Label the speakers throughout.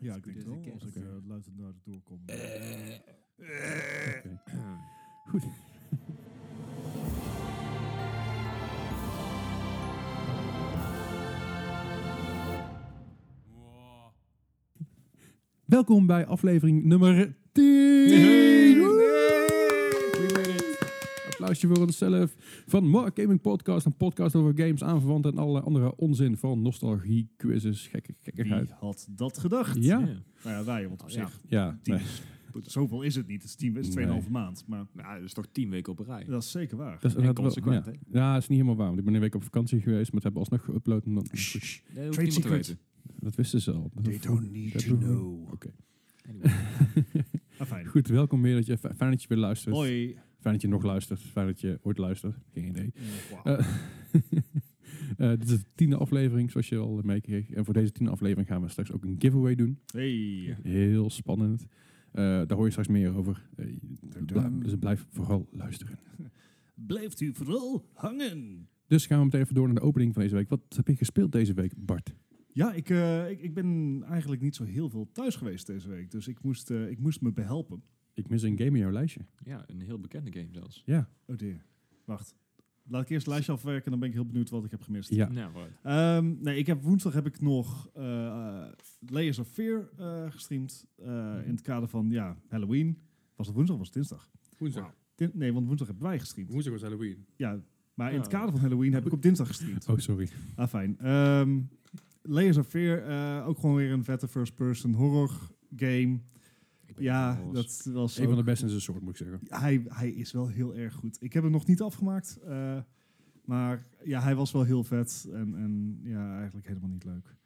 Speaker 1: Ja, ik denk het
Speaker 2: Deze
Speaker 1: wel. Als
Speaker 2: kerst.
Speaker 1: ik eh, luidend naar de door kom.
Speaker 2: Eh.
Speaker 3: Welkom bij aflevering nummer 10.
Speaker 2: Hey!
Speaker 3: Woe! We made it. Applausje voor onszelf van Mark Gaming Podcast. Een podcast over games, aanverwanten en allerlei andere onzin van nostalgie, quizzes, gekke gekkigheid.
Speaker 1: Wie had dat gedacht?
Speaker 3: Ja.
Speaker 1: Nou ja, wij, want op
Speaker 2: Oh,
Speaker 1: zich,
Speaker 3: Ja,
Speaker 1: tien
Speaker 3: nee.
Speaker 1: is- zoveel is het niet. Het is, tien, het is
Speaker 3: Nee.
Speaker 1: 2,5 maand, maar
Speaker 2: Nou, dat is toch tien weken op een rij.
Speaker 1: dat is zeker waar.
Speaker 3: dat is inderdaad wel-
Speaker 2: consequent,
Speaker 3: ja.
Speaker 2: hè?
Speaker 3: Ja, dat is niet helemaal waar. Want ik ben een week op vakantie geweest, maar het hebben we alsnog geüpload. omdat-
Speaker 2: Nee, dat hoeft
Speaker 1: Trade
Speaker 2: niemand te
Speaker 1: secret.
Speaker 2: weten.
Speaker 3: Dat wisten ze al. Dat-
Speaker 1: need
Speaker 3: dat hoeven we- Oké.
Speaker 2: Anyway.
Speaker 1: Ah, fijn.
Speaker 3: Goed, welkom weer. Dat je, fijn dat je weer luistert.
Speaker 1: Hoi.
Speaker 3: Fijn dat je nog luistert. Fijn dat je ooit luistert. Geen idee.
Speaker 1: Wauw.
Speaker 3: Eh, eh, dit is de tiende aflevering, zoals je al meekreeg. En voor deze tiende aflevering gaan we straks ook een giveaway doen.
Speaker 1: Hey.
Speaker 3: Heel spannend. Eh, daar hoor je straks meer over. Eh, bl- dus blijf vooral luisteren.
Speaker 1: Blijft u vooral hangen.
Speaker 3: Dus gaan we meteen even door naar de opening van deze week. Wat heb je gespeeld deze week, Bart?
Speaker 1: Ja, ik, eh, ik, ik ben eigenlijk niet zo heel veel thuis geweest deze week. Dus ik moest, eh, ik moest me behelpen.
Speaker 3: Ik mis een game in jouw lijstje.
Speaker 2: Ja, een heel bekende game zelfs.
Speaker 3: Ja,
Speaker 1: Oh dear. Wacht. Laat ik eerst het lijstje afwerken. Dan ben ik heel benieuwd wat ik heb gemist.
Speaker 3: ja.
Speaker 2: Nou, right.
Speaker 1: Ehm, nee, ik heb, woensdag heb ik nog eh, Layers of Fear eh, gestreamd. eh,
Speaker 3: Mhm.
Speaker 1: In het kader van ja, Halloween. Was het woensdag of was het dinsdag?
Speaker 3: Woensdag.
Speaker 1: Din- nee, want woensdag hebben wij gestreamd.
Speaker 3: Woensdag was Halloween.
Speaker 1: Ja, maar in het
Speaker 2: Ja.
Speaker 1: kader van Halloween heb ik op dinsdag gestreamd.
Speaker 3: Oh, sorry.
Speaker 1: Ah, fijn. Ehm, Layers of Fear, eh, ook gewoon weer een vette first-person horror game.
Speaker 2: Ik ben
Speaker 1: Ja,
Speaker 2: wel eens-
Speaker 1: dat was
Speaker 3: Een van de
Speaker 1: ook-
Speaker 3: beste in zijn soort, moet ik zeggen.
Speaker 1: hij, hij is wel heel erg goed. Ik heb hem nog niet afgemaakt. eh, maar ja, hij was wel heel vet. En, en ja, eigenlijk helemaal niet leuk.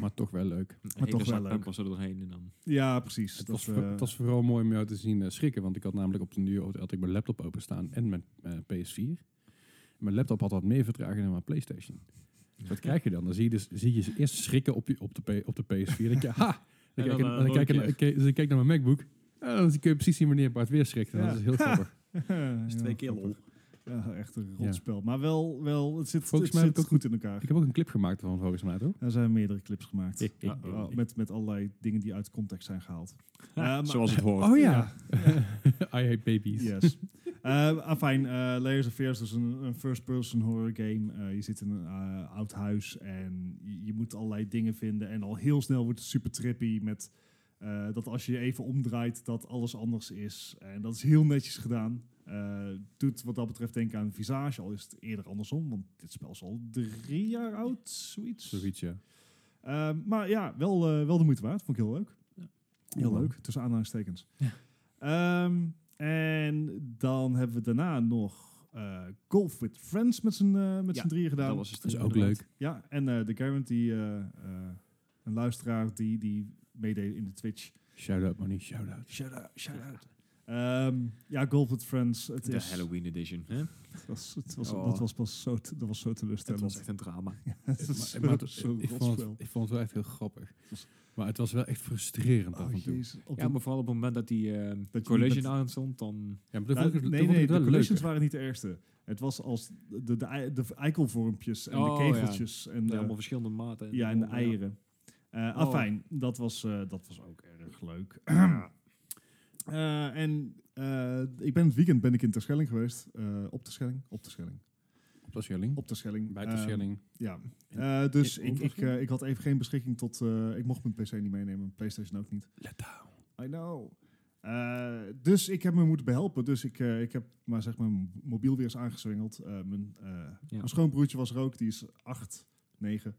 Speaker 3: Maar toch wel leuk.
Speaker 2: Een
Speaker 1: maar
Speaker 2: hele
Speaker 1: toch wel
Speaker 2: zak
Speaker 1: leuk.
Speaker 2: pampers er doorheen en dan...
Speaker 1: Ja, precies.
Speaker 3: Het
Speaker 1: Dat,
Speaker 3: was,
Speaker 1: eh,
Speaker 3: voor- het was vooral mooi om jou te zien eh, schrikken, want ik had namelijk op de duur had ik mijn laptop openstaan en mijn eh, PS4. Mijn laptop had wat meer vertraging dan mijn PlayStation. Wat krijg je dan? Dan zie je, dus, zie je ze eerst schrikken op, je, op, de, P- op de PS4. Dan denk je, ha! Dan
Speaker 2: En
Speaker 3: kijk,
Speaker 2: dan,
Speaker 3: ik-
Speaker 2: eh,
Speaker 3: dan
Speaker 2: nog
Speaker 3: kijk ik
Speaker 2: een
Speaker 3: naar- ik keek- dus ik kijk naar mijn MacBook. En dan kun je precies zien wanneer Bart weer schrikt. En
Speaker 1: Ja.
Speaker 3: Dat is heel grappig.
Speaker 2: Dat is
Speaker 1: ja,
Speaker 2: twee keer lol.
Speaker 1: grappig. Ja, echt een
Speaker 3: Ja.
Speaker 1: rotspel. Maar wel, wel het zit,
Speaker 3: Volgens
Speaker 1: het
Speaker 3: mij heb
Speaker 1: zit
Speaker 3: ik ook-
Speaker 1: goed in elkaar.
Speaker 3: Ik heb ook een clip gemaakt van volgens mij, toch?
Speaker 1: Er zijn meerdere clips gemaakt.
Speaker 2: Ja,
Speaker 1: Oh, met, met allerlei dingen die uit context zijn gehaald. Eh, maar-
Speaker 2: Zoals het hoort.
Speaker 3: Oh ja! I hate babies.
Speaker 1: Yes. Eh, afijn, eh, Layers of Fear is dus een, een first-person horror game. Eh, je zit in een eh, oud huis en je, je moet allerlei dingen vinden. En al heel snel wordt het super trippy met eh, dat als je je even omdraait, dat alles anders is. En dat is heel netjes gedaan. Eh, doet wat dat betreft denken aan Visage, al is het eerder andersom. Want dit spel is al drie jaar oud, zoiets.
Speaker 3: Zoiets, ja.
Speaker 1: Ehm, maar ja, wel, eh, wel de moeite waard. Vond ik heel leuk.
Speaker 2: Ja.
Speaker 1: Heel
Speaker 3: Cool.
Speaker 1: leuk, tussen aanhalingstekens.
Speaker 2: Ja.
Speaker 1: Ehm, en dan hebben we daarna nog eh, Golf with Friends met z'n eh, met
Speaker 2: Ja,
Speaker 1: z'n drieën gedaan.
Speaker 2: Dat was het
Speaker 3: Dat is ook
Speaker 2: inderdaad.
Speaker 3: leuk.
Speaker 1: Ja, en eh, de Garant, die, eh, eh, een luisteraar die, die meedeed in de Twitch.
Speaker 3: Shout-out, man. Shout-out.
Speaker 1: Shout-out, shout-out. Ehm, ja, Golf with Friends. Het
Speaker 2: De
Speaker 1: is,
Speaker 2: Halloween edition. Hè?
Speaker 1: het was, het was,
Speaker 2: Oh.
Speaker 1: Dat was pas zo, te- dat was zo
Speaker 2: Dat
Speaker 1: teleurstellend.
Speaker 2: was echt een drama.
Speaker 1: Het was
Speaker 3: Maar- maar het-
Speaker 1: zo- zo'n
Speaker 3: ik, vond het,
Speaker 1: rotspel.
Speaker 3: ik vond het wel echt heel grappig.
Speaker 1: was-
Speaker 3: Maar het was wel echt frustrerend af
Speaker 1: Oh,
Speaker 3: en toe.
Speaker 1: jezus. Op
Speaker 2: Ja,
Speaker 1: de-
Speaker 2: maar vooral op het moment dat die eh,
Speaker 1: met-
Speaker 2: collision aanstond, dan...
Speaker 3: Ja, maar dat
Speaker 1: Nou,
Speaker 3: vond ik, dat
Speaker 1: nee,
Speaker 3: vond
Speaker 1: nee,
Speaker 3: ik
Speaker 1: de
Speaker 3: wel
Speaker 1: collisions
Speaker 3: leuk.
Speaker 1: waren niet de eerste. Het was als de, de, ei- de eikelvormpjes en
Speaker 2: Oh,
Speaker 1: de kegeltjes en
Speaker 2: Ja,
Speaker 1: de,
Speaker 2: allemaal verschillende maten.
Speaker 1: ja, en de eieren. Eh
Speaker 2: Oh.
Speaker 1: Afijn, dat was, eh, dat was ook erg leuk. Eh, en eh, ik ben het weekend ben ik in Terschelling geweest. Eh, op Terschelling? Op Terschelling.
Speaker 3: Op de Schelling.
Speaker 1: Op Terschelling.
Speaker 3: Bij
Speaker 1: Eh,
Speaker 3: de Schelling.
Speaker 1: ja.
Speaker 3: In-
Speaker 1: Eh, dus
Speaker 2: in
Speaker 1: ik, ik,
Speaker 2: Overschelling?
Speaker 1: eh, ik had even geen beschikking tot... eh, ik mocht mijn PC niet meenemen, mijn PlayStation ook niet.
Speaker 3: Let down.
Speaker 1: I know. Eh, dus ik heb me moeten behelpen. Dus ik, eh, ik heb maar zeg maar mijn mobiel weer eens aangezwengeld. Eh, mijn, eh, mijn schoonbroertje was er ook. Die is acht, negen.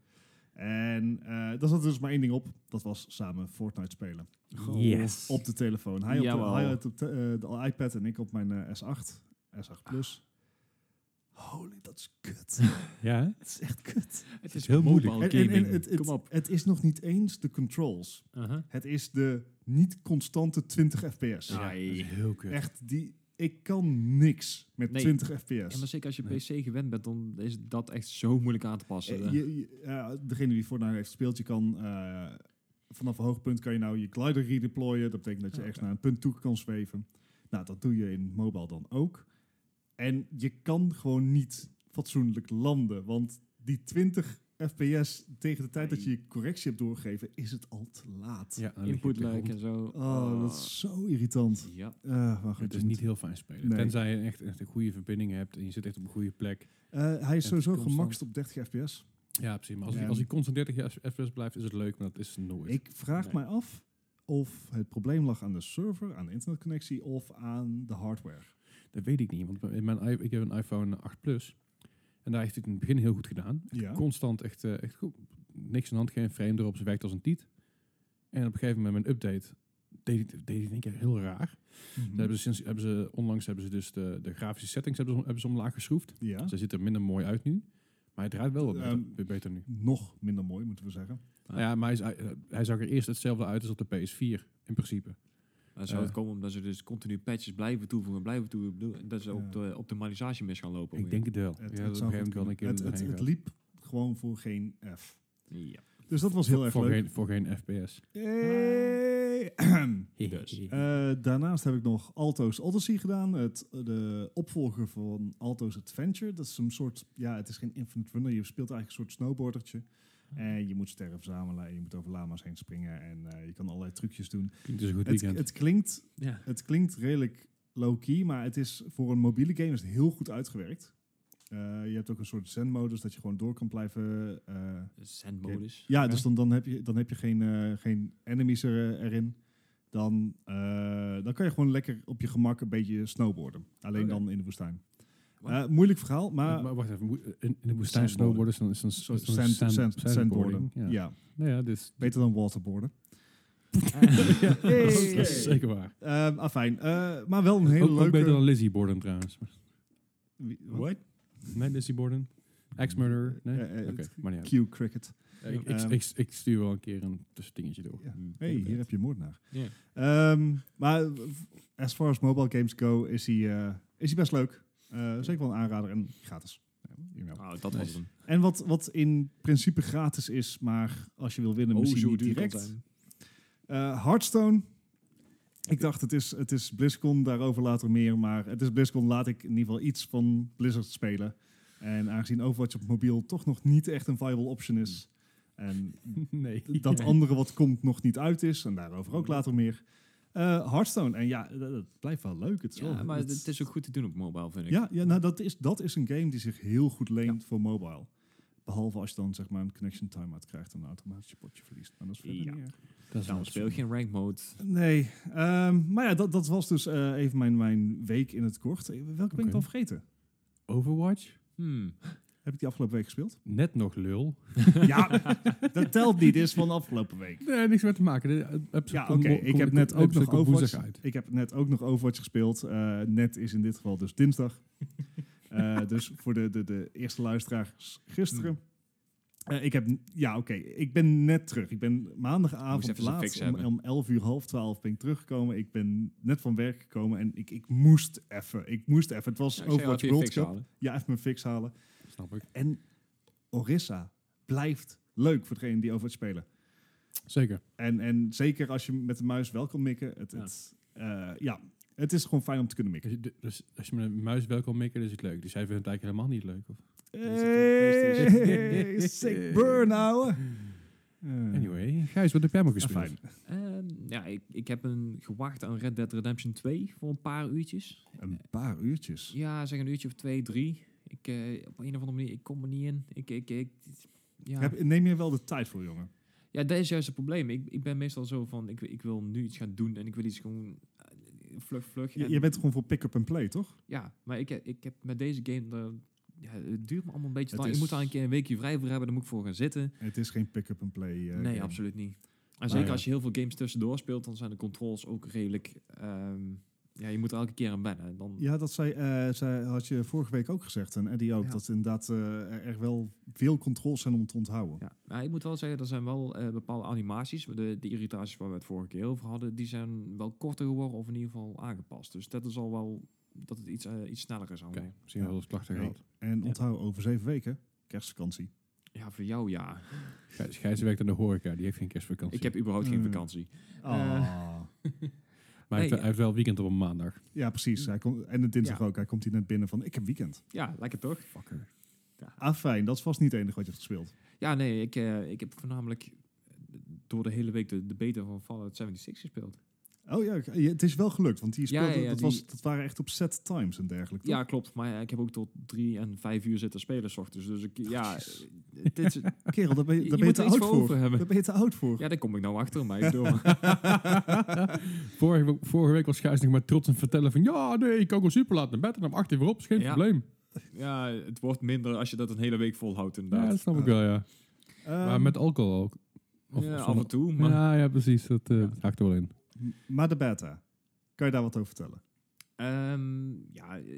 Speaker 1: En eh daar zat dus maar één ding op. Dat was samen Fortnite spelen. oh.
Speaker 3: Yes.
Speaker 1: Op de telefoon. Hij op, de,
Speaker 2: Jawel.
Speaker 1: hij had op de, eh, de iPad en ik op mijn eh, S8. S8 Plus. Holy, dat is kut.
Speaker 3: Ja, hè?
Speaker 1: dat is echt kut.
Speaker 2: Het
Speaker 3: is heel
Speaker 2: mobile
Speaker 3: moeilijk.
Speaker 1: En, en, en
Speaker 2: gaming.
Speaker 1: het, het,
Speaker 2: Kom op.
Speaker 1: het is nog niet eens de controls.
Speaker 2: Uh-huh.
Speaker 1: Het is de niet constante 20 fps.
Speaker 2: Ja.
Speaker 3: Ja, dat is heel kut.
Speaker 1: Echt, die, ik kan niks met
Speaker 2: Nee.
Speaker 1: 20
Speaker 2: Ja, maar
Speaker 1: fps.
Speaker 2: zeker als je
Speaker 3: Nee.
Speaker 2: PC gewend bent, dan is dat echt zo moeilijk aan te passen.
Speaker 1: Eh, je- je- ja, degene die Fortnite heeft gespeeld, je kan eh, vanaf een hoog punt kan je nou je glider redeployen. Dat betekent dat je
Speaker 2: Ja,
Speaker 1: echt
Speaker 2: oké.
Speaker 1: naar een punt toe kan zweven. Nou, dat doe je in mobile dan ook. En je kan gewoon niet fatsoenlijk landen, want die 20 FPS tegen de tijd dat je je correctie hebt doorgegeven, is het al te laat.
Speaker 3: Ja, dan lig je op
Speaker 2: Input
Speaker 3: de grond.
Speaker 2: lag en zo. Ah,
Speaker 1: Oh, dat is zo irritant.
Speaker 2: Ja.
Speaker 1: Eh, maar goed,
Speaker 3: Het
Speaker 1: je
Speaker 3: is
Speaker 1: moet-
Speaker 3: niet heel fijn spelen.
Speaker 1: Nee.
Speaker 3: Tenzij je echt, echt een goede verbinding hebt en je zit echt op een goede plek.
Speaker 1: Eh, hij is
Speaker 3: Ja,
Speaker 1: sowieso
Speaker 3: constant.
Speaker 1: gemaxt op 30 fps.
Speaker 3: Ja, precies. Maar als,
Speaker 1: Ja.
Speaker 3: hij, als hij constant 30 jaar FPS blijft, is het leuk, maar dat is het nooit.
Speaker 1: Ik vraag
Speaker 3: Nee.
Speaker 1: mij af of het probleem lag aan de server, aan de internetconnectie of aan de hardware.
Speaker 3: Dat weet ik niet, want in mijn, i- ik heb een iPhone 8 Plus. En daar heeft hij het in het begin heel goed gedaan.
Speaker 1: Ja.
Speaker 3: Constant echt, eh, echt goed. Niks aan de hand, geen frame erop. Ze werkt als een tiet. En op een gegeven moment met een update deed hij deed hij in één keer heel raar.
Speaker 1: Mhm.
Speaker 3: Daar hebben ze sinds, hebben ze, onlangs hebben ze dus de, de grafische settings hebben ze, hebben ze omlaag geschroefd.
Speaker 1: Ja.
Speaker 3: Ze ziet er minder mooi uit nu. Maar hij draait wel wat beter,
Speaker 1: Ehm,
Speaker 3: weer beter nu.
Speaker 1: Nog minder mooi, moeten we zeggen.
Speaker 3: Nou ja, maar hij, is- hij- hij zag er eerst hetzelfde uit als op de PS4, in principe.
Speaker 2: Dan zou het
Speaker 3: Eh.
Speaker 2: komen omdat ze dus continu patches blijven toevoegen, blijven toevoegen. Dat ze
Speaker 1: Ja.
Speaker 2: op de optimalisatie mis gaan lopen.
Speaker 3: Ik denk het wel.
Speaker 1: Het,
Speaker 3: ja,
Speaker 1: het
Speaker 3: dat
Speaker 1: zou goed
Speaker 3: op een gegeven moment wel een
Speaker 1: kunnen.
Speaker 3: keer
Speaker 1: het,
Speaker 3: erheen
Speaker 1: het, het
Speaker 3: gaat.
Speaker 1: liep gewoon voor geen F.
Speaker 2: Ja.
Speaker 1: Dus dat was heel erg
Speaker 3: voor,
Speaker 1: leuk.
Speaker 3: geen, voor geen FPS.
Speaker 1: Hey.
Speaker 2: Dus.
Speaker 1: Eh, daarnaast heb ik nog Alto's Odyssey gedaan. Het, de opvolger van Alto's Adventure. Dat is een soort, ja, het is geen infinite runner. Je speelt eigenlijk een soort snowboardertje. En je moet sterren verzamelen en je moet over lama's heen springen. En eh, je kan allerlei trucjes doen.
Speaker 3: Klinkt dus een goed
Speaker 1: Het,
Speaker 3: weekend.
Speaker 1: het, klinkt,
Speaker 2: Ja.
Speaker 1: het klinkt redelijk low-key, maar het is voor een mobiele game is het heel goed uitgewerkt. Eh, je hebt ook een soort zen-modus dat je gewoon door kan blijven eh,
Speaker 2: Sendmodus.
Speaker 1: ja, dus dan, dan, heb je, dan heb je geen, eh, geen enemies er, eh, erin. Dan, eh, dan kan je gewoon lekker op je gemak een beetje snowboarden. Alleen
Speaker 2: Oké.
Speaker 1: dan in de woestijn.
Speaker 2: Wat?
Speaker 1: Eh, moeilijk verhaal, maar...
Speaker 3: maar wacht even, moet- in, in de woestijn
Speaker 1: Sandboarden.
Speaker 3: snowboarden is dan, is dan, is dan
Speaker 1: Sand, sand,
Speaker 3: sand-
Speaker 1: sandboarden. Ja.
Speaker 3: Ja. Nou ja, dus,
Speaker 1: beter dan waterboarden.
Speaker 3: ja, dat, is, dat is
Speaker 1: Hey.
Speaker 3: zeker waar.
Speaker 1: Ehm afijn, eh, maar wel een hele
Speaker 3: Ook, ook
Speaker 1: leuke...
Speaker 3: beter dan Lizzie Borden trouwens.
Speaker 1: Wie-
Speaker 2: What?
Speaker 3: Nee, Lizzie Borden. Ex-murder. Nee?
Speaker 1: Eh, eh,
Speaker 3: Oké, maar niet uit.
Speaker 1: Q Cricket.
Speaker 3: Ik, ik,
Speaker 1: Ehm.
Speaker 3: ik, ik stuur wel een keer een tussendingetje door.
Speaker 1: Ja.
Speaker 2: Hmm.
Speaker 1: hey, hier heb je moordenaar.
Speaker 2: Ja.
Speaker 1: Ehm, maar as far as mobile games go, is hij eh, is hij best leuk. Eh, zeker wel een aanrader en gratis. You know.
Speaker 2: Nou, dat was
Speaker 3: Nice.
Speaker 2: hem.
Speaker 1: En wat, wat in principe gratis is, maar als je wil winnen, misschien niet
Speaker 2: Oh, duur kan
Speaker 1: direct.
Speaker 2: zijn.
Speaker 1: Eh, Hearthstone. Ik dacht, het is, het is BlizzCon, daarover later meer. Maar het is BlizzCon, laat ik in ieder geval iets van Blizzard spelen. En aangezien Overwatch op mobiel toch nog niet echt een viable option is... en
Speaker 3: nee.
Speaker 1: dat andere wat komt nog niet uit is, en daarover ook later meer... eh, Hearthstone, en ja, dat, dat blijft wel leuk. Het is
Speaker 2: Ja,
Speaker 1: wel-
Speaker 2: maar
Speaker 1: het-
Speaker 2: het is ook goed te doen op mobile, vind ik.
Speaker 1: Oh, ja, ja nou, dat, is, dat is een game die zich heel goed leent voor mobile. Behalve als je dan zeg maar een connection timeout krijgt en een automatisch potje verliest. Maar dat is verder
Speaker 2: Ja.
Speaker 1: niet erg.
Speaker 3: Dat is
Speaker 2: Daarom
Speaker 3: nou
Speaker 2: speel ik geen ranked mode.
Speaker 1: Nee, ehm, maar ja, dat, dat was dus eh, even mijn, mijn week in het kort. Eh, Welke ben ik
Speaker 3: Oké.
Speaker 1: dan vergeten?
Speaker 3: Overwatch?
Speaker 2: Hmm.
Speaker 1: Heb ik die afgelopen week gespeeld?
Speaker 3: Net nog lul.
Speaker 1: ja, dat telt niet. Dit is van afgelopen week.
Speaker 3: Nee, niks meer te maken. De episode
Speaker 1: Ja, oké.
Speaker 3: komt-
Speaker 1: Ik
Speaker 3: komt-
Speaker 1: heb
Speaker 3: komt-
Speaker 1: net ook
Speaker 3: episode
Speaker 1: nog
Speaker 3: komt woensdag
Speaker 1: Overwatch.
Speaker 3: uit.
Speaker 1: Ik heb net ook nog Overwatch gespeeld. Eh, net is in dit geval dus dinsdag. Eh, dus voor de, de, de eerste luisteraars gisteren.
Speaker 2: Hmm.
Speaker 1: Eh, ik heb, n- ja oké, ik ben net terug. Ik ben
Speaker 2: Moest
Speaker 1: maandagavond
Speaker 2: even zo'n
Speaker 1: laat,
Speaker 2: fix
Speaker 1: om,
Speaker 2: hebben.
Speaker 1: om 11 uur, half 12 ben ik teruggekomen. Ik ben net van werk gekomen en ik, ik moest even, ik moest even. Het was
Speaker 2: Ja, ik zei al,
Speaker 1: Overwatch
Speaker 2: even je
Speaker 1: World
Speaker 2: fix
Speaker 1: Cup.
Speaker 2: halen.
Speaker 1: Ja, even mijn fix halen.
Speaker 3: Snap ik.
Speaker 1: En Orissa blijft leuk voor degene die Overwatch spelen.
Speaker 3: Zeker.
Speaker 1: En, en zeker als je met de muis wel kan mikken. Het,
Speaker 2: Ja.
Speaker 1: Het, eh, ja, het is gewoon fijn om te kunnen mikken.
Speaker 3: Als je, dus als je met een muis wel kan mikken, is het leuk. Dus hij vindt het eigenlijk helemaal niet leuk. Of?
Speaker 1: Hey, sick burn, ouwe. Eh,
Speaker 3: Anyway, Gijs, wat heb jij maar
Speaker 1: ah,
Speaker 3: gespeeld?
Speaker 1: fijn.
Speaker 2: Ehm, ja, ik, ik heb een, gewacht aan Red Dead Redemption 2 voor een paar uurtjes.
Speaker 1: Een paar uurtjes.
Speaker 2: Ja, zeg een uurtje of twee, drie. Ik, eh, op een of andere manier, ik kom er niet in. Ik, ik, ik, ja.
Speaker 1: Heb, neem je wel de tijd voor, jongen?
Speaker 2: ja, dat is juist het probleem. Ik, ik ben meestal zo van, ik, ik wil nu iets gaan doen en ik wil iets gewoon eh, vlug, vlug.
Speaker 1: Je,
Speaker 2: en-
Speaker 1: je bent gewoon voor pick-up en play, toch?
Speaker 2: Ja, maar ik, heb- ik heb met deze game, eh, ja, het duurt me allemaal een beetje
Speaker 1: Het
Speaker 2: lang. Ik
Speaker 1: is-
Speaker 2: moet daar een keer een weekje vrij voor hebben, dan moet ik voor gaan zitten.
Speaker 1: Het is geen pick-up en play. eh,
Speaker 2: nee,
Speaker 1: game. eh,
Speaker 2: absoluut niet. En zeker
Speaker 3: ja.
Speaker 2: als je heel veel games tussendoor speelt, dan zijn de controls ook redelijk... ehm, ja, je moet er elke keer aan wennen. Dan,
Speaker 1: Ja, dat zei, eh, zei, had je vorige week ook gezegd, en Eddie ook,
Speaker 2: Ja.
Speaker 1: dat inderdaad eh, er er wel veel controles zijn om te onthouden.
Speaker 2: Ja, maar ik moet wel zeggen, er zijn wel eh, bepaalde animaties. De, de irritaties waar we het vorige keer over hadden, die zijn wel korter geworden of in ieder geval aangepast. Dus dat is al wel dat het iets, eh, iets sneller is allemaal.
Speaker 3: Oké, misschien wel eens klachten
Speaker 1: Nee.
Speaker 3: gehad.
Speaker 1: En
Speaker 2: Ja.
Speaker 1: onthoud over zeven weken, kerstvakantie.
Speaker 2: Ja, voor jou ja.
Speaker 3: Gijs, Gijs werkt aan de horeca, die heeft geen kerstvakantie.
Speaker 2: Ik heb überhaupt geen
Speaker 1: Eh.
Speaker 2: vakantie.
Speaker 1: Ah.
Speaker 3: maar hij heeft,
Speaker 2: Nee,
Speaker 3: hij heeft wel weekend op een maandag.
Speaker 1: Ja, precies. Hij komt en de dinsdag
Speaker 2: Ja.
Speaker 1: ook. Hij komt hier net binnen van, ik heb weekend.
Speaker 2: Ja, lekker toch?
Speaker 3: Fucker.
Speaker 1: Afijn, dat is vast niet het enige wat je hebt gespeeld.
Speaker 2: Ja, nee, ik, eh, ik heb voornamelijk door de hele week de, de beta van Fallout 76 gespeeld.
Speaker 1: Oh ja, ik- je- het is wel gelukt, want die
Speaker 2: Ja,
Speaker 1: speelde,
Speaker 2: ja, ja,
Speaker 1: dat,
Speaker 2: die-
Speaker 1: was, dat waren echt op set times en dergelijke. toch?
Speaker 2: Ja, klopt. Maar ja, ik heb ook tot drie en vijf uur zitten spelen 's ochtends. Dus ik, ja, eh, dit is,
Speaker 1: Ah, Kerel, daar ben je,
Speaker 2: Je
Speaker 1: daar ben je
Speaker 2: moet
Speaker 1: te
Speaker 2: er iets
Speaker 1: oud
Speaker 2: voor
Speaker 1: voor.
Speaker 2: over hebben.
Speaker 1: Daar ben je te oud voor.
Speaker 2: ja, daar kom ik nou achter. Maar ik bedoel,
Speaker 3: vorige, we- vorige week was Gijs nog maar trots aan het vertellen van... Ja, nee, ik kan wel super laat naar bed en om acht uur weer op. Is geen
Speaker 2: Ja.
Speaker 3: probleem.
Speaker 2: ja, het wordt minder als je dat een hele week volhoudt
Speaker 3: Ja,
Speaker 2: inderdaad.
Speaker 3: dat snap ik
Speaker 1: Ah.
Speaker 3: wel, ja.
Speaker 1: Ehm,
Speaker 3: maar met alcohol ook. Of-
Speaker 2: Ja,
Speaker 3: of
Speaker 2: af en
Speaker 3: zonder-
Speaker 2: toe. Maar
Speaker 3: Ja, ja, precies. Dat eh
Speaker 2: Ja.
Speaker 3: haakt er wel in.
Speaker 1: maar de beta, kan je daar wat over vertellen?
Speaker 2: Ehm, ja, eh,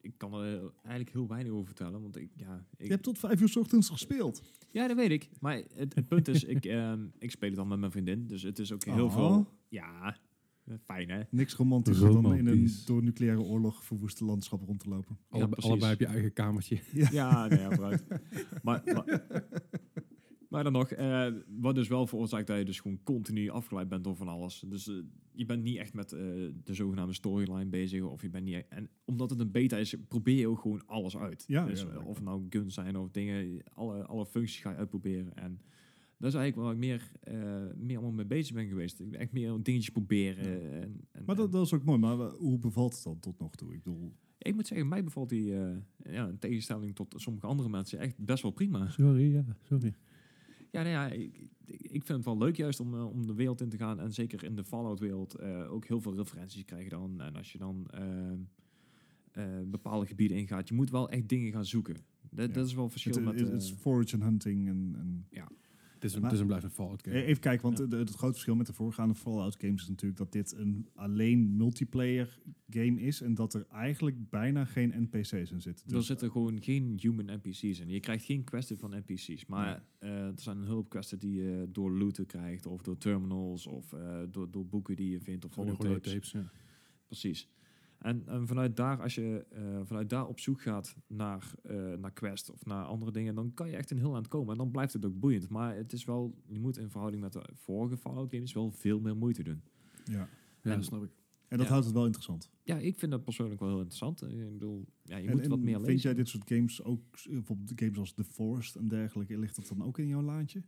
Speaker 2: ik kan er eigenlijk heel weinig over vertellen. Want ik, ja, ik,
Speaker 1: Je hebt tot vijf uur 's ochtends gespeeld.
Speaker 2: ja, dat weet ik. Maar het, het punt is, ik, ehm, ik speel het dan met mijn vriendin. Dus het is ook heel
Speaker 1: Oh.
Speaker 2: veel... Ja, fijn hè?
Speaker 1: Niks romantischer dan in een
Speaker 3: Romantisch.
Speaker 1: door nucleaire oorlog verwoeste landschap rond te lopen.
Speaker 3: Alle-
Speaker 2: precies.
Speaker 3: allebei heb je eigen kamertje.
Speaker 2: Ja, nee, ja, vooruit. maar, maar, maar dan nog, eh, wat dus wel veroorzaakt dat je dus gewoon continu afgeleid bent door van alles. Dus eh, je bent niet echt met eh, de zogenaamde storyline bezig. Of je bent niet e- En omdat het een beta is, probeer je ook gewoon alles uit.
Speaker 1: Ja,
Speaker 2: dus,
Speaker 1: ja,
Speaker 2: eh,
Speaker 1: dat
Speaker 2: of het nou guns zijn of dingen, alle, alle functies ga je uitproberen. En dat is eigenlijk waar ik meer, eh, meer allemaal mee bezig ben geweest. Ik ben echt meer dingetjes proberen. En, en,
Speaker 1: Maar
Speaker 2: en-
Speaker 1: dat, dat is ook mooi. Maar eh, hoe bevalt het dan tot nog toe? Ik bedoel,
Speaker 2: ik moet zeggen, mij bevalt die, eh, ja, in tegenstelling tot sommige andere mensen, echt best wel prima.
Speaker 3: Sorry, ja, sorry.
Speaker 2: Ja, nou ja, ik, ik ik vind het wel leuk juist om, eh, om de wereld in te gaan. En zeker in de Fallout-wereld eh, ook heel veel referenties krijg je dan. En als je dan ehm, eh, bepaalde gebieden ingaat, je moet wel echt dingen gaan zoeken. Dat,
Speaker 1: Ja.
Speaker 2: dat is wel een verschil
Speaker 1: het,
Speaker 2: met...
Speaker 1: het- het is
Speaker 2: eh,
Speaker 1: forage en hunting. En, en
Speaker 3: Het is een,
Speaker 1: Maar-
Speaker 3: het is een blijft een Fallout game.
Speaker 1: Eh, Even kijken, want
Speaker 2: Ja.
Speaker 1: de- de- het grote verschil met de voorgaande Fallout games is natuurlijk dat dit een alleen multiplayer game is. En dat er eigenlijk bijna geen NPC's in zitten. Dus,
Speaker 2: er zitten gewoon geen human NPC's in. Je krijgt geen questen van NPC's. Maar eh, er zijn een hulp questen die je door looten krijgt. Of door terminals. Of eh, door, door boeken die je vindt. Of
Speaker 3: Gewoon
Speaker 2: holotapes.
Speaker 3: tapes, ja.
Speaker 2: Precies. En, en vanuit daar, als je eh, vanuit daar op zoek gaat naar, eh, naar Quest of naar andere dingen, dan kan je echt een heel eind komen. En dan blijft het ook boeiend. Maar het is wel, je moet in verhouding met de vorige Fallout games wel veel meer moeite doen.
Speaker 1: Ja.
Speaker 3: Ja,
Speaker 2: En-
Speaker 3: dat snap ik.
Speaker 1: En dat
Speaker 2: Ja.
Speaker 1: houdt het wel interessant.
Speaker 2: Ja, ik vind dat persoonlijk wel heel interessant. Eh, Ik bedoel, ja, je
Speaker 1: en,
Speaker 2: moet
Speaker 1: en
Speaker 2: wat meer
Speaker 1: vind
Speaker 2: lezen.
Speaker 1: jij dit soort games ook, eh, bijvoorbeeld games als The Forest en dergelijke, ligt dat dan ook in jouw laantje?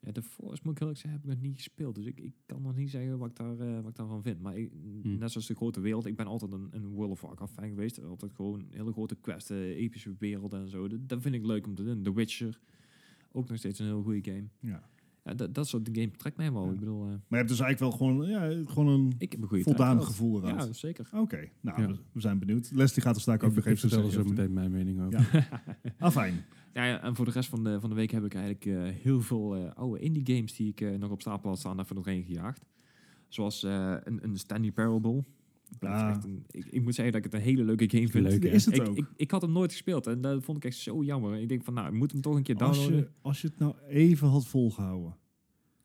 Speaker 2: Ja, de Forest, moet ik heel eerlijk zeggen, heb ik nog niet gespeeld. Dus ik, ik kan nog niet zeggen wat ik, daar, eh, wat ik daarvan vind. Maar ik,
Speaker 1: Hm.
Speaker 2: net zoals de grote wereld, ik ben altijd een, een World of Warcraft fan geweest. Altijd gewoon hele grote questen, epische werelden en zo. Dat, dat vind ik leuk om te doen. The Witcher, ook nog steeds een heel goede game.
Speaker 1: Ja.
Speaker 2: Ja, dat, dat soort game trekt mij wel.
Speaker 1: Ja.
Speaker 2: Ik bedoel, eh,
Speaker 1: Maar je hebt dus eigenlijk wel gewoon, ja, gewoon een
Speaker 2: ik heb een goede
Speaker 1: voldaan
Speaker 2: tijd
Speaker 1: gevoel
Speaker 2: gehad.
Speaker 1: eruit.
Speaker 2: Ja, zeker.
Speaker 1: Oké, nou,
Speaker 3: Ja.
Speaker 1: we- we zijn benieuwd. Leslie gaat ons daar ook
Speaker 3: Ik,
Speaker 1: nog
Speaker 3: ik
Speaker 1: even
Speaker 3: vertel
Speaker 1: zeggen. Ah,
Speaker 3: zo meteen mijn mening over.
Speaker 1: Ja. Afijn.
Speaker 2: Ja, ja, en voor de rest van de, van de week heb ik eigenlijk eh, heel veel eh, oude indie games die ik eh, nog op stapel had staan, daarvoor nog heen gejaagd. Zoals eh, een, een Stanley Parable. Dat is
Speaker 1: Ah.
Speaker 2: echt een- ik, ik moet zeggen dat ik het een hele leuke game vind.
Speaker 3: Leuk, hè?
Speaker 1: Is het
Speaker 2: Ik,
Speaker 1: ook?
Speaker 2: ik, ik had hem nooit gespeeld en dat vond ik echt zo jammer. Ik denk van, nou, ik moet hem toch een keer
Speaker 1: als,
Speaker 2: downloaden.
Speaker 1: je, Oh, als je het nou even had volgehouden.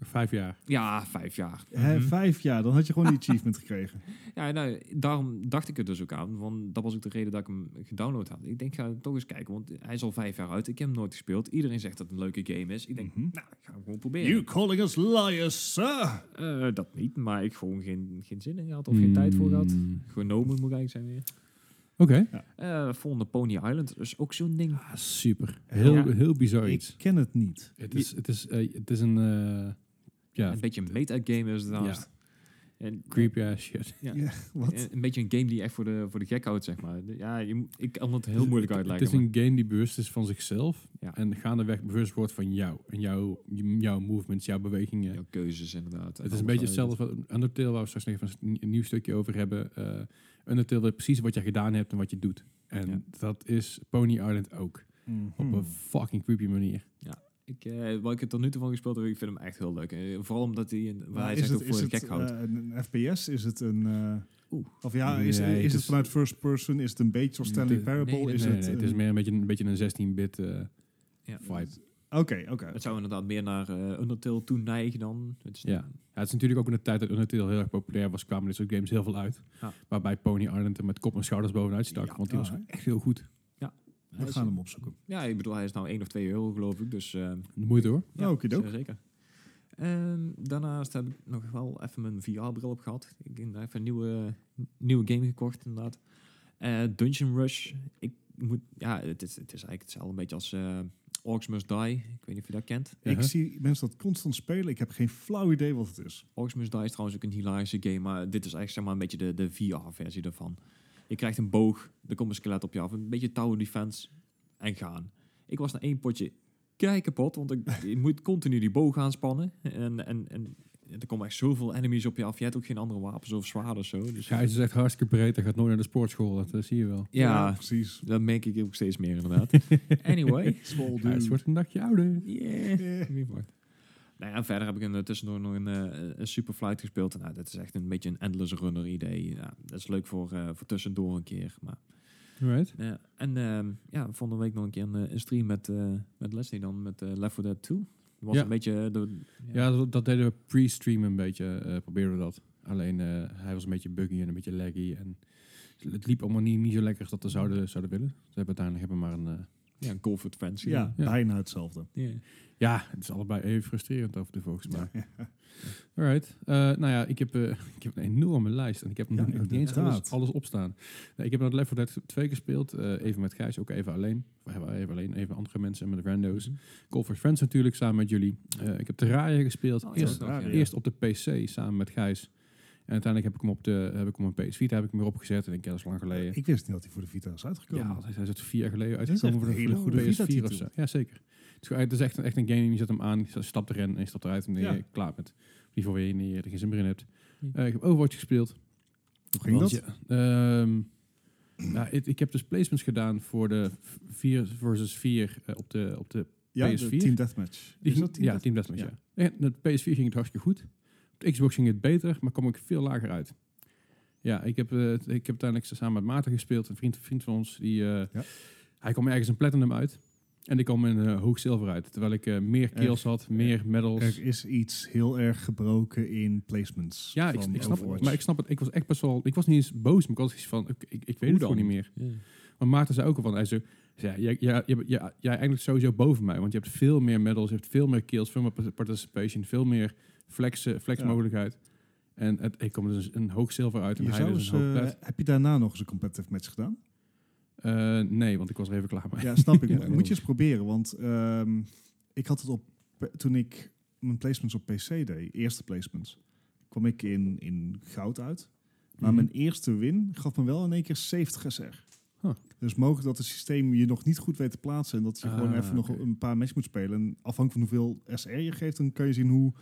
Speaker 3: Vijf jaar.
Speaker 2: Ja, vijf jaar.
Speaker 1: Hè,
Speaker 2: Mhm.
Speaker 1: vijf jaar, dan had je gewoon die achievement gekregen.
Speaker 2: Ja, nou, daarom dacht ik er dus ook aan. Want dat was ook de reden dat ik hem gedownload had. Ik denk, ga hem toch eens kijken, want hij is al vijf jaar uit. Ik heb hem nooit gespeeld. Iedereen zegt dat het een leuke game is. Ik denk,
Speaker 1: Mhm.
Speaker 2: nou, ik ga hem gewoon proberen.
Speaker 1: You calling us liars, sir!
Speaker 2: Eh, dat niet, maar ik gewoon geen, geen zin in had of geen tijd voor had.
Speaker 3: Mm.
Speaker 2: Genomen moet ik eigenlijk zijn weer.
Speaker 3: Oké.
Speaker 2: Eh volgende Pony Island, dus ook zo'n ding.
Speaker 3: Ah, super. Heel,
Speaker 2: Ja.
Speaker 3: heel bizar
Speaker 1: Ik
Speaker 3: iets.
Speaker 1: ken het niet.
Speaker 3: Het is, het is, eh, het is een eh, ja,
Speaker 2: Een beetje een meta-game is het daarnaast. En,
Speaker 3: creepy ass shit.
Speaker 2: Ja.
Speaker 1: Ja, wat?
Speaker 2: Een, een beetje een game die echt voor de, voor de gek houdt, zeg maar. De- Ja, je, moet- ik kan het heel moeilijk
Speaker 3: Het-
Speaker 2: uitleggen.
Speaker 3: Het is een game die bewust is van zichzelf.
Speaker 2: Ja.
Speaker 3: En gaandeweg bewust wordt van jou. En jouw, jouw movements, jouw bewegingen.
Speaker 2: maar jouw keuzes inderdaad.
Speaker 3: Het is een beetje hetzelfde als wat Undertale, waar we straks nog even een s- een nieuw stukje over hebben. Eh Undertale weet precies wat je gedaan hebt en wat je doet. En
Speaker 2: Ja.
Speaker 3: dat is Pony Island ook.
Speaker 1: Mhm. Hmm.
Speaker 3: Op een fucking creepy manier.
Speaker 2: Ik, eh, wat ik er tot nu toe van gespeeld heb, ik vind hem echt heel leuk. Eh, vooral omdat hij, een- waar
Speaker 1: Maar
Speaker 2: hij
Speaker 1: is
Speaker 2: zegt,
Speaker 1: het,
Speaker 2: ook voor
Speaker 1: is
Speaker 2: de
Speaker 1: het
Speaker 2: gek houdt.
Speaker 1: eh, een, een FPS? Is het een... eh,
Speaker 2: Oeh.
Speaker 1: Of ja, is,
Speaker 3: Nee,
Speaker 1: is
Speaker 3: het
Speaker 1: het,
Speaker 3: is-
Speaker 1: vanuit first person? Is het een beetje zoals Stanley
Speaker 3: Nee,
Speaker 1: Parable?
Speaker 2: nee,
Speaker 1: is
Speaker 3: nee,
Speaker 1: het, eh,
Speaker 3: nee, het
Speaker 1: een-
Speaker 3: is meer een beetje een, beetje een 16-bit eh,
Speaker 2: Ja.
Speaker 3: vibe.
Speaker 1: Oké, oké.
Speaker 2: Het zou inderdaad meer naar eh, Undertale toe neigen dan. Het is
Speaker 3: Ja. Ja, het is natuurlijk ook in de tijd dat Undertale heel erg populair was, kwamen dit soort games heel veel uit.
Speaker 2: Ja.
Speaker 3: Waarbij Pony Island er met kop en schouders bovenuit stak,
Speaker 2: Ja.
Speaker 3: want die was
Speaker 1: Ah, hè.
Speaker 3: echt heel goed.
Speaker 2: Hij
Speaker 1: We
Speaker 2: is-
Speaker 1: gaan hem opzoeken.
Speaker 2: Ja, ik bedoel, hij is nou 1 of 2 euro, geloof ik. Dus eh,
Speaker 3: De moeite hoor.
Speaker 2: ja,
Speaker 1: Okidok.
Speaker 2: zeer zeker. Ehm, daarnaast heb ik nog wel even mijn VR-bril op gehad. Ik heb even een nieuwe, nieuwe game gekocht, inderdaad. Eh, Dungeon Rush. Ik, moet, ja, het is, het is eigenlijk hetzelfde een beetje als eh Orcs Must Die. Ik weet niet of je dat kent.
Speaker 1: Ik zie mensen dat constant spelen. Ik heb geen flauw idee wat het is.
Speaker 2: Orcs Must Die is trouwens ook een hilarische game, maar dit is eigenlijk zeg maar een beetje de, de VR-versie daarvan. Je krijgt een boog, er komt een skelet op je af, een beetje tower defense en gaan. Ik was na één potje kei kapot, want ik, je moet continu die boog aanspannen en, en, en er komen echt zoveel enemies op je af. Je hebt ook geen andere wapens of zwaarden of zo. Dus
Speaker 3: Gijs is echt hartstikke breed. Hij gaat nooit naar de sportschool. Dat eh, zie je wel.
Speaker 2: ja,
Speaker 1: precies.
Speaker 2: dat merk ik ook steeds meer inderdaad. anyway,
Speaker 1: Small
Speaker 3: Gijs
Speaker 1: dude.
Speaker 3: wordt een dagje ouder.
Speaker 2: yeah.
Speaker 1: Eh,
Speaker 2: Wie wacht. Nou ja, en verder heb ik een, eh, tussendoor nog een, eh, een Superflight gespeeld. Nou, dat is echt een beetje een endless runner idee. Ja, dat is leuk voor, eh, voor tussendoor een keer. Maar,
Speaker 3: Right.
Speaker 2: ja. en ehm ja, volgende week nog een keer een, eh, een stream met, eh, met Leslie dan, met eh, Left 4 Dead 2. Dat was
Speaker 3: Ja.
Speaker 2: een beetje... eh, De,
Speaker 3: Ja, dat, dat deden we pre-stream een beetje. eh probeerden we dat. Alleen eh, hij was een beetje buggy en een beetje laggy. En het liep allemaal niet, niet zo lekker als dat we zouden, zouden willen. Dus we hebben uiteindelijk hebben we maar een... eh,
Speaker 2: ja, een golf adventure.
Speaker 1: ja,
Speaker 3: Ja.
Speaker 1: bijna hetzelfde.
Speaker 2: Ja.
Speaker 3: ja, het is allebei even frustrerend af en toe volgens mij. Alright. Eh, nou ja, ik heb, eh, ik heb een enorme lijst en ik heb
Speaker 1: Ja,
Speaker 3: nog niet eens alles,
Speaker 1: inderdaad.
Speaker 3: alles opstaan. Nou, ik heb naar Left 4 Dead 2 gespeeld, eh, even met Gijs, ook even alleen. Of even- Even alleen, even met andere mensen en met de
Speaker 2: Oh,
Speaker 3: randos. Call for Friends natuurlijk, samen met jullie. Eh, ik heb Terraria gespeeld,
Speaker 2: Oh, ja,
Speaker 3: eerst,
Speaker 2: dat nog, ja.
Speaker 1: raar,
Speaker 3: eerst op de PC samen met Gijs. En uiteindelijk heb ik hem op de heb ik hem op mijn PS Vita heb ik hem weer opgezet. En ik denk, ja, dat is lang geleden.
Speaker 1: Ik wist niet dat hij voor de Vita is uitgekomen.
Speaker 3: Ja, hij is uit vier jaar geleden
Speaker 1: is
Speaker 3: uitgekomen
Speaker 1: echt
Speaker 3: voor
Speaker 1: een
Speaker 3: de,
Speaker 1: hele
Speaker 3: voor de
Speaker 1: goede
Speaker 3: PS4 of
Speaker 1: Vita-titel.
Speaker 3: zo. Ja, zeker. Het is, gewoon- het is echt, een- echt een game, je zet hem aan, je stapt erin en je stapt eruit en dan ben je
Speaker 1: Ja.
Speaker 3: klaar met. Die voor je niet, er geen zin meer in hebt.
Speaker 2: Hm.
Speaker 3: Eh, ik heb Overwatch gespeeld.
Speaker 1: Hoe ging dat?
Speaker 3: Want ja, ehm, nou, ik, ik heb dus placements gedaan voor de 4 versus 4 eh, op de, op de
Speaker 1: Ja, de
Speaker 3: PS4?
Speaker 1: Team Deathmatch.
Speaker 3: die
Speaker 1: Is dat Team
Speaker 3: ja,
Speaker 1: Death-
Speaker 3: Team Deathmatch, ja. En met de PS4 ging het hartstikke goed. Op de Xbox ging het beter, maar kwam ik veel lager uit. Ja, ik heb, eh, ik heb uiteindelijk samen met Maarten gespeeld. Een vriend, vriend van ons, die, eh,
Speaker 1: Ja.
Speaker 3: hij kwam ergens een platinum uit. En ik kwam in eh, hoog zilver uit. Terwijl ik eh, meer kills had, meer medals.
Speaker 1: Er is iets heel erg gebroken in placements.
Speaker 3: ja, ik,
Speaker 1: van
Speaker 3: ik snap het.
Speaker 1: Overwatch.
Speaker 3: Maar ik snap het. Ik was echt best wel... Ik was niet eens boos, maar ik was iets van... Ik, ik, ik weet
Speaker 2: Hoe
Speaker 3: het gewoon
Speaker 2: dan?
Speaker 3: niet meer.
Speaker 2: Ja.
Speaker 3: Want Maarten zei ook al van... Hij zei, ja, jij, jij, jij, jij, jij eindigt sowieso boven mij. Want je hebt veel meer medals, je hebt veel meer kills, veel meer par- participation, veel meer flexen, flexmogelijkheid. En het, ik kom er dus een hoog zilver uit en
Speaker 1: Je
Speaker 3: hij
Speaker 1: zou
Speaker 3: dus
Speaker 1: eens,
Speaker 3: een hoog
Speaker 1: eh,
Speaker 3: plat.
Speaker 1: heb je daarna nog eens een competitive match gedaan?
Speaker 3: Eh, nee, want ik was er even klaar mee.
Speaker 1: Ja, snap ik.
Speaker 3: Ja,
Speaker 1: Mo- Moet je eens proberen, want ehm, ik had het op p- toen ik mijn placements op PC deed, eerste placements, kwam ik in, in goud uit. Maar
Speaker 3: Mhm.
Speaker 1: mijn eerste win gaf me wel in één keer 70 SR.
Speaker 3: Huh.
Speaker 1: Dus mogelijk dat het systeem je nog niet goed weet te plaatsen en dat je gewoon
Speaker 3: Ah,
Speaker 1: even nog
Speaker 3: oké.
Speaker 1: een paar matches moet spelen. En afhankelijk van hoeveel SR je geeft, dan kan je zien hoe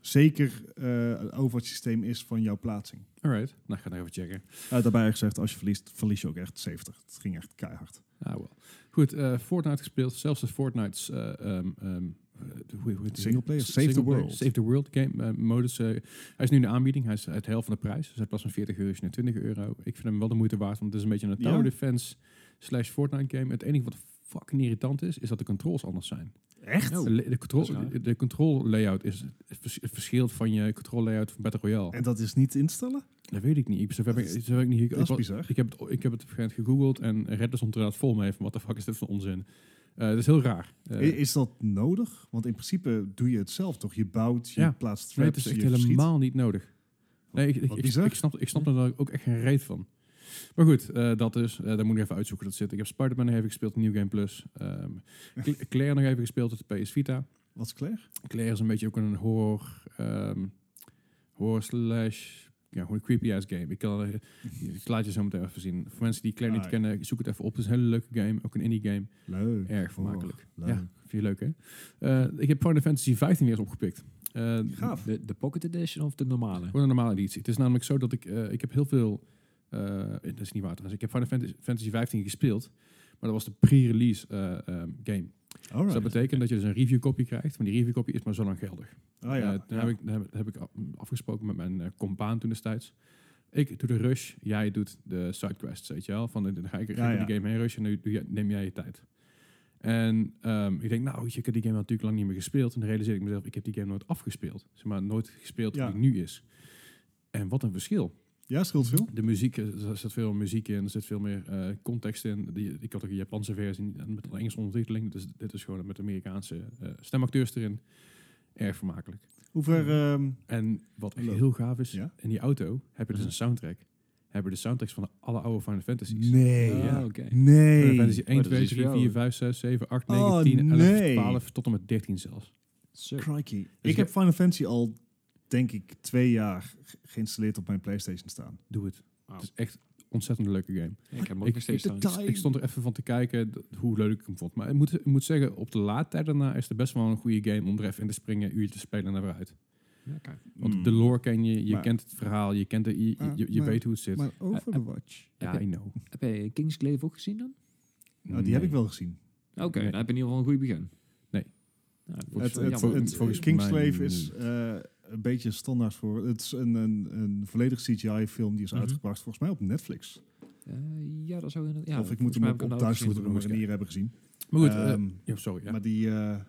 Speaker 1: zeker eh over het systeem is van jouw plaatsing.
Speaker 3: Alright, nou, ik ga nog even checken.
Speaker 1: Eh, daarbij gezegd, als je verliest, verlies je ook echt 70. Het ging echt keihard.
Speaker 3: Ah, wel. Goed, eh, Fortnite gespeeld. Zelfs de Fortnite's... eh, ehm, ehm, eh, hoe- hoe heet die?
Speaker 1: Singleplayer,
Speaker 3: S-
Speaker 1: Save the
Speaker 3: singleplayer,
Speaker 1: World.
Speaker 3: Save the World game eh, modus. eh, hij is nu in de aanbieding. Hij is het helft van de prijs. Dus hij was van 40 euro is nu 20 euro. Ik vind hem wel de moeite waard, want het is een beetje een
Speaker 1: Ja.
Speaker 3: tower defense slash Fortnite game. Het enige wat fucking irritant is, is dat de controls anders zijn.
Speaker 1: Echt?
Speaker 3: de, le- de control,
Speaker 2: dat is raar.
Speaker 3: de, de control layout is het vers- het verschilt van je control layout van Battle Royale.
Speaker 1: En dat is niet instellen?
Speaker 3: dat weet ik niet. Zover heb ik,
Speaker 1: Dat is-
Speaker 3: zover heb ik niet gek-
Speaker 1: Dat is
Speaker 3: ik wa-
Speaker 1: bizar.
Speaker 3: ik heb het, ik heb het op een gegeven moment gegoogeld en Reddit stond er inderdaad vol mee van wat de fuck is dit voor onzin. Eh dat is heel raar. Eh,
Speaker 1: I- Is dat nodig? Want in principe doe je het zelf toch? Je bouwt, je
Speaker 3: Ja.
Speaker 1: plaatst
Speaker 3: nee,
Speaker 1: traps,
Speaker 3: het is echt
Speaker 1: je verschiet.
Speaker 3: helemaal niet nodig. Nee, ik, ik,
Speaker 1: Wat
Speaker 3: ik,
Speaker 1: bizar.
Speaker 3: ik snap, ik snap er dan ook echt geen reet van. Maar goed, eh, dat dus. Eh, daar moet ik even uitzoeken dat zit. Ik heb Spider-Man nog even gespeeld, New Game Plus. Ehm, Cl- Claire nog even gespeeld op de PS Vita.
Speaker 1: Wat is Claire?
Speaker 3: Claire is een beetje ook een horror... ehm horror slash... Ja, gewoon een creepy-ass game. Ik, kan, er- ik laat je zo meteen even zien. Voor mensen die Claire niet
Speaker 1: Ah, ja.
Speaker 3: kennen, zoek het even op. Het is een hele leuke game. Ook een indie game.
Speaker 1: Leuk.
Speaker 3: Erg
Speaker 1: Oh,
Speaker 3: vermakelijk.
Speaker 1: leuk.
Speaker 3: Ja, vind je leuk, hè? Eh, ik heb Final Fantasy 15 weer eens opgepikt. Eh,
Speaker 1: Gaaf.
Speaker 2: De, de Pocket Edition of de normale?
Speaker 3: Gewoon een normale editie. Het is namelijk zo dat ik... eh, ik heb heel veel... eh, dat is niet waar trouwens. Ik heb Final Fantasy, Fantasy 15 gespeeld. Maar dat was de pre-release eh, ehm, game. Dus dat
Speaker 1: Alright.
Speaker 3: betekent dat je dus een review copy krijgt. Maar die review copy is maar zo lang geldig.
Speaker 1: Ah, ja.
Speaker 3: Eh, toen heb ik, heb, heb ik af- afgesproken met mijn eh, compaan toen destijds. Ik doe de rush, jij doet de sidequests, weet je wel. Van, eh, dan ga ik, ga
Speaker 1: Ja,
Speaker 3: ik door
Speaker 1: ja.
Speaker 3: die game heen rushen en nu doe jij- neem jij je tijd. En ehm, ik denk, nou, ik heb die game natuurlijk lang niet meer gespeeld. En dan realiseer ik mezelf, ik heb die game nooit afgespeeld. Zeg maar, nooit gespeeld
Speaker 1: Ja.
Speaker 3: hoe die nu is. En wat een verschil.
Speaker 1: ja, scheelt veel.
Speaker 3: De muziek, eh, er zit veel meer muziek in, er zit veel meer eh, context in. Die, ik had ook een Japanse versie en met een Engelse ondertiteling. Dus dit is gewoon met Amerikaanse eh, stemacteurs erin. Erg vermakelijk.
Speaker 1: Hoe ver... ehm,
Speaker 3: En wat echt
Speaker 1: Leuk.
Speaker 3: heel gaaf is,
Speaker 1: Ja?
Speaker 3: in die auto heb je dus
Speaker 2: Ja.
Speaker 3: een soundtrack. hebben de soundtracks van alle oude Final Fantasies.
Speaker 1: Nee.
Speaker 3: Ja.
Speaker 2: Ah,
Speaker 3: ja.
Speaker 2: oké.
Speaker 3: Final
Speaker 1: Nee.
Speaker 3: Fantasy 1,
Speaker 2: Oh, dat
Speaker 3: 2,
Speaker 2: is
Speaker 3: 3,
Speaker 2: jou.
Speaker 3: 4, 5, 6, 7, 8,
Speaker 1: Oh,
Speaker 3: 9, 10, 11,
Speaker 1: nee.
Speaker 3: 12 tot en met 13 zelfs.
Speaker 2: Zo.
Speaker 1: Crikey.
Speaker 3: ik-
Speaker 1: ik heb Final Fantasy al, denk ik, twee jaar ge- geïnstalleerd op mijn PlayStation staan.
Speaker 3: Doe het.
Speaker 2: Wauw.
Speaker 3: Het is echt een ontzettend leuke game.
Speaker 2: Ja, ik heb hem ook
Speaker 3: Ik-
Speaker 2: nog steeds
Speaker 1: ik-
Speaker 2: staan.
Speaker 1: totaal-
Speaker 3: Ik stond er even van te kijken d- hoe leuk ik hem vond. Maar ik moet, ik moet zeggen, op de laadtijd daarna is het best wel een goede game om er even in te springen, een uurtje te spelen en naar weer uit.
Speaker 2: Ja, kijk.
Speaker 3: Want
Speaker 1: Mm.
Speaker 3: de lore ken je, je
Speaker 1: Maar-
Speaker 3: kent het verhaal, je, kent de, je, je-
Speaker 1: Maar-
Speaker 3: je, je
Speaker 1: maar-
Speaker 3: weet hoe het zit.
Speaker 1: Maar Overwatch.
Speaker 3: ja, I know.
Speaker 2: Heb jij Kingsglaive ook gezien dan?
Speaker 1: Nou, die heb ik wel gezien.
Speaker 2: Oké,
Speaker 3: Nee.
Speaker 2: dan heb je in ieder geval een goed begin.
Speaker 3: Nee.
Speaker 2: Nou, dat
Speaker 3: Volgens-
Speaker 1: Het,
Speaker 2: is wel
Speaker 1: het,
Speaker 2: jammer.
Speaker 1: het,
Speaker 3: volgens mij
Speaker 1: Kingslave
Speaker 3: niet.
Speaker 1: is eh, een beetje standaard voor. Het is een, een, een volledig CGI-film die is
Speaker 2: Mhm.
Speaker 1: uitgebracht, volgens mij op Netflix.
Speaker 2: Eh, ja, dat zou inderdaad... Ja,
Speaker 1: of ik
Speaker 2: volgens
Speaker 1: moet hem
Speaker 2: mij heb
Speaker 1: op,
Speaker 2: ik
Speaker 1: op
Speaker 2: nou
Speaker 1: thuis
Speaker 2: gezien,
Speaker 1: moeten
Speaker 2: maar
Speaker 1: nog manier hebben gezien.
Speaker 3: Maar goed, eh,
Speaker 1: Ehm,
Speaker 3: ja, sorry. Ja.
Speaker 1: Maar die, eh,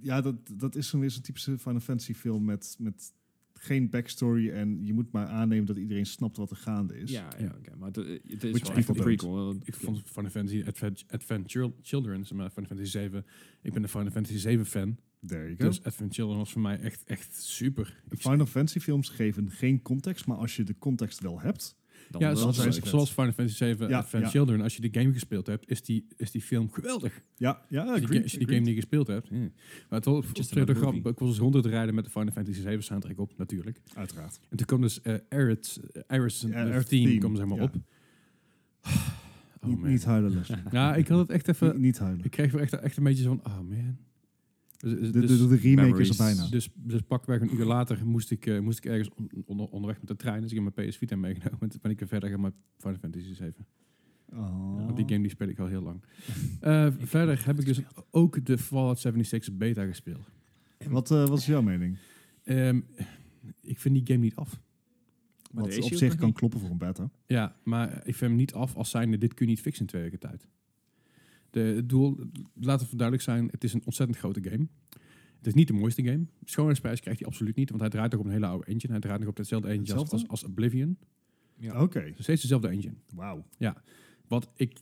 Speaker 1: ja, dat, dat is zo'n weer zo'n typische Final Fantasy film met, met geen backstory en je moet maar aannemen dat iedereen snapt wat er gaande is.
Speaker 2: Ja, ja
Speaker 3: Ja.
Speaker 2: oké. maar het, eh, het is wel
Speaker 1: Which
Speaker 2: echt een
Speaker 1: people
Speaker 2: prequel.
Speaker 3: ik vond Final Fantasy Advent, Advent Chil- Children, zeg maar Final Fantasy 7. Ik ben een Final Fantasy 7 fan.
Speaker 1: There you go.
Speaker 3: Dus Advent Children was voor mij echt, echt super.
Speaker 1: De Final Fantasy films geven geen context, maar als je de context wel hebt,
Speaker 2: Dan
Speaker 3: Ja,
Speaker 2: wel
Speaker 3: zoals,
Speaker 1: zijn
Speaker 2: leuk.
Speaker 1: ze vet.
Speaker 3: zoals Final Fantasy 7
Speaker 1: Ja,
Speaker 3: Advent
Speaker 1: ja.
Speaker 3: Children. Als je de game gespeeld hebt, is die, is die film geweldig.
Speaker 1: ja, ja,
Speaker 3: Als je die-
Speaker 1: agreed,
Speaker 3: als je die
Speaker 1: agreed.
Speaker 3: game niet gespeeld hebt. Maar het was
Speaker 2: Just
Speaker 3: op de
Speaker 2: another
Speaker 3: grap.
Speaker 2: movie.
Speaker 3: Ik was eens rond te rijden met de Final Fantasy 7 soundtrack op, natuurlijk.
Speaker 1: Uiteraard.
Speaker 3: En toen kwam dus eh Aerith's, eh, Aerith's
Speaker 1: Ja,
Speaker 3: eh,
Speaker 1: Aerith's
Speaker 3: theme,
Speaker 1: theme,
Speaker 3: kwam zeg maar
Speaker 1: ja.
Speaker 3: op. Oh
Speaker 1: niet,
Speaker 3: man.
Speaker 1: niet huilen, Les. Niet-
Speaker 3: Ja, ik had het echt even...
Speaker 1: niet huilen.
Speaker 3: Ik kreeg er echt, echt een beetje zo van, oh man. Dus, dus,
Speaker 1: de, de, de remake is
Speaker 2: memories.
Speaker 1: er bijna.
Speaker 3: dus, dus pakweg een uur later moest ik, eh, moest ik ergens on- onder- onderweg met de trein. Dus ik heb mijn PS Vita meegenomen. En toen ben ik er verder gaan met Final Fantasy 7.
Speaker 1: Oh.
Speaker 3: Want die game die speel ik al heel lang. Eh, verder heb ik dus ook de Fallout 76 beta gespeeld.
Speaker 1: Wat, eh, wat is jouw mening?
Speaker 3: Ehm, ik vind die game niet af.
Speaker 2: Maar
Speaker 1: Wat
Speaker 2: er is
Speaker 1: op
Speaker 2: hij
Speaker 1: zich
Speaker 2: ook nog
Speaker 1: kan
Speaker 2: niet.
Speaker 1: kloppen voor een beta.
Speaker 3: Ja, maar ik vind hem niet af als zijnde, dit kun je niet fixen in twee weken tijd. De, het doel, laten we duidelijk zijn, het is een ontzettend grote game. Het is niet de mooiste game. Schoonheidsprijs krijgt hij absoluut niet, want hij draait nog op een hele oude engine. Hij draait nog op hetzelfde engine als,
Speaker 1: Hetzelfde?
Speaker 3: als, als Oblivion.
Speaker 2: Ja.
Speaker 1: Oké,
Speaker 3: Het is steeds dezelfde engine.
Speaker 1: wauw.
Speaker 3: Wat ik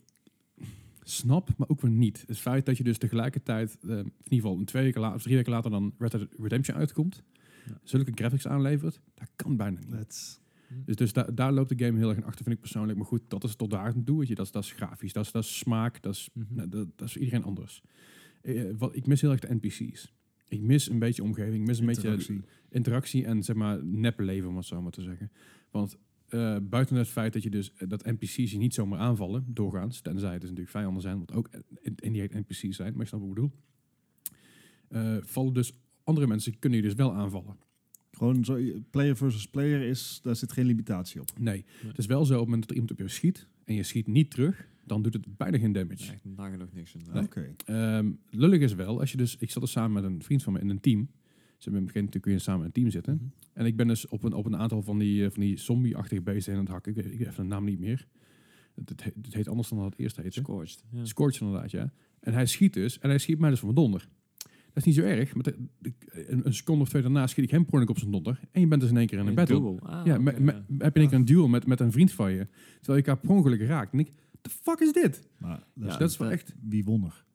Speaker 3: snap, maar ook weer niet. Het feit dat je dus tegelijkertijd, eh, in ieder geval een twee weken later of drie weken later dan Red Dead Redemption uitkomt,
Speaker 2: Ja.
Speaker 3: zulke graphics aanlevert, dat kan bijna niet.
Speaker 1: Let's...
Speaker 3: Dus, dus da- daar loopt de game heel erg in achter, vind ik persoonlijk. Maar goed, dat is tot daar aan toe. weet je. Dat, is, dat is grafisch, dat is, dat is smaak, dat is,
Speaker 2: Mhm.
Speaker 3: nou, dat, dat is iedereen anders. Eh, wat, ik mis heel erg de NPC's. Ik mis een beetje omgeving, ik mis een beetje
Speaker 1: Interactie.
Speaker 3: interactie en zeg maar nepleven, om het zo maar te zeggen. Want eh, buiten het feit dat je dus eh, dat NPC's je niet zomaar aanvallen, doorgaans, tenzij het dus natuurlijk vijanden zijn, wat ook in- indirect NPC's zijn, maar ik snap wat ik bedoel. eh, vallen dus andere mensen kunnen je dus wel aanvallen.
Speaker 1: Gewoon zo, player versus player is, daar zit geen limitatie op.
Speaker 3: Nee,
Speaker 2: Nee.
Speaker 3: het is wel zo op het moment dat er iemand op jou schiet en je schiet niet terug, dan doet het bijna geen damage.
Speaker 2: Echt nagenoeg niks. inderdaad.
Speaker 1: Oké.
Speaker 3: Ehm, lullig is wel, als je dus, ik zat er samen met een vriend van me in een team. Ze hebben begin natuurlijk kun je samen in een team zitten.
Speaker 2: Mhm.
Speaker 3: En ik ben dus op een, op een aantal van die, eh, van die zombie-achtige beesten in het hakken. Ik weet, ik weet even de naam niet meer. Het, het, heet, het heet anders dan dat het eerst heette.
Speaker 2: Scorched. Ja.
Speaker 3: Scorch inderdaad, ja. En hij schiet dus, en hij schiet mij dus van mijn donder. Dat is niet zo erg, maar de- de- een, een seconde of twee daarna schiet ik hem per ongeluk op zijn donder. En je bent dus in één keer in een battle.
Speaker 2: duel. Ah,
Speaker 3: Ja,
Speaker 2: oké,
Speaker 3: me- me-
Speaker 2: ja.
Speaker 3: heb je in één keer een duel met, met een vriend van je. Terwijl je elkaar per ongeluk raakt. En ik, the fuck is dit? Dus
Speaker 1: Maar
Speaker 2: Ja,
Speaker 1: Les,
Speaker 3: dat is wel
Speaker 2: dat- Nou.
Speaker 3: echt...
Speaker 1: wie won er?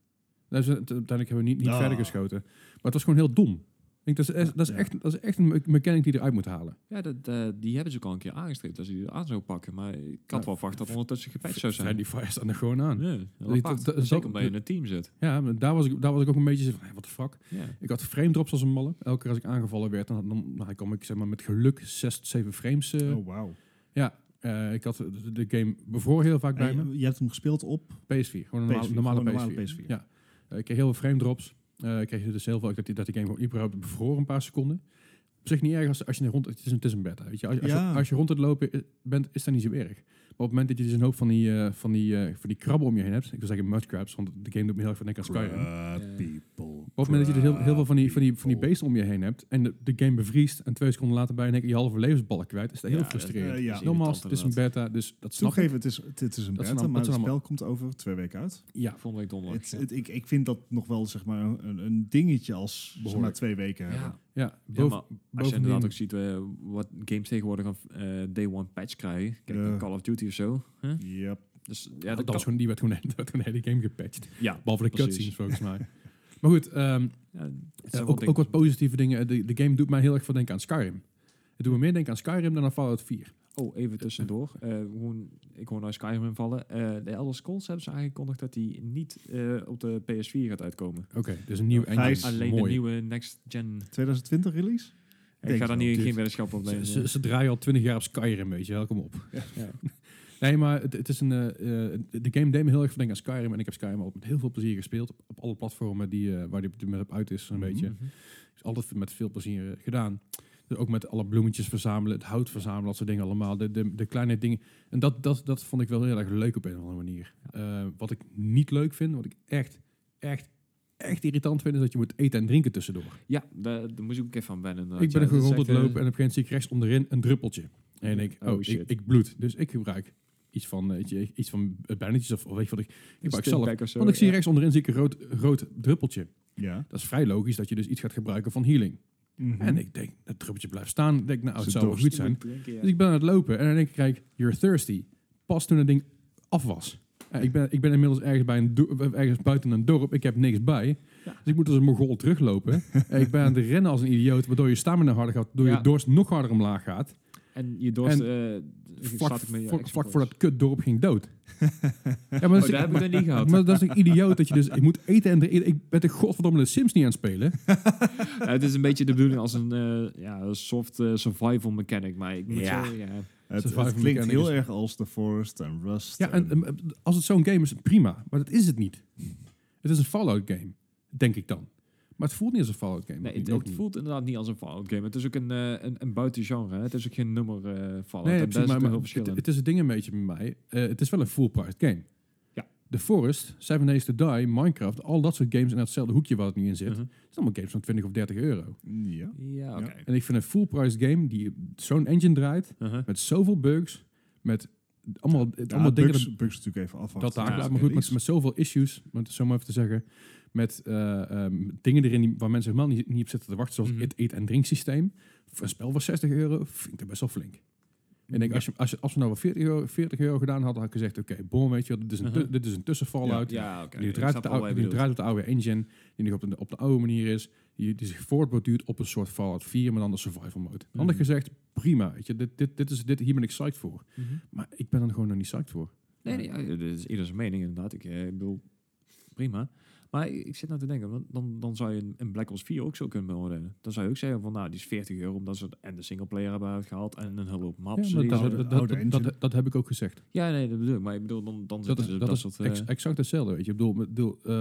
Speaker 3: Nou, ze- t- uiteindelijk hebben we niet, niet
Speaker 1: Ah.
Speaker 3: verder geschoten. Maar het was gewoon heel dom. Ik denk, dat, is, dat, is
Speaker 1: Ja.
Speaker 3: echt, dat is echt een me- mechanic die je eruit moet halen.
Speaker 2: Ja, dat, eh, die hebben ze ook al een keer aangestreept als ze die aan zou pakken. Maar ik had
Speaker 3: Ja,
Speaker 2: wel verwacht dat ondertussen gepatcht zou zijn.
Speaker 3: Friendly Fire staat er gewoon aan. Ja,
Speaker 2: Ja, heel
Speaker 3: Die-
Speaker 2: apart.
Speaker 3: dat- dat-
Speaker 2: Zeker omdat je
Speaker 3: dat-
Speaker 2: in een team zit.
Speaker 3: maar daar, was ik, daar was ik ook een beetje zo van, hey, what the fuck.
Speaker 2: Ja.
Speaker 3: Ik had frame drops als een malle. Elke keer als ik aangevallen werd, dan, dan, dan kwam ik zeg maar, met geluk zes tot zeven frames. eh.
Speaker 1: oh, wauw.
Speaker 3: Eh, ik had de, de game bevroren heel vaak bij
Speaker 1: En
Speaker 3: me.
Speaker 1: Je, je hebt hem gespeeld op...
Speaker 3: PS4, gewoon een normale,
Speaker 1: PS4,
Speaker 3: normale,
Speaker 1: gewoon een
Speaker 3: PS4.
Speaker 1: normale PS4.
Speaker 3: Ja. Eh, ik kreeg heel veel frame drops. Eh, ik kreeg dus heel veel dat die, dat die game gewoon überhaupt bevroren een paar seconden. Op zich niet erg als, als je rond... Het is een, het is een beta, weet je. Als, als,
Speaker 1: Ja.
Speaker 3: je, als je rond het lopen i- bent, is dat niet zo erg. Maar op het moment dat je dus een hoop van die, eh, van die, eh, van die krabben om je heen hebt... Ik wil zeggen mudcrabs, want de game doet me heel erg van denken aan Skyrim. Maar
Speaker 1: Crap
Speaker 2: Ja.
Speaker 1: people.
Speaker 3: op het moment dat je dus heel, heel veel van die, van, die, van die
Speaker 1: crap
Speaker 3: beesten om je heen hebt... en de, de game bevriest en twee seconden later ben je in één keer je halve levensbalk kwijt... is dat heel
Speaker 2: Ja,
Speaker 3: frustrerend.
Speaker 1: dat- eh,
Speaker 2: is
Speaker 1: ja.
Speaker 2: irritant
Speaker 3: Nogmaals, het is een
Speaker 2: inderdaad.
Speaker 3: beta, dus dat snap ik.
Speaker 1: Toegeven, het is, het, het is een
Speaker 3: Dat
Speaker 1: beta,
Speaker 3: zijn allemaal-
Speaker 1: maar
Speaker 3: dat
Speaker 1: het
Speaker 3: zijn
Speaker 1: spel komt over twee weken uit.
Speaker 3: Ja,
Speaker 2: Volgende week donderdag.
Speaker 1: Het-
Speaker 2: ja.
Speaker 1: het- ik, ik vind dat nog wel zeg maar, een, een dingetje als zeg maar,
Speaker 3: Behoorlijk.
Speaker 1: twee weken
Speaker 2: Ja,
Speaker 1: hebben.
Speaker 3: ja.
Speaker 2: ja,
Speaker 3: Boven,
Speaker 2: maar als je
Speaker 3: bovendien-
Speaker 2: inderdaad ook ziet eh, wat games tegenwoordig een eh, day one patch krijgen. Kijk,
Speaker 1: Ja.
Speaker 2: Call of Duty of zo. hè?
Speaker 1: Yep.
Speaker 2: Dus ja, dat
Speaker 3: dat was
Speaker 2: kan.
Speaker 3: gewoon, die werd toen die werd gewoon de hele game gepatcht.
Speaker 2: Ja,
Speaker 3: Behalve de
Speaker 2: Precies.
Speaker 3: cutscenes, volgens mij. Maar goed, ehm,
Speaker 2: ja, het zijn
Speaker 3: eh,
Speaker 2: wel
Speaker 3: ook,
Speaker 2: dingen-
Speaker 3: ook wat positieve dingen. De, de game doet mij heel erg veel denken aan Skyrim. Het doet me meer denken aan Skyrim dan aan Fallout 4.
Speaker 2: Oh, even tussendoor. Eh, hoe, ik hoor nou Skyrim vallen. Eh, de Elder Scrolls hebben ze aangekondigd dat die niet eh, op de PS4 gaat uitkomen.
Speaker 3: Oké, dus een nieuw engine.
Speaker 1: Gijs.
Speaker 2: Alleen de
Speaker 3: Mooi.
Speaker 2: nieuwe next gen.
Speaker 1: 2020 release?
Speaker 2: Ik ga
Speaker 1: het
Speaker 2: daar
Speaker 1: wel,
Speaker 2: niet,
Speaker 3: dude.
Speaker 2: geen weddenschap op
Speaker 3: Ze,
Speaker 2: nemen.
Speaker 3: ze, ze draaien al twintig jaar op Skyrim, weet je wel. Kom op.
Speaker 2: Ja.
Speaker 3: Nee, maar het, het is een... eh, eh, de game deed me heel erg van denken aan Skyrim. En ik heb Skyrim al met heel veel plezier gespeeld. Op, alle platformen die, eh, waar die op dit moment op uit is, een beetje.
Speaker 2: Mhm.
Speaker 3: Is altijd met veel plezier eh, gedaan. Dus ook met alle bloemetjes verzamelen, het hout verzamelen, dat soort dingen allemaal. De, de, de kleine dingen. En dat, dat, dat vond ik wel heel erg leuk op een of andere manier. Eh, wat ik niet leuk vind, wat ik echt, echt, echt irritant vind, is dat je moet eten en drinken tussendoor.
Speaker 2: Ja, daar, daar moest ik ook even van wennen. inderdaad.
Speaker 3: Ik ben
Speaker 2: Ja,
Speaker 3: er gewoon
Speaker 2: dat
Speaker 3: rond
Speaker 2: is
Speaker 3: het
Speaker 2: echt, eh,
Speaker 3: lopen en op een gegeven moment zie ik rechts onderin een druppeltje. En ik,
Speaker 2: Oh,
Speaker 3: oh,
Speaker 2: shit.
Speaker 3: ik, ik bloed. Dus ik gebruik iets van, eh, weet je, iets van eh, bannetjes of, of weet je wat ik... Ik
Speaker 2: eh,
Speaker 3: gebruik zelf.
Speaker 2: stintback of zo,
Speaker 3: Want ik zie
Speaker 2: ja.
Speaker 3: rechts onderin zie ik een rood, rood druppeltje.
Speaker 1: Ja.
Speaker 3: Dat is vrij logisch dat je dus iets gaat gebruiken van healing.
Speaker 1: Mhm.
Speaker 3: En ik denk, dat druppeltje blijft staan. Ik denk, nou, het
Speaker 1: Ze
Speaker 3: zou wel
Speaker 1: dorst.
Speaker 3: goed zijn.
Speaker 2: Drinken, ja.
Speaker 3: Dus ik ben aan het lopen en dan denk ik, kijk, you're thirsty. Pas toen dat ding af was. Eh, ik, ben, ik ben inmiddels ergens, bij een do- eh, ergens buiten een dorp, ik heb niks bij.
Speaker 2: Ja.
Speaker 3: Dus ik moet als een mogol teruglopen. en ik ben aan het rennen als een idioot, waardoor je stamina harder gaat, waardoor
Speaker 2: Ja.
Speaker 3: je dorst nog harder omlaag gaat.
Speaker 2: En je dorst... eh,
Speaker 3: Vlak,
Speaker 2: staat ook met je
Speaker 3: vlak, vlak
Speaker 2: Xbox.
Speaker 3: voordat kut dorp ging dood. ja,
Speaker 2: Oh,
Speaker 3: maar dat is,
Speaker 2: daar heb ik
Speaker 3: maar,
Speaker 2: dan niet gehad.
Speaker 3: maar dat is een idioot dat je dus, ik moet eten en drinken. Ik ben de godverdomme de Sims niet aan het spelen.
Speaker 2: Ja, Nou, het is een beetje de bedoeling als een eh, ja, soft eh, survival mechanic. Maar ik moet
Speaker 3: Ja.
Speaker 2: zeggen, ja.
Speaker 1: Het,
Speaker 3: survival
Speaker 1: het klinkt
Speaker 3: mechanic
Speaker 1: heel
Speaker 3: is-
Speaker 1: erg als The Forest en Rust.
Speaker 3: Ja, en, ehm, als het zo'n game is, prima. Maar dat is het niet. Het is een Fallout game, denk ik dan. Maar het voelt niet als een Fallout game.
Speaker 2: Nee,
Speaker 3: Ook
Speaker 2: het,
Speaker 3: niet.
Speaker 2: het voelt inderdaad niet als een Fallout game. Het is ook een, eh, een, een buitengenre. hè. Het is ook geen nummer eh Fallout.
Speaker 3: Nee,
Speaker 2: en
Speaker 3: precies,
Speaker 2: daar
Speaker 3: maar,
Speaker 2: zit
Speaker 3: maar
Speaker 2: heel
Speaker 3: het,
Speaker 2: verschil in.
Speaker 3: het is het ding een beetje bij mij. Eh, het is wel een full-priced game.
Speaker 2: Ja.
Speaker 3: The Forest, Seven Days to Die, Minecraft, al dat soort games in datzelfde hoekje waar het nu in zit.
Speaker 2: Mhm.
Speaker 3: Het zijn allemaal games van 20 of 30 euro.
Speaker 1: ja.
Speaker 2: Ja, oké.
Speaker 3: En ik vind een full-priced game die zo'n engine draait,
Speaker 2: Uh-huh.
Speaker 3: met zoveel bugs, met allemaal,
Speaker 1: Ja,
Speaker 3: allemaal dingen...
Speaker 1: bugs, bugs natuurlijk even afwachten.
Speaker 3: Dat daar,
Speaker 2: Ja,
Speaker 3: maar goed, met, met zoveel issues, om het zo maar even te zeggen, met eh, ehm, dingen erin die, waar mensen helemaal niet, niet op zitten te wachten, zoals
Speaker 2: Mhm.
Speaker 3: het eet- en drinksysteem. Voor een spel van 60 euro vind ik dat best wel flink. En ik denk, als, je, als, je, als we nou wel 40 euro, 40 euro gedaan hadden, had ik gezegd, oké, bon, weet je wel, dit is een, tu-
Speaker 2: Mhm.
Speaker 3: dit is een tussenfallout.
Speaker 2: Ja, oké.
Speaker 3: Die
Speaker 2: Ik
Speaker 3: draait,
Speaker 2: snap
Speaker 3: op
Speaker 2: wel
Speaker 3: de
Speaker 2: wat
Speaker 3: oude,
Speaker 2: je
Speaker 3: die
Speaker 2: bedoelt.
Speaker 3: draait op de oude engine, die nog op de, op de oude manier is, die, die zich voortborduurt op een soort Fallout 4, maar dan de survival mode.
Speaker 2: Mhm.
Speaker 3: Anders gezegd, prima, weet je, dit, dit, dit is, dit, hier ben ik psyched voor.
Speaker 2: Mhm.
Speaker 3: Maar ik ben er gewoon nog niet psyched voor.
Speaker 2: Nee, nee, ja, dat is ieder zijn mening inderdaad. Ik eh, bedoel, prima. Maar ik, ik zit nou te denken, want dan, dan zou je een- een Black Ops 4 ook zo kunnen beoordelen. Dan zou je ook zeggen van, nou, die is 40 euro omdat ze en de singleplayer hebben uitgehaald en een hele hoop maps.
Speaker 3: Ja,
Speaker 2: Ja,
Speaker 3: maar
Speaker 1: oude-
Speaker 3: dat, dat, dat,
Speaker 1: oude
Speaker 3: dat-
Speaker 1: engine.
Speaker 3: dat- dat heb ik ook gezegd.
Speaker 2: ja nee, dat bedoel ik. Maar ik bedoel, dan, dan
Speaker 3: Dat
Speaker 2: zitten
Speaker 3: is,
Speaker 2: ze op
Speaker 3: dat is
Speaker 2: soort... eh,
Speaker 3: ex- exact hetzelfde. Weet je. Ik bedoel, ik bedoel, eh,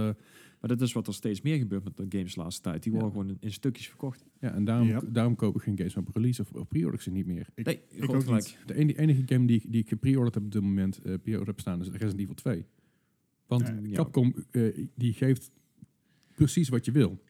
Speaker 2: maar dat is wat er steeds meer gebeurt met de games de laatste tijd. Die
Speaker 3: Ja.
Speaker 2: worden gewoon in, in stukjes verkocht.
Speaker 3: ja, en daarom,
Speaker 1: Ja.
Speaker 3: daarom koop ik geen games op release of, of pre-orders niet meer.
Speaker 1: Ik-
Speaker 2: nee,
Speaker 1: ik
Speaker 2: groot
Speaker 1: ook
Speaker 2: gelijk.
Speaker 1: niet.
Speaker 3: De enige, enige game die, ik- die ik gepre-orderd heb op dit moment, eh pre-order heb staan, is Resident Evil 2. Want
Speaker 1: Ja, ja.
Speaker 3: Capcom, eh, die geeft precies wat je wil.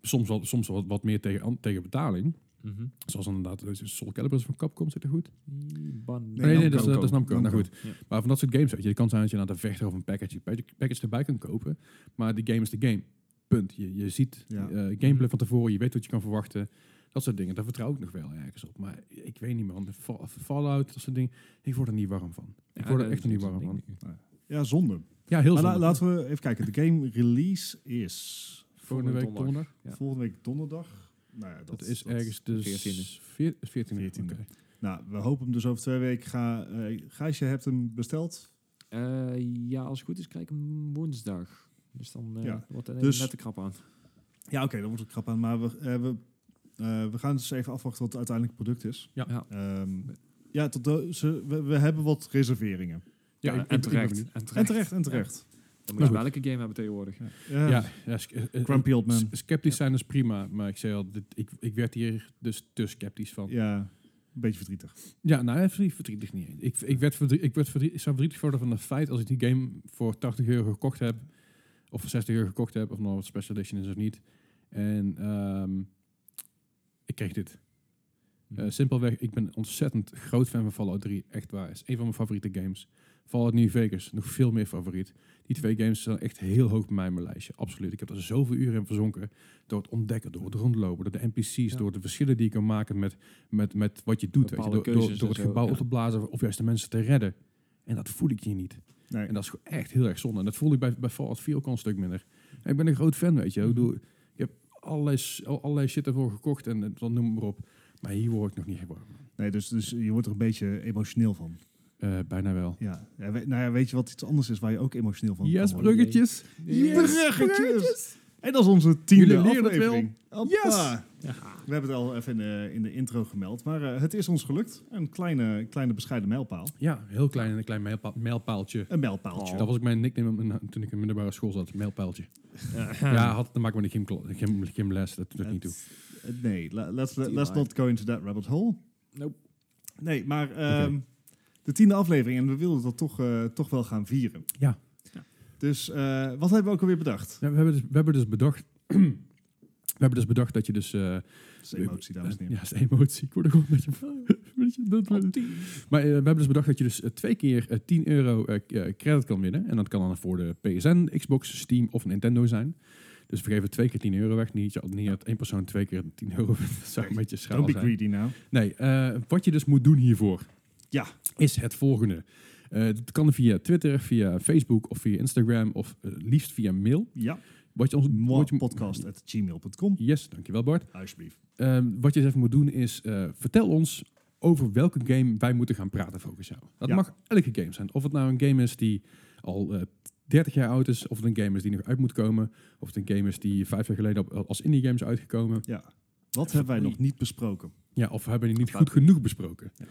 Speaker 3: Soms wat, soms wat, wat meer tegen, an- tegen betaling.
Speaker 2: Mhm.
Speaker 3: Zoals inderdaad, eh, Soul Calibur is van Capcom, zit er goed.
Speaker 2: Ban-
Speaker 1: Nee,
Speaker 3: Nee, nee,
Speaker 1: Namco.
Speaker 3: dat, is, dat is Namco. Nou
Speaker 1: Namco.
Speaker 3: goed.
Speaker 2: Ja.
Speaker 3: Maar van dat soort games, weet je, het kan zijn dat je naar de vechter of een package, pack- package erbij kan kopen. Maar de game is de game. Punt. Je, je ziet
Speaker 1: Ja. Mhm.
Speaker 3: eh, gameplay van tevoren, je weet wat je kan verwachten. Dat soort dingen, daar vertrouw ik nog wel ergens op. Maar ik weet niet, man. De Fall- Fallout, dat soort dingen. Ik word er niet warm van. Ik
Speaker 2: Ja,
Speaker 3: word er
Speaker 2: dat
Speaker 3: echt
Speaker 2: is-
Speaker 3: niet
Speaker 2: dat is
Speaker 3: warm
Speaker 2: een
Speaker 3: van.
Speaker 2: ding.
Speaker 1: Ja, zonde.
Speaker 3: Ja, heel
Speaker 1: Maar la-
Speaker 3: zonde.
Speaker 1: laten we even kijken. De game release is
Speaker 3: Volgende week
Speaker 2: Volgende
Speaker 3: donderdag.
Speaker 2: Ja.
Speaker 1: volgende week donderdag. Nou ja, dat,
Speaker 3: Dat, is ergens de
Speaker 2: 14e.
Speaker 3: 14e. 14e.
Speaker 1: 14e.
Speaker 3: oké.
Speaker 1: Nou, we hopen hem dus over twee weken. Ga, eh Gijs, je hebt hem besteld.
Speaker 2: Eh, ja, als het goed is, krijg ik hem woensdag. Dus dan eh,
Speaker 1: Ja,
Speaker 2: wordt het
Speaker 1: dus-
Speaker 2: net te krap aan.
Speaker 1: Ja, oké, dat wordt ook krap aan. Maar we, eh, we, eh, we gaan dus even afwachten wat het uiteindelijke product is.
Speaker 3: Ja.
Speaker 2: Ja.
Speaker 1: Ehm, ja, tot de- ze, we, we hebben wat reserveringen.
Speaker 3: Ja, ik- ik-
Speaker 2: en,
Speaker 3: ik ben
Speaker 2: terecht,
Speaker 3: benieuwd. Nou
Speaker 2: en terecht.
Speaker 1: En terecht, en terecht.
Speaker 2: Dan moet je
Speaker 3: Maar
Speaker 2: welke game hebben tegenwoordig.
Speaker 1: Ja.
Speaker 3: Ja, ja, sk- eh, eh,
Speaker 1: Grumpy Old Man.
Speaker 3: s- Sceptisch zijn is prima, maar ik zei al, dit, ik, ik werd hier dus te sceptisch van.
Speaker 1: Ja, een beetje verdrietig.
Speaker 3: Ja, nou, even verdrietig niet. eens. Ik, ik, werd verdrie- ik, werd verdrie- ik zou verdrietig worden van het feit als ik die game voor 80 euro gekocht heb, of voor 60 euro gekocht heb, of nou wat special edition is of niet. En ehm, ik kreeg dit. Eh, simpelweg, ik ben een ontzettend groot fan van Fallout 3. Echt waar. is een van mijn favoriete games. Fallout New Vegas, nog veel meer favoriet. Die twee games staan echt heel hoog bij mij in mijn lijstje. Absoluut. Ik heb er zoveel uren in verzonken. Door het ontdekken, door het rondlopen, door de NPC's,
Speaker 2: Ja.
Speaker 3: door de verschillen die je kan maken met, met, met wat je doet. Weet je,
Speaker 2: Bepaalde
Speaker 3: door, door,
Speaker 2: keuzes
Speaker 3: door
Speaker 2: en
Speaker 3: het
Speaker 2: zo,
Speaker 3: gebouw
Speaker 2: ja.
Speaker 3: op te blazen of juist de mensen te redden. En dat voel ik hier niet.
Speaker 1: Nee.
Speaker 3: En dat is gewoon echt heel erg zonde. En dat voelde ik bij, bij Fallout 4 ook al een stuk minder. En ik ben een groot fan, weet je. Ik,
Speaker 2: Mhm.
Speaker 3: bedoel, ik heb allerlei, s- allerlei shit ervoor gekocht en eh, dan noem maar op. Maar hier word ik nog niet warm.
Speaker 1: Nee, Nee, dus, dus je wordt er een beetje emotioneel van.
Speaker 3: Eh, bijna wel.
Speaker 1: Ja. ja we- nou ja, weet je wat iets anders is waar je ook emotioneel van
Speaker 3: Yes,
Speaker 1: kan worden?
Speaker 3: bruggetjes.
Speaker 2: Yes,
Speaker 1: bruggetjes. En dat is onze tiende
Speaker 3: Jullie leren het wel.
Speaker 1: aflevering. Hoppa.
Speaker 2: Ja.
Speaker 1: We hebben het al even in de, in de intro gemeld. Maar eh, het is ons gelukt. Een kleine, kleine bescheiden mijlpaal.
Speaker 3: Ja, heel klein en een klein mijlpa- mijlpaaltje.
Speaker 1: Een
Speaker 2: Oh.
Speaker 1: mijlpaaltje.
Speaker 3: Dat was ook mijn nickname op mijn- toen ik in middelbare school zat. Mijlpaaltje. Ja, had te maken met de gymklo- gym, gymles. Dat doet
Speaker 1: Het-
Speaker 3: niet toe.
Speaker 1: het- Eh, nee, la- let's,
Speaker 2: TMI.
Speaker 1: let's not go into that rabbit hole.
Speaker 2: Nope.
Speaker 1: Nee, maar ehm, de tiende aflevering. En we wilden dat toch, eh, toch wel gaan vieren.
Speaker 3: Ja.
Speaker 2: Ja.
Speaker 1: Dus eh, wat hebben we ook alweer bedacht?
Speaker 3: Ja, we, hebben dus, we hebben dus bedacht... we hebben dus bedacht dat je dus... eh,
Speaker 1: Dat is emotie, dames en heren.
Speaker 3: Ja, dat is emotie. Ik word er gewoon een beetje van. Weet je, dat- Maar eh, we hebben dus bedacht dat je dus eh, twee keer eh, 10 euro eh, k- eh, credit kan winnen. En dat kan dan voor de PSN, Xbox, Steam of Nintendo zijn. Dus we geven twee keer 10 euro weg. Niet, dat- niet dat één persoon twee keer 10 euro wint. Dat zou een beetje schaal
Speaker 1: Don't be
Speaker 3: zijn.
Speaker 1: greedy now.
Speaker 3: Nee, eh, wat je dus moet doen hiervoor
Speaker 1: Ja.
Speaker 3: is het volgende. Eh dat kan via Twitter, via Facebook of via Instagram of eh, liefst via mail.
Speaker 1: Ja.
Speaker 3: Wat je ons... wat je-
Speaker 1: Podcast at gmail.com.
Speaker 3: Yes, dankjewel Bart.
Speaker 1: Alsjeblieft.
Speaker 3: Ehm, wat je eens even moet doen is, eh, vertel ons over welke game wij moeten gaan praten volgens jou. Dat
Speaker 1: Ja.
Speaker 3: mag elke game zijn. Of het nou een game is die al eh, 30 jaar oud is, of het een game is die nog uit moet komen, of het een game is die vijf jaar geleden op- eh, als indie game is uitgekomen.
Speaker 1: Ja. Wat hebben wij nog niet besproken?
Speaker 3: Ja, of we hebben die niet
Speaker 2: Of
Speaker 3: goed genoeg besproken.
Speaker 1: Ja.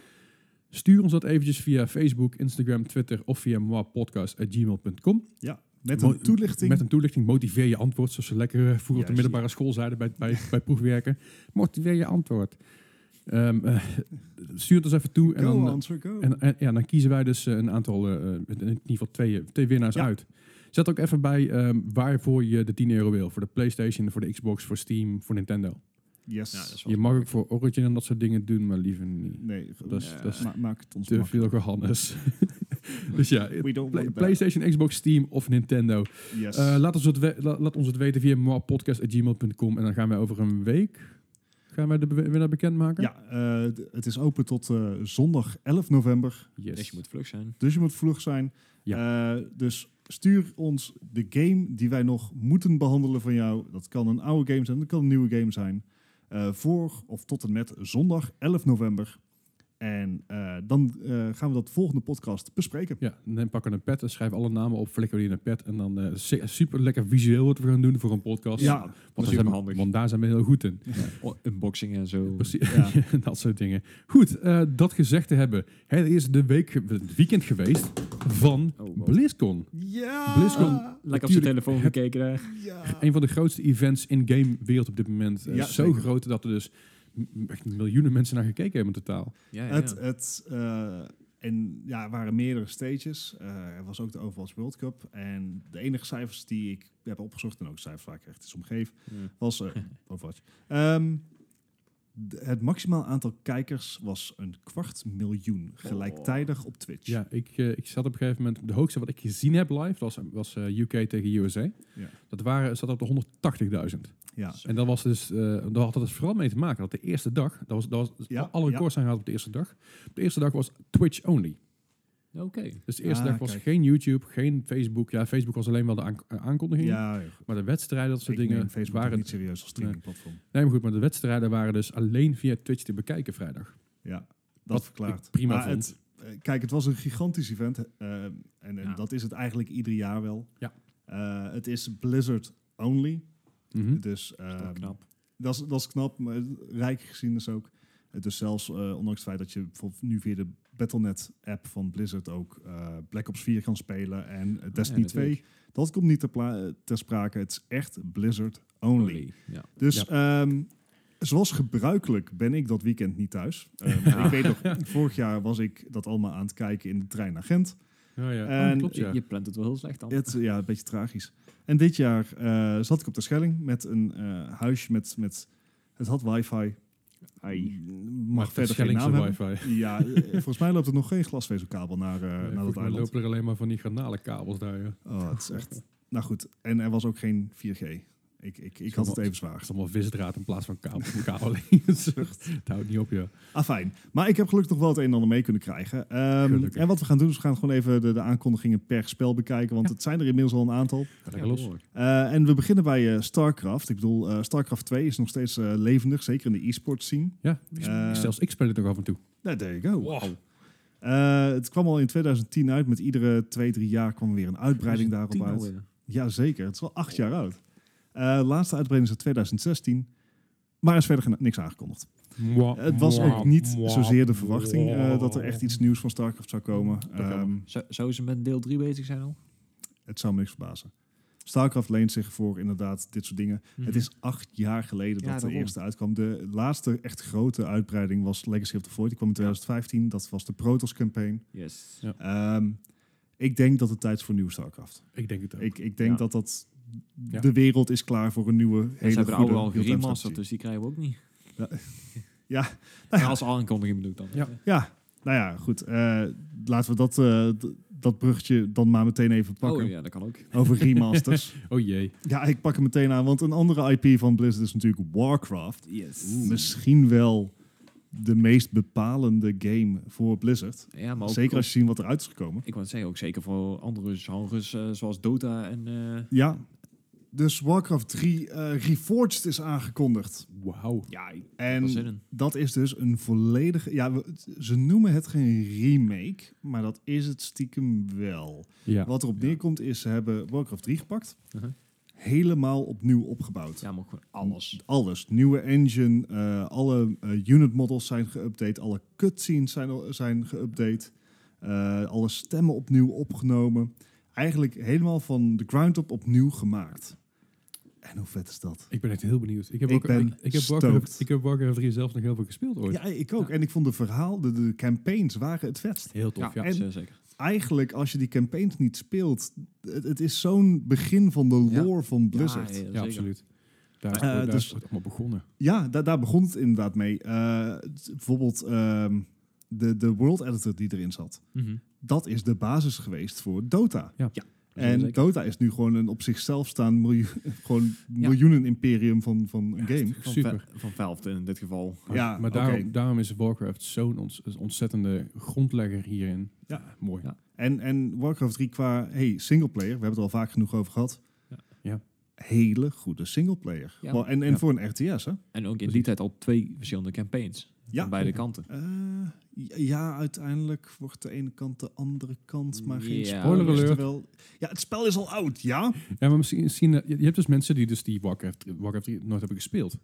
Speaker 3: Stuur ons dat eventjes via Facebook, Instagram, Twitter of via moapodcast.gmail.com.
Speaker 1: Ja. Met
Speaker 3: Mo-
Speaker 1: een toelichting.
Speaker 3: Met een toelichting, motiveer je antwoord, zoals ze lekker eh, vroeger op de
Speaker 1: Juist,
Speaker 3: middelbare school zeiden bij, bij, bij proefwerken. Motiveer je antwoord. Ehm, eh, stuur het ons even toe en
Speaker 1: go,
Speaker 3: dan,
Speaker 1: answer, go.
Speaker 3: en, en- ja, dan kiezen wij dus eh, een aantal, eh, eh, in ieder geval twee, eh, twee winnaars
Speaker 1: Ja.
Speaker 3: uit. Zet ook even bij ehm, waarvoor je de 10 euro wil. Voor de PlayStation, voor de Xbox, voor Steam, voor Nintendo.
Speaker 1: yes.
Speaker 3: Je mag ook voor Origin en dat soort dingen doen, maar liever niet.
Speaker 1: nee,
Speaker 3: Dat is- dat is
Speaker 1: ma- maak het ons
Speaker 3: Te
Speaker 1: makkelijk.
Speaker 3: veel Johannes. dus ja,
Speaker 1: We don't
Speaker 3: Play-
Speaker 1: want that.
Speaker 3: PlayStation, Xbox, Steam of Nintendo.
Speaker 1: Yes.
Speaker 3: Eh, laat, ons het we- la- laat ons het weten via moapodcast.gmail.com en dan gaan wij over een week gaan wij de be- winnaar bekendmaken.
Speaker 1: ja, eh, d- het is open tot eh, zondag 11 november.
Speaker 3: Yes.
Speaker 2: Dus je moet vlug zijn.
Speaker 1: Dus je moet vlug zijn. Eh, dus stuur ons de game die wij nog moeten behandelen van jou. Dat kan een oude game zijn, dat kan een nieuwe game zijn. Eh, voor of tot en met zondag 11 november. En eh, dan eh, gaan we dat volgende podcast bespreken.
Speaker 3: Ja, en dan pakken we een pet en schrijf alle namen op, flikken we die in een pet en dan eh, super lekker visueel wat we gaan doen voor een podcast.
Speaker 1: Ja,
Speaker 3: want, daar
Speaker 2: super
Speaker 3: zijn we-
Speaker 2: handig.
Speaker 3: want daar zijn we heel goed in.
Speaker 2: Oh, unboxing en zo.
Speaker 3: Precies,
Speaker 1: Ja.
Speaker 3: dat soort dingen. Goed, eh, dat gezegd te hebben, het is de week, ge- het weekend geweest van
Speaker 2: Oh, wow.
Speaker 3: BlizzCon.
Speaker 1: Ja!
Speaker 3: BlizzCon.
Speaker 2: Lekker op zijn
Speaker 3: Natuurlijk,
Speaker 2: telefoon
Speaker 3: het-
Speaker 2: gekeken daar.
Speaker 1: Ja.
Speaker 3: Een van de grootste events in game wereld op dit moment. Eh,
Speaker 1: Ja,
Speaker 3: zo
Speaker 1: zeker.
Speaker 3: groot dat er dus m- echt miljoenen mensen naar gekeken hebben in totaal.
Speaker 2: Ja, ja,
Speaker 1: Het,
Speaker 2: ja.
Speaker 1: het, eh, en ja, er waren meerdere stages. Eh, er was ook de Overwatch World Cup. En de enige cijfers die ik heb opgezocht, en ook cijfers waar ik echt iets om geef,
Speaker 2: Ja.
Speaker 1: was eh, Overwatch. Ehm, d- het maximaal aantal kijkers was een kwart miljoen gelijktijdig op Twitch.
Speaker 3: Ja, ik, eh, ik zat op een gegeven moment... De hoogste wat ik gezien heb live was, was eh, UK tegen USA.
Speaker 1: Ja.
Speaker 3: Dat waren, zat op de 180.000.
Speaker 1: Ja.
Speaker 3: En dat was dus, eh, daar had het dus vooral mee te maken dat de eerste dag, dat was, dat was
Speaker 1: Ja,
Speaker 3: alle records zijn gehaald op de eerste dag. Op de eerste dag was Twitch only.
Speaker 2: Oké.
Speaker 3: Dus de eerste
Speaker 1: Ah,
Speaker 3: dag was
Speaker 1: kijk.
Speaker 3: geen YouTube, geen Facebook. Ja, Facebook was alleen wel de aank- eh, aankondiging.
Speaker 1: Ja, ja, goed.
Speaker 3: Maar de wedstrijden, dat
Speaker 1: ik
Speaker 3: soort
Speaker 1: neem
Speaker 3: dingen
Speaker 1: Facebook toch
Speaker 3: waren.
Speaker 1: niet serieus als streamingplatform.
Speaker 3: Nee, maar goed, maar de wedstrijden waren dus alleen via Twitch te bekijken vrijdag.
Speaker 1: Ja,
Speaker 3: Wat
Speaker 1: dat
Speaker 3: ik
Speaker 1: verklaart.
Speaker 3: prima
Speaker 1: Maar
Speaker 3: vond.
Speaker 1: het- eh, kijk, het was een gigantisch event. eh, en en
Speaker 2: Ja.
Speaker 1: dat is het eigenlijk ieder jaar wel.
Speaker 3: Ja.
Speaker 1: Eh, het is Blizzard only.
Speaker 3: Mhm.
Speaker 1: Dus ehm,
Speaker 2: Dat is knap.
Speaker 1: dat, is, dat is knap, maar rijk geschiedenis ook. Eh, Dus zelfs eh, ondanks het feit dat je bijvoorbeeld nu via de Battle.net-app van Blizzard ook eh, Black Ops 4 kan spelen en eh, Destiny
Speaker 2: Oh, Ja,
Speaker 1: 2,
Speaker 2: natuurlijk.
Speaker 1: dat komt niet ter, pla- eh, ter sprake. Het is echt Blizzard only.
Speaker 2: Ja.
Speaker 1: Dus ehm, zoals gebruikelijk ben ik dat weekend niet thuis. Eh,
Speaker 2: Ja.
Speaker 1: Ik weet nog, vorig jaar was ik dat allemaal aan het kijken in de trein naar Gent.
Speaker 3: Oh ja,
Speaker 1: En-
Speaker 3: Oh, klopt ja.
Speaker 2: Je, je plant het wel heel slecht dan.
Speaker 1: Het, ja, een beetje tragisch. En dit jaar eh, zat ik op de Schelling met een eh, huisje met, met... Het had wifi. Mag
Speaker 3: Maar
Speaker 1: verder geen naam hebben.
Speaker 3: wifi.
Speaker 1: Ja, eh, volgens mij loopt er nog geen glasvezelkabel naar, eh,
Speaker 3: Eh,
Speaker 1: naar
Speaker 3: volgens
Speaker 1: dat
Speaker 3: mij
Speaker 1: eiland.
Speaker 3: lopen er alleen maar van die garnalenkabels daar. Ja.
Speaker 1: Oh, het is echt... Nou goed, en er was ook geen 4G. Ik, ik, ik had het even zwaar.
Speaker 3: Het is allemaal visdraad in plaats van kabel. kabel alleen. Zucht. Het houdt niet op, joh.
Speaker 1: Afijn. Ah, Maar ik heb gelukkig nog wel het een en ander mee kunnen krijgen. Ehm,
Speaker 3: Gelukkig.
Speaker 1: en wat we gaan doen is we gaan gewoon even de, de aankondigingen per spel bekijken. Want het zijn er inmiddels al een aantal.
Speaker 3: Ga lekker los.
Speaker 2: behoorlijk.
Speaker 1: Eh, en we beginnen bij eh, StarCraft. Ik bedoel, eh, StarCraft 2 is nog steeds eh, levendig. Zeker in de e-sport scene.
Speaker 3: Ja,
Speaker 1: Eh,
Speaker 3: zelfs ik speel het nog af en toe.
Speaker 1: Nou, there you go.
Speaker 3: Wow.
Speaker 1: Eh, het kwam al in 2010 uit. Met iedere twee, drie jaar kwam er weer een uitbreiding daarop
Speaker 2: Tien
Speaker 1: uit.
Speaker 2: alweer.
Speaker 1: Jazeker, het is al acht jaar oud. Eh, laatste uitbreiding is uit 2016. Maar er is verder gena- niks aangekondigd. Eh, Het was ook niet zozeer de verwachting eh, dat er echt iets nieuws van StarCraft zou komen. Ehm,
Speaker 2: Zou, zouden ze met deel 3 bezig zijn al?
Speaker 1: het zou me niks verbazen. StarCraft leent zich voor inderdaad dit soort dingen. Het is acht jaar geleden
Speaker 2: Mhm. Ja,
Speaker 1: dat de
Speaker 2: daarom.
Speaker 1: eerste uitkwam. De laatste echt grote uitbreiding was Legacy of the Void. Die kwam in 2015. Dat was de Protoss campaign.
Speaker 2: Yes.
Speaker 3: Ja.
Speaker 1: Ehm, ik denk dat het tijd is voor nieuwe StarCraft.
Speaker 3: Ik denk het ook.
Speaker 1: Ik, ik denk
Speaker 2: Ja.
Speaker 1: dat dat...
Speaker 3: Ja.
Speaker 1: De wereld is klaar voor een nieuwe, hele
Speaker 2: En ze hebben de oude
Speaker 1: goede
Speaker 2: al
Speaker 1: real-time
Speaker 2: geremasterd,
Speaker 1: strategie.
Speaker 2: dus die krijgen we ook niet.
Speaker 1: Ja. Ja.
Speaker 2: Ja, Als aankondiging bedoel ik dan.
Speaker 3: Ja.
Speaker 1: Ja, nou ja, goed. Eh, laten we dat, eh, d- dat bruggetje dan maar meteen even pakken.
Speaker 2: Oh ja, dat kan ook.
Speaker 1: Over remasters.
Speaker 3: Oh jee.
Speaker 1: ja, ik pak hem meteen aan, want een andere IP van Blizzard is natuurlijk Warcraft.
Speaker 2: Yes.
Speaker 1: Misschien wel de meest bepalende game voor Blizzard.
Speaker 2: Ja, maar ook,
Speaker 1: Zeker als je ziet wat eruit is gekomen.
Speaker 2: Ik wou het zeggen, ook zeker voor andere genres eh, zoals Dota en... eh,
Speaker 1: Ja, dus Warcraft 3 eh, Reforged is aangekondigd.
Speaker 3: Wauw.
Speaker 2: ja, ik heb er zin
Speaker 1: En
Speaker 2: in.
Speaker 1: dat is dus een volledige... Ja, we- ze noemen het geen remake, maar dat is het stiekem wel.
Speaker 3: Ja.
Speaker 1: Wat erop
Speaker 2: Ja.
Speaker 1: neerkomt is, ze hebben Warcraft 3 gepakt.
Speaker 2: Uh-huh.
Speaker 1: Helemaal opnieuw opgebouwd.
Speaker 2: Ja, maar ook gewoon alles.
Speaker 1: Alles. Nieuwe engine, eh, alle eh, unit models zijn geüpdate. Alle cutscenes zijn, al- zijn geüpdate. eh, alle stemmen opnieuw opgenomen. Eigenlijk helemaal van de ground up opnieuw gemaakt. En hoe vet is dat?
Speaker 3: Ik ben echt heel benieuwd. Ik heb,
Speaker 1: Ik
Speaker 3: ook,
Speaker 1: ben
Speaker 3: ik, ik heb,
Speaker 1: stoked.
Speaker 3: Warcraft, ik heb Warcraft 3 zelf nog heel veel gespeeld ooit.
Speaker 1: Ja, ik ook. En ik vond de verhaal, de, de campaigns waren het vetst.
Speaker 3: Heel tof, ja.
Speaker 2: Ja,
Speaker 1: en-
Speaker 2: zeer zeker.
Speaker 1: Eigenlijk, als je die campaigns niet speelt, het, het is zo'n begin van de
Speaker 2: Ja.
Speaker 1: lore van Blizzard.
Speaker 2: Ja,
Speaker 3: Ja, absoluut. Daar,
Speaker 1: Eh,
Speaker 3: is daar
Speaker 1: dus-
Speaker 3: is het allemaal begonnen.
Speaker 1: Ja, da- daar begon het inderdaad mee. Eh, t- bijvoorbeeld ehm, de, de world editor die erin zat.
Speaker 2: Mhm.
Speaker 1: Dat is de basis geweest voor Dota.
Speaker 3: Ja.
Speaker 2: Ja,
Speaker 1: En
Speaker 2: zeker.
Speaker 1: Dota is nu gewoon een op zichzelf staand miljoen, gewoon miljoenen imperium van, van een game.
Speaker 2: Van
Speaker 3: Super.
Speaker 2: Ve- Van Valve in dit geval.
Speaker 1: Ja,
Speaker 3: maar
Speaker 1: oké.
Speaker 3: daarom, daarom is Warcraft zo'n ons- ontzettende grondlegger hierin.
Speaker 1: Ja.
Speaker 3: Mooi.
Speaker 2: Ja.
Speaker 1: En, en Warcraft 3 qua hey, singleplayer, we hebben het al vaak genoeg over gehad.
Speaker 2: Ja.
Speaker 3: Ja.
Speaker 1: Hele goede singleplayer.
Speaker 2: Ja.
Speaker 1: Wel, En, en
Speaker 3: Ja.
Speaker 1: voor een RTS, hè?
Speaker 2: En ook in die
Speaker 3: Precies.
Speaker 2: tijd al twee verschillende campaigns.
Speaker 1: Ja.
Speaker 2: Van beide kanten.
Speaker 1: Eh, ja, uiteindelijk wordt de ene kant de andere kant, maar geen
Speaker 2: Ja.
Speaker 1: spoiler
Speaker 3: Spoiler
Speaker 1: is er
Speaker 3: alert.
Speaker 1: wel. Ja, het spel is al oud, ja.
Speaker 3: Ja, maar misschien, misschien, eh, je je hebt dus mensen die dus die Warcraft, Warcraft 3 nooit hebben gespeeld.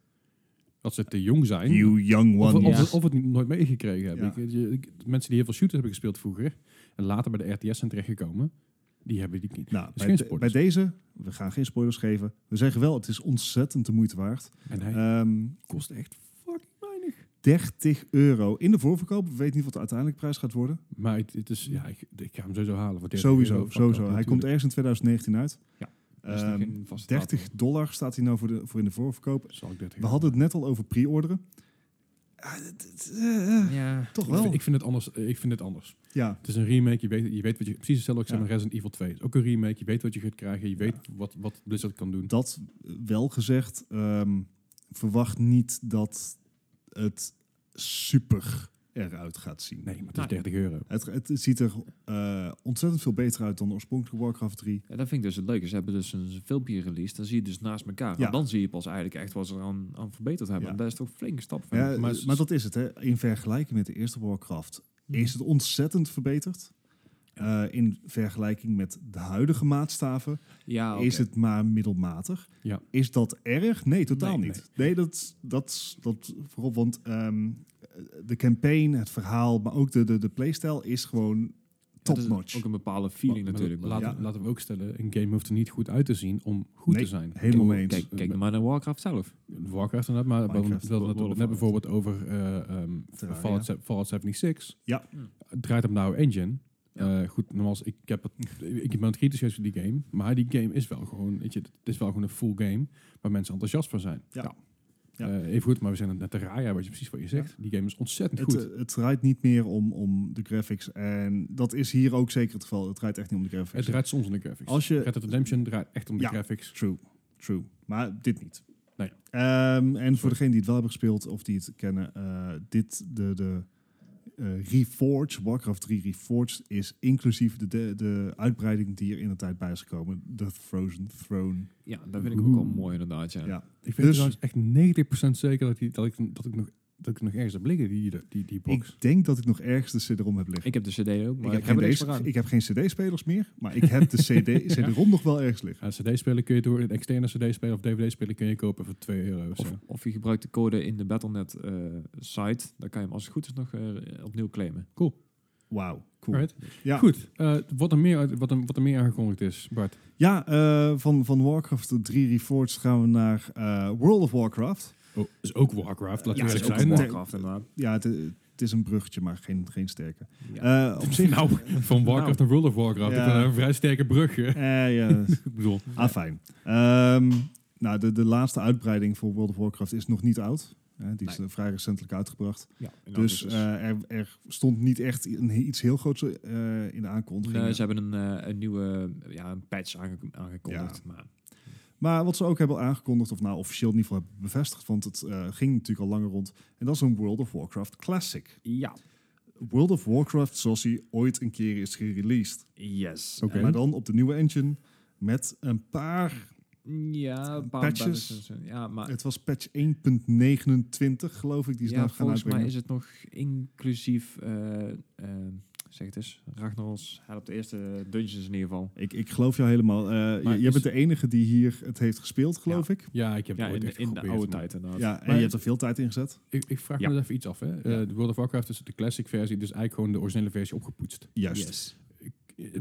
Speaker 3: Dat ze te jong zijn.
Speaker 1: young
Speaker 3: Of, of,
Speaker 2: ja.
Speaker 3: of het niet, nooit meegekregen hebben.
Speaker 1: Ja.
Speaker 3: Ik- eh, je- ik- mensen die heel veel shooters hebben gespeeld vroeger en later bij de RTS zijn terechtgekomen, die hebben die niet.
Speaker 1: Nou,
Speaker 3: is
Speaker 1: bij,
Speaker 3: geen
Speaker 1: de-
Speaker 3: spoilers.
Speaker 1: bij deze, we gaan geen spoilers geven. We zeggen wel, het is ontzettend de moeite waard.
Speaker 3: En hij
Speaker 1: Ehm,
Speaker 3: kost echt fucking weinig.
Speaker 1: 30 euro in de voorverkoop. We weten niet wat de uiteindelijke prijs gaat worden.
Speaker 3: Maar het, het is, ja, ik, ik ga hem sowieso halen. Voor 30
Speaker 1: Sowieso,
Speaker 3: euro. Fuck
Speaker 1: sowieso.
Speaker 3: dat,
Speaker 1: Hij komt ergens
Speaker 3: natuurlijk.
Speaker 1: in 2019 uit.
Speaker 2: Ja. Dus nog
Speaker 1: Ehm,
Speaker 2: geen vaste
Speaker 1: 30
Speaker 2: datum.
Speaker 1: dollar staat hij nou voor, de, voor in de voorverkoop.
Speaker 3: Zal ik 30
Speaker 1: We hadden het net al over pre-orderen. Ah, het- het- eh, eh,
Speaker 2: Ja.
Speaker 1: Toch
Speaker 3: Ik
Speaker 1: wel.
Speaker 3: vind, ik vind het anders. eh, Ik vind het anders.
Speaker 1: Ja,
Speaker 3: Het is een remake. Je weet, je weet wat je precies hetzelfde als
Speaker 1: Ja.
Speaker 3: ik zei met Resident Evil 2. Het is ook een remake. Je weet wat je gaat krijgen. Je weet wat, wat Blizzard kan doen.
Speaker 1: dat wel gezegd. ehm, verwacht niet dat het super eruit gaat zien.
Speaker 3: Nee, maar het
Speaker 2: Nou,
Speaker 3: is 30 euro.
Speaker 1: Het, het ziet er eh, ontzettend veel beter uit dan de oorspronkelijke Warcraft 3.
Speaker 2: Ja, dat vind ik dus het leuke. Ze hebben dus een filmpje released. Dan zie je dus naast elkaar.
Speaker 1: Ja.
Speaker 2: En dan zie je pas eigenlijk echt wat ze eraan aan verbeterd hebben.
Speaker 1: Ja.
Speaker 2: En dat is toch een flinke stap. vind
Speaker 1: Ja, eh,
Speaker 2: ik.
Speaker 1: maar,
Speaker 3: maar-
Speaker 1: dat is het, hè. In vergelijking met de eerste Warcraft
Speaker 2: Mm.
Speaker 1: is het ontzettend verbeterd. Eh, in vergelijking met de huidige maatstaven
Speaker 2: ja, Ah, oké.
Speaker 1: is het maar middelmatig.
Speaker 3: Ja.
Speaker 1: Is dat erg? Nee, totaal
Speaker 3: Nee,
Speaker 1: niet. Nee, dat, dat, dat voorop, want ehm, de campaign, het verhaal, maar ook de, de, de playstyle is gewoon
Speaker 2: Ja, dat is
Speaker 1: top-notch.
Speaker 2: Ook een bepaalde feeling
Speaker 3: Maar- maar
Speaker 2: natuurlijk. maar-
Speaker 3: Laten,
Speaker 1: Ja.
Speaker 3: laten we ook stellen, een game hoeft er niet goed uit te zien om goed
Speaker 1: Nee.
Speaker 3: te zijn.
Speaker 1: Helemaal mee eens.
Speaker 2: Kijk, kijk maar naar Warcraft zelf.
Speaker 3: Warcraft inderdaad, maar we
Speaker 1: Minecraft,
Speaker 3: hadden
Speaker 2: World
Speaker 3: het
Speaker 2: of
Speaker 3: net bijvoorbeeld over eh, ehm,
Speaker 1: Terraria.
Speaker 3: Fallout, se- Fallout 76.
Speaker 1: Ja.
Speaker 2: Hm.
Speaker 3: Het draait op nou engine.
Speaker 2: Ja.
Speaker 3: Eh, goed, nogmaals, ik, heb het, ik ben kritisch geweest voor die game, maar die game is wel gewoon, weet je, het is wel gewoon een full game waar mensen enthousiast van zijn.
Speaker 1: Ja. Ja.
Speaker 3: Eh, even goed, maar we zijn het net te raaien, wat je precies wat je zegt. Die game is ontzettend
Speaker 1: Het,
Speaker 3: goed.
Speaker 1: eh, het draait niet meer om, om de graphics. En dat is hier ook zeker het geval. Het draait echt niet om de graphics.
Speaker 3: het draait soms om de graphics.
Speaker 1: Als je-
Speaker 3: Red Dead Redemption draait echt om de
Speaker 1: Ja.
Speaker 3: graphics.
Speaker 1: True. True. Maar dit niet.
Speaker 3: Nee.
Speaker 1: Ehm, en voor degenen die het wel hebben gespeeld of die het kennen, eh, dit, de, de eh, Reforged, Warcraft 3 Reforged, is inclusief de, de, de uitbreiding die er in de tijd bij is gekomen. The Frozen Throne.
Speaker 2: Ja, dat vind ik ook wel
Speaker 3: Oeh.
Speaker 2: mooi inderdaad. Ja.
Speaker 1: Ja.
Speaker 3: Ik
Speaker 1: Dus-
Speaker 3: weet trouwens echt 90% zeker dat, die, dat, ik, dat, ik nog, dat ik nog ergens heb liggen, die, die, die, die box.
Speaker 1: Ik denk dat ik nog ergens de CD-ROM heb liggen.
Speaker 2: Ik heb de CD ook, maar
Speaker 1: Ik
Speaker 2: ik,
Speaker 1: heb,
Speaker 2: heb er
Speaker 1: geen
Speaker 2: niks
Speaker 1: D's-
Speaker 2: voor aan.
Speaker 1: ik heb geen CD-spelers meer, maar ik heb de CD, CD-ROM nog wel ergens liggen.
Speaker 3: Ja, CD-spelen kun je door een externe CD-speler of DVD-speler kun je kopen voor 2 euro. Of, zo.
Speaker 2: Of, of je gebruikt de code in de Battle.net eh, site. Dan kan je hem als het goed is nog eh, opnieuw claimen.
Speaker 1: Wauw, cool.
Speaker 3: Alright.
Speaker 1: Ja.
Speaker 3: Goed, eh, wat, er meer, uit- wat, er, wat er meer aangekondigd is, Bart.
Speaker 1: Ja, eh, van, van Warcraft 3 Reforged gaan we naar eh, World of Warcraft.
Speaker 3: Oh, is ook
Speaker 1: laten
Speaker 3: Warcraft, laten
Speaker 1: Ja,
Speaker 3: we
Speaker 1: is
Speaker 2: dat
Speaker 1: ook
Speaker 3: eerlijk
Speaker 1: een
Speaker 3: zijn.
Speaker 1: Warcraft.
Speaker 2: inderdaad.
Speaker 1: Ja, het, het is een bruggetje, maar geen, geen sterke.
Speaker 2: Ja.
Speaker 1: Eh, op zich...
Speaker 3: Nou, van Warcraft naar World of Warcraft.
Speaker 1: Ja.
Speaker 3: Ik ben een vrij sterke brug. hè.
Speaker 1: Eh, ja,
Speaker 3: Ik bedoel,
Speaker 1: ah, fijn. Ehm, nou, de, de laatste uitbreiding voor World of Warcraft is nog niet oud. Eh, die is
Speaker 2: Nee.
Speaker 1: eh, vrij recentelijk uitgebracht.
Speaker 2: Ja, en dan
Speaker 1: dus
Speaker 2: is het-
Speaker 1: eh, er, er stond niet echt een, iets heel groots eh, in de aankondiging.
Speaker 2: Nee, ze hebben een, eh, een nieuwe ja, een patch aange- aangekondigd.
Speaker 1: Ja.
Speaker 2: Maar
Speaker 1: Maar wat ze ook hebben aangekondigd, of nou officieel in ieder geval hebben bevestigd, want het eh, ging natuurlijk al langer rond. En dat is een World of Warcraft Classic.
Speaker 2: ja,
Speaker 1: World of Warcraft zoals hij ooit een keer is gereleased.
Speaker 2: yes.
Speaker 3: Oké.
Speaker 1: Maar dan op de nieuwe engine met een paar...
Speaker 2: En- Eh,
Speaker 3: Eh,
Speaker 2: Ja, een paar
Speaker 1: Patches?
Speaker 2: battles en zo. dus, Ja, maar
Speaker 1: Het was patch 1.29 geloof ik, die ze
Speaker 2: Ah. ja,
Speaker 1: nou gaan
Speaker 2: volgens mij
Speaker 1: uitbrengen.
Speaker 2: is het nog inclusief, eh, eh, zeg het eens, Ragnaros. Hij op de eerste dungeons in ieder geval.
Speaker 1: Ik, ik geloof jou helemaal. Eh,
Speaker 3: Maar
Speaker 1: je, jij
Speaker 3: is-
Speaker 1: bent de enige die hier het heeft gespeeld, geloof ik.
Speaker 3: ja, ik heb
Speaker 2: Ja,
Speaker 3: het ooit
Speaker 2: in, de-
Speaker 3: echt
Speaker 2: in de
Speaker 3: geprobeerd,
Speaker 2: oude
Speaker 3: maar-
Speaker 2: tijd inderdaad.
Speaker 1: Ja, en
Speaker 3: Maar-
Speaker 1: je hebt er veel tijd in gezet.
Speaker 3: Ik, ik vraag
Speaker 2: Ja.
Speaker 3: me dat even iets af. Hè. Eh, de World of Warcraft is de classic versie, dus eigenlijk gewoon de originele versie opgepoetst.
Speaker 1: Juist.
Speaker 2: Yes.
Speaker 3: Eh,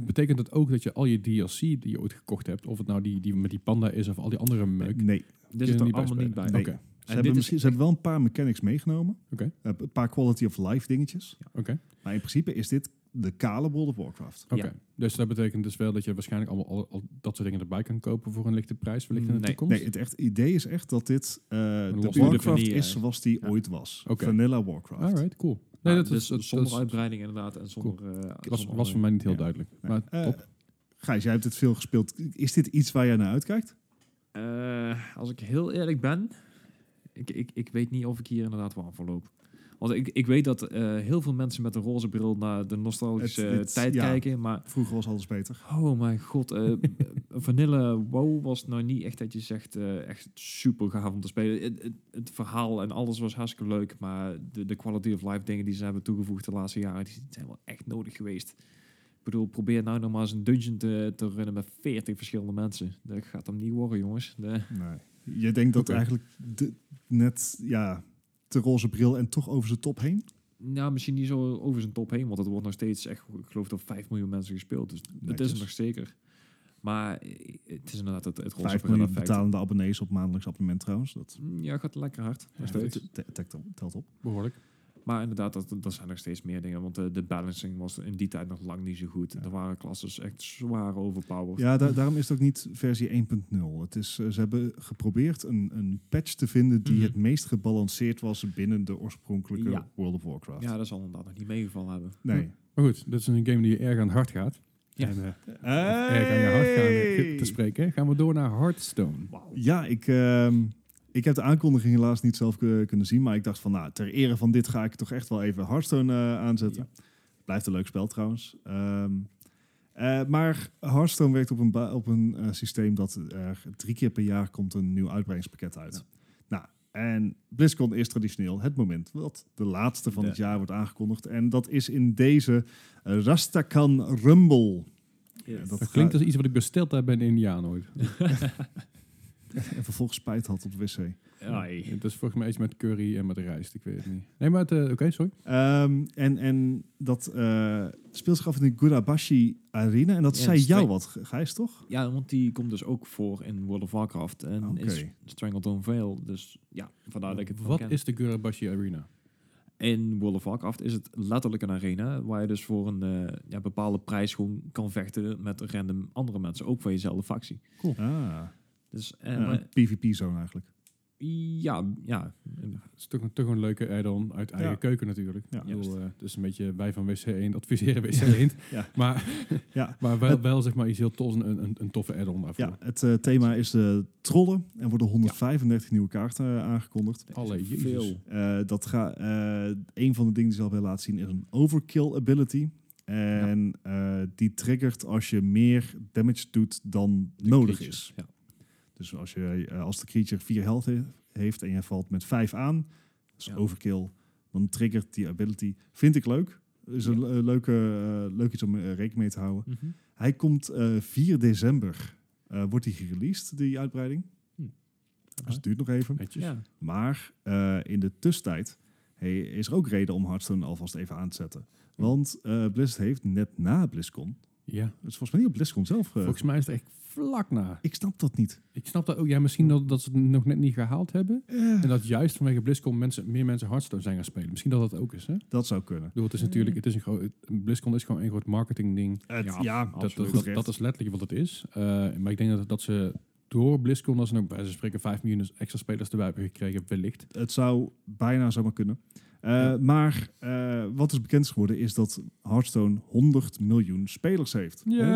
Speaker 3: Betekent dat ook dat je al je DLC die je ooit gekocht hebt, of het nou die, die met die panda is of al die andere meuk,
Speaker 1: Nee.
Speaker 2: Dit zit
Speaker 3: niet
Speaker 2: er
Speaker 3: bij
Speaker 2: allemaal niet bij.
Speaker 3: spelen.
Speaker 1: Nee.
Speaker 3: Oké,
Speaker 1: Ze, hebben,
Speaker 2: Nou, dit is
Speaker 1: misschien- ze hebben wel een paar mechanics meegenomen.
Speaker 3: Oké.
Speaker 1: Eh, een paar quality of life dingetjes.
Speaker 3: oké,
Speaker 1: Maar in principe is dit de kale World of Warcraft.
Speaker 3: oké.
Speaker 2: Ja.
Speaker 3: Dus dat betekent dus wel dat je waarschijnlijk allemaal al, al dat soort dingen erbij kan kopen voor een lichte prijs, wellicht in de
Speaker 2: Nee.
Speaker 3: toekomst.
Speaker 1: Mm, Nee, het echt idee is echt dat dit eh, de
Speaker 3: losse
Speaker 1: Warcraft
Speaker 2: vanille
Speaker 1: is
Speaker 2: eigenlijk.
Speaker 1: zoals die
Speaker 2: Ja.
Speaker 1: ooit was.
Speaker 3: Oké.
Speaker 1: Vanilla Warcraft.
Speaker 3: Alright, cool. Nee,
Speaker 2: Nee,
Speaker 3: dat,
Speaker 2: dus
Speaker 3: is, dat,
Speaker 2: zonder
Speaker 3: dat is-
Speaker 2: uitbreiding inderdaad en zonder... eh,
Speaker 3: was,
Speaker 2: zonder
Speaker 3: was voor mij niet heel
Speaker 1: Ja.
Speaker 3: duidelijk.
Speaker 1: Nee.
Speaker 3: Maar
Speaker 1: Eh,
Speaker 3: top.
Speaker 1: Gijs, jij hebt dit veel gespeeld. Is dit iets waar jij naar uitkijkt?
Speaker 2: Eh, als ik heel eerlijk ben, ik, ik, ik weet niet of ik hier inderdaad warm voor loop. Want ik, ik weet dat eh, heel veel mensen met een roze bril naar de nostalgische
Speaker 1: Het- het-
Speaker 2: tijd
Speaker 1: ja.
Speaker 2: kijken, maar
Speaker 1: Vroeger was alles beter.
Speaker 2: oh mijn god, eh Vanille WoW was nou niet echt dat je zegt eh, echt super gaaf om te spelen. Het, het, het verhaal en alles was hartstikke leuk, maar de, de quality of life dingen die ze hebben toegevoegd de laatste jaren, die zijn wel echt nodig geweest. Ik bedoel, probeer nou nog maar eens een dungeon te, te runnen met 40 verschillende mensen. Dat gaat hem niet worden, jongens. De,
Speaker 1: Nee. Je denkt dat
Speaker 3: Oké.
Speaker 1: eigenlijk de- net ja, te roze bril en toch over zijn top heen?
Speaker 2: Nou, misschien niet zo over zijn top heen, want het wordt nog steeds echt, ik geloof dat 5 miljoen mensen gespeeld. Dus het
Speaker 1: Netjes.
Speaker 2: is er nog zeker. Maar eh, het is inderdaad het, het roze
Speaker 1: 5
Speaker 2: bril
Speaker 1: miljoen
Speaker 2: effect.
Speaker 1: betalende abonnees op maandelijks abonnement trouwens. Dat
Speaker 2: Ja, gaat lekker hard. Nog
Speaker 3: Ja,
Speaker 2: steeds.
Speaker 3: het-
Speaker 1: te- telt op- telt op.
Speaker 3: behoorlijk.
Speaker 2: Maar inderdaad, dat, dat zijn nog steeds meer dingen. Want eh, de, de balancing was in die tijd nog lang niet zo goed.
Speaker 1: Ja.
Speaker 2: Er waren klasses echt zwaar overpowered.
Speaker 1: Ja, da- daarom is het ook niet versie 1.0. Het is, eh, ze hebben geprobeerd een, een patch te vinden die
Speaker 2: Mhm.
Speaker 1: het meest gebalanceerd was binnen de oorspronkelijke
Speaker 2: Ja.
Speaker 1: World of Warcraft.
Speaker 2: Ja, dat zal inderdaad nog niet meegevallen hebben.
Speaker 1: Nee.
Speaker 3: Maar goed, dat is een game die je erg aan het hart gaat.
Speaker 2: Ja.
Speaker 3: En, eh,
Speaker 1: Hey!
Speaker 3: erg aan je hart gaan eh, te spreken. Gaan we door naar Hearthstone.
Speaker 2: Wauw.
Speaker 1: Ja, ik, ehm, ik heb de aankondiging helaas niet zelf ku- kunnen zien. Maar ik dacht van, nou, ter ere van dit ga ik toch echt wel even Hearthstone eh, aanzetten. Blijft een leuk spel trouwens. Ehm, eh, maar Hearthstone werkt op een, ba- op een eh, systeem dat er drie keer per jaar komt een nieuw uitbreidingspakket uit. Nou, en BlizzCon is traditioneel het moment dat de laatste van
Speaker 2: De-
Speaker 1: het jaar wordt aangekondigd. En dat is in deze Rastakan Rumble. Ja,
Speaker 2: Yes.
Speaker 1: dat-
Speaker 3: Dat klinkt als iets wat ik besteld heb bij een Indiaan ooit.
Speaker 1: En vervolgens spijt had op de wc.
Speaker 2: Ai.
Speaker 3: Het is volgens mij iets met curry en met rijst, ik weet het niet. Nee, maar het, eh, oké, sorry.
Speaker 1: Ehm, en, en dat eh, speelt zich af in de Gurabashi Arena. En dat
Speaker 2: Ja,
Speaker 1: zei
Speaker 2: het is
Speaker 1: jou
Speaker 2: twee-
Speaker 1: wat, G- Gijs, toch?
Speaker 2: Ja, want die komt dus ook voor in World of Warcraft en
Speaker 1: Oké.
Speaker 2: in S- Strangleton Vale. Dus ja, vandaar
Speaker 1: Ah,
Speaker 2: dat ik het wel
Speaker 3: Wat
Speaker 2: ken.
Speaker 3: is de Gurabashi Arena?
Speaker 2: In World of Warcraft is het letterlijk een arena waar je dus voor een eh, ja, bepaalde prijs gewoon kan vechten met random andere mensen, ook van jezelfde factie.
Speaker 1: Ah,
Speaker 2: Dus, eh,
Speaker 1: een
Speaker 2: maar-
Speaker 1: PvP-zone eigenlijk.
Speaker 2: Ja, ja. En-
Speaker 3: Het is toch, een- toch een leuke add-on uit eigen
Speaker 1: Ja.
Speaker 3: keuken natuurlijk.
Speaker 1: Ja.
Speaker 3: Ik bedoel, eh, dus een beetje wij van WC1 adviseren WC1.
Speaker 1: Ja.
Speaker 3: Maar,
Speaker 1: Ja.
Speaker 3: maar wel, wel zeg maar iets heel tofs, een, een, een toffe add-on daarvoor.
Speaker 1: Ja, het eh, thema is de trollen. Er worden 135 nieuwe kaarten eh, aangekondigd.
Speaker 3: Alle jezus.
Speaker 2: Veel.
Speaker 1: Eh, dat ga, eh, een van de dingen die ze al willen laten zien is een overkill ability. En eh, die triggert als je meer damage doet dan
Speaker 3: De
Speaker 1: nodig
Speaker 3: creature,
Speaker 1: is.
Speaker 3: ja.
Speaker 1: Dus als, je, eh, als de creature 4 health he- heeft en je valt met 5 aan, dat is
Speaker 2: Ja.
Speaker 1: overkill, dan triggert die ability. Vind ik leuk. Is een le- leuke, eh, leuk iets om eh, rekening mee te houden.
Speaker 2: Mhm.
Speaker 1: Hij komt eh, 4 december. eh, wordt die gereleased, die uitbreiding?
Speaker 2: Hm.
Speaker 1: Dus het duurt nog even.
Speaker 3: Netjes.
Speaker 2: Ja.
Speaker 1: Maar eh, in de tussentijd hey, is er ook reden om Hearthstone alvast even aan te zetten. Want eh Blizzard heeft net na BlizzCon,
Speaker 3: Ja.
Speaker 1: het is volgens mij niet op BlizzCon zelf, eh,
Speaker 3: Volgens mij is het echt vlak na.
Speaker 1: ik snap dat niet.
Speaker 3: Ik snap dat ook. Ja, misschien dat, dat ze het nog net niet gehaald hebben.
Speaker 1: Eh,
Speaker 3: En dat juist vanwege BlizzCon mensen, meer mensen Hearthstone zijn gaan spelen. Misschien dat dat ook is, hè? Ik
Speaker 1: dat zou kunnen.
Speaker 3: bedoel, het is natuurlijk... Het is een groot, BlizzCon is gewoon een groot marketingding.
Speaker 1: Het- ja,
Speaker 3: Dat,
Speaker 1: absoluut.
Speaker 3: dat,
Speaker 1: terecht.
Speaker 3: dat is letterlijk wat het is. Eh, maar ik denk dat, dat ze door BlizzCon... Dat ze nog bij ze spreken 5 miljoen dus extra spelers erbij hebben gekregen, wellicht.
Speaker 1: Het zou bijna zomaar kunnen. Eh,
Speaker 3: Ja.
Speaker 1: Maar eh, wat is bekend is geworden is dat Hearthstone 100 miljoen spelers heeft. 100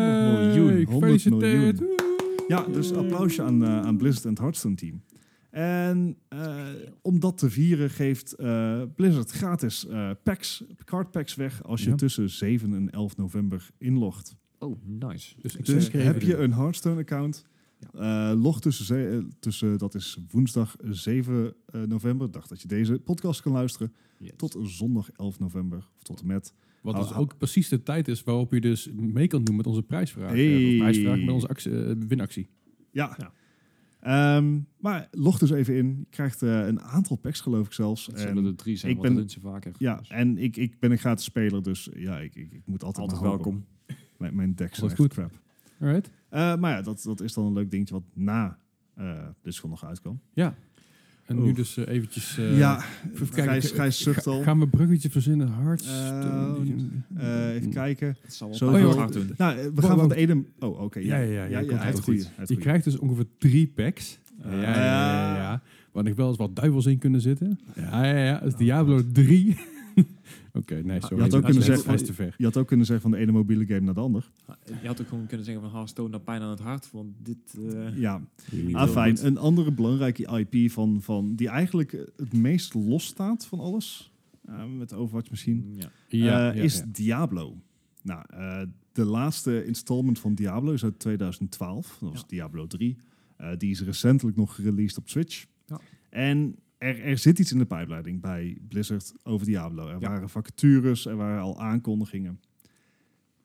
Speaker 1: miljoen. 100 miljoen. Ja, dus applausje aan, eh, aan Blizzard en het Hearthstone team. En eh, om dat te vieren geeft eh, Blizzard gratis eh, packs, card packs weg als je
Speaker 3: Ja.
Speaker 1: tussen 7 en 11 november inlogt.
Speaker 2: Oh, nice.
Speaker 3: Dus,
Speaker 1: Dus
Speaker 3: inschrijven
Speaker 1: heb je
Speaker 3: erin.
Speaker 1: een Hearthstone account, eh, log tussen, ze- eh, tussen, dat is woensdag 7 eh, november, dag dat je deze podcast kan luisteren,
Speaker 2: Yes.
Speaker 1: tot zondag 11 november, of tot en met.
Speaker 3: Wat
Speaker 1: Hou-
Speaker 3: dus
Speaker 1: hou-
Speaker 3: ook precies de tijd is waarop je dus mee kan doen met onze prijsvraag. eh,
Speaker 1: Hey.
Speaker 3: of prijsvraag met onze actie, eh, winactie.
Speaker 1: Ja.
Speaker 2: Ja.
Speaker 1: Ehm, maar log dus even in. Je krijgt eh, een aantal packs geloof ik zelfs.
Speaker 2: Het
Speaker 1: En-
Speaker 2: zullen er drie zijn,
Speaker 1: ik
Speaker 2: ik want
Speaker 1: ben-
Speaker 2: dat doen ze vaker.
Speaker 1: Ja,
Speaker 2: Dus
Speaker 1: en ik, ik ben een gratis speler, dus ja, ik, ik, ik moet altijd,
Speaker 2: altijd
Speaker 1: maar hopen.
Speaker 2: welkom.
Speaker 1: Mijn, mijn decks zijn
Speaker 3: Altijd
Speaker 1: goed. crap.
Speaker 3: Alright.
Speaker 1: Eh, maar ja, dat, dat is dan een leuk dingetje wat na eh Discord nog uitkwam.
Speaker 3: Ja. En nu
Speaker 1: Oef.
Speaker 3: dus eh, eventjes... eh,
Speaker 1: ja,
Speaker 3: even kijken.
Speaker 1: Gijs,
Speaker 3: Ik-
Speaker 1: Gijs
Speaker 3: ik
Speaker 1: zucht
Speaker 3: ga-
Speaker 1: al.
Speaker 3: Gaan we bruggetje verzinnen? Hearthstone.
Speaker 1: Eh, eh, even kijken.
Speaker 2: Het zal
Speaker 1: Zo
Speaker 2: wel een
Speaker 3: veel-
Speaker 2: paar jaar doen.
Speaker 1: Nou, eh, we
Speaker 3: Wow,
Speaker 1: gaan van
Speaker 3: wow.
Speaker 1: de ene... Oh, oké.
Speaker 3: Ja, ja, ja, ja, komt
Speaker 1: hij heeft
Speaker 3: goed.
Speaker 1: goeie, hij heeft
Speaker 3: Je
Speaker 1: goeie.
Speaker 3: krijgt dus ongeveer drie packs.
Speaker 1: Ah.
Speaker 3: ja, ja, ja, ja. Waar nog wel eens wat duivels in kunnen zitten. Ja, ja, ja. Dat is Diablo 3. Oké, nee, sorry.
Speaker 1: had ook
Speaker 3: Hij is-
Speaker 1: kunnen
Speaker 3: hij is-
Speaker 1: zeggen-
Speaker 3: Hij is te ver.
Speaker 1: Je had ook kunnen zeggen van de ene mobiele game naar de ander.
Speaker 2: Je had ook gewoon kunnen zeggen van Hearthstone naar pijn aan het hart, want dit... eh,
Speaker 1: Ja, ah, fijn. Een andere belangrijke IP van, van, die eigenlijk eh, het meest los staat van alles. Eh, met Overwatch misschien.
Speaker 2: ja.
Speaker 1: Eh, is Diablo. Nou, eh, de laatste installment van Diablo is uit 2012. Dat was
Speaker 2: Ja.
Speaker 1: Diablo 3. Eh, die is recentelijk nog gereleased op Switch.
Speaker 2: Ja.
Speaker 1: En er, er zit iets in de pijpleiding bij Blizzard over Diablo. Er
Speaker 2: Ja.
Speaker 1: waren vacatures, er waren al aankondigingen.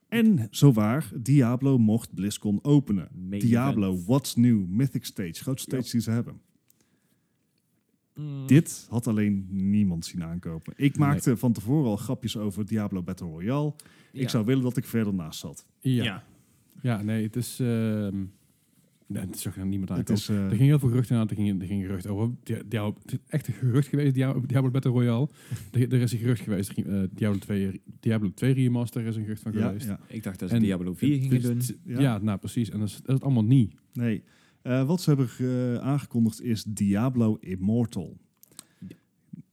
Speaker 1: En zowaar, Diablo mocht BlizzCon openen.
Speaker 2: Main
Speaker 1: Diablo,
Speaker 2: event.
Speaker 1: What's New, Mythic Stage, grootste stage
Speaker 2: Ja.
Speaker 1: die ze hebben.
Speaker 2: Mm.
Speaker 1: Dit had alleen niemand zien aankopen. Ik maakte van tevoren al grapjes over Diablo Battle Royale.
Speaker 2: Mm, Ja.
Speaker 1: Ik zou willen dat ik verder naast zat.
Speaker 3: Ja.
Speaker 2: Ja.
Speaker 3: Ja, nee, het is... ehm nee, het zag er niemand aan.
Speaker 1: Het is, eh,
Speaker 3: Er gingen heel veel geruchten aan. Er gingen, er gingen geruchten over. Di- Diablo, het is echt een gerucht geweest, Diablo, Diablo Battle Royale. Er, er is een gerucht geweest. eh, Diablo, 2, Diablo 2 Remaster is een gerucht van
Speaker 1: ja,
Speaker 3: geweest.
Speaker 1: ja.
Speaker 2: Ik dacht dat ze
Speaker 3: En-
Speaker 2: Diablo 4 gingen doen.
Speaker 3: Dus-
Speaker 1: Ja.
Speaker 3: Ja. nou precies. En dat is, dat is het allemaal niet.
Speaker 1: Nee. Eh, wat ze hebben eh, aangekondigd is Diablo Immortal.
Speaker 2: Ja.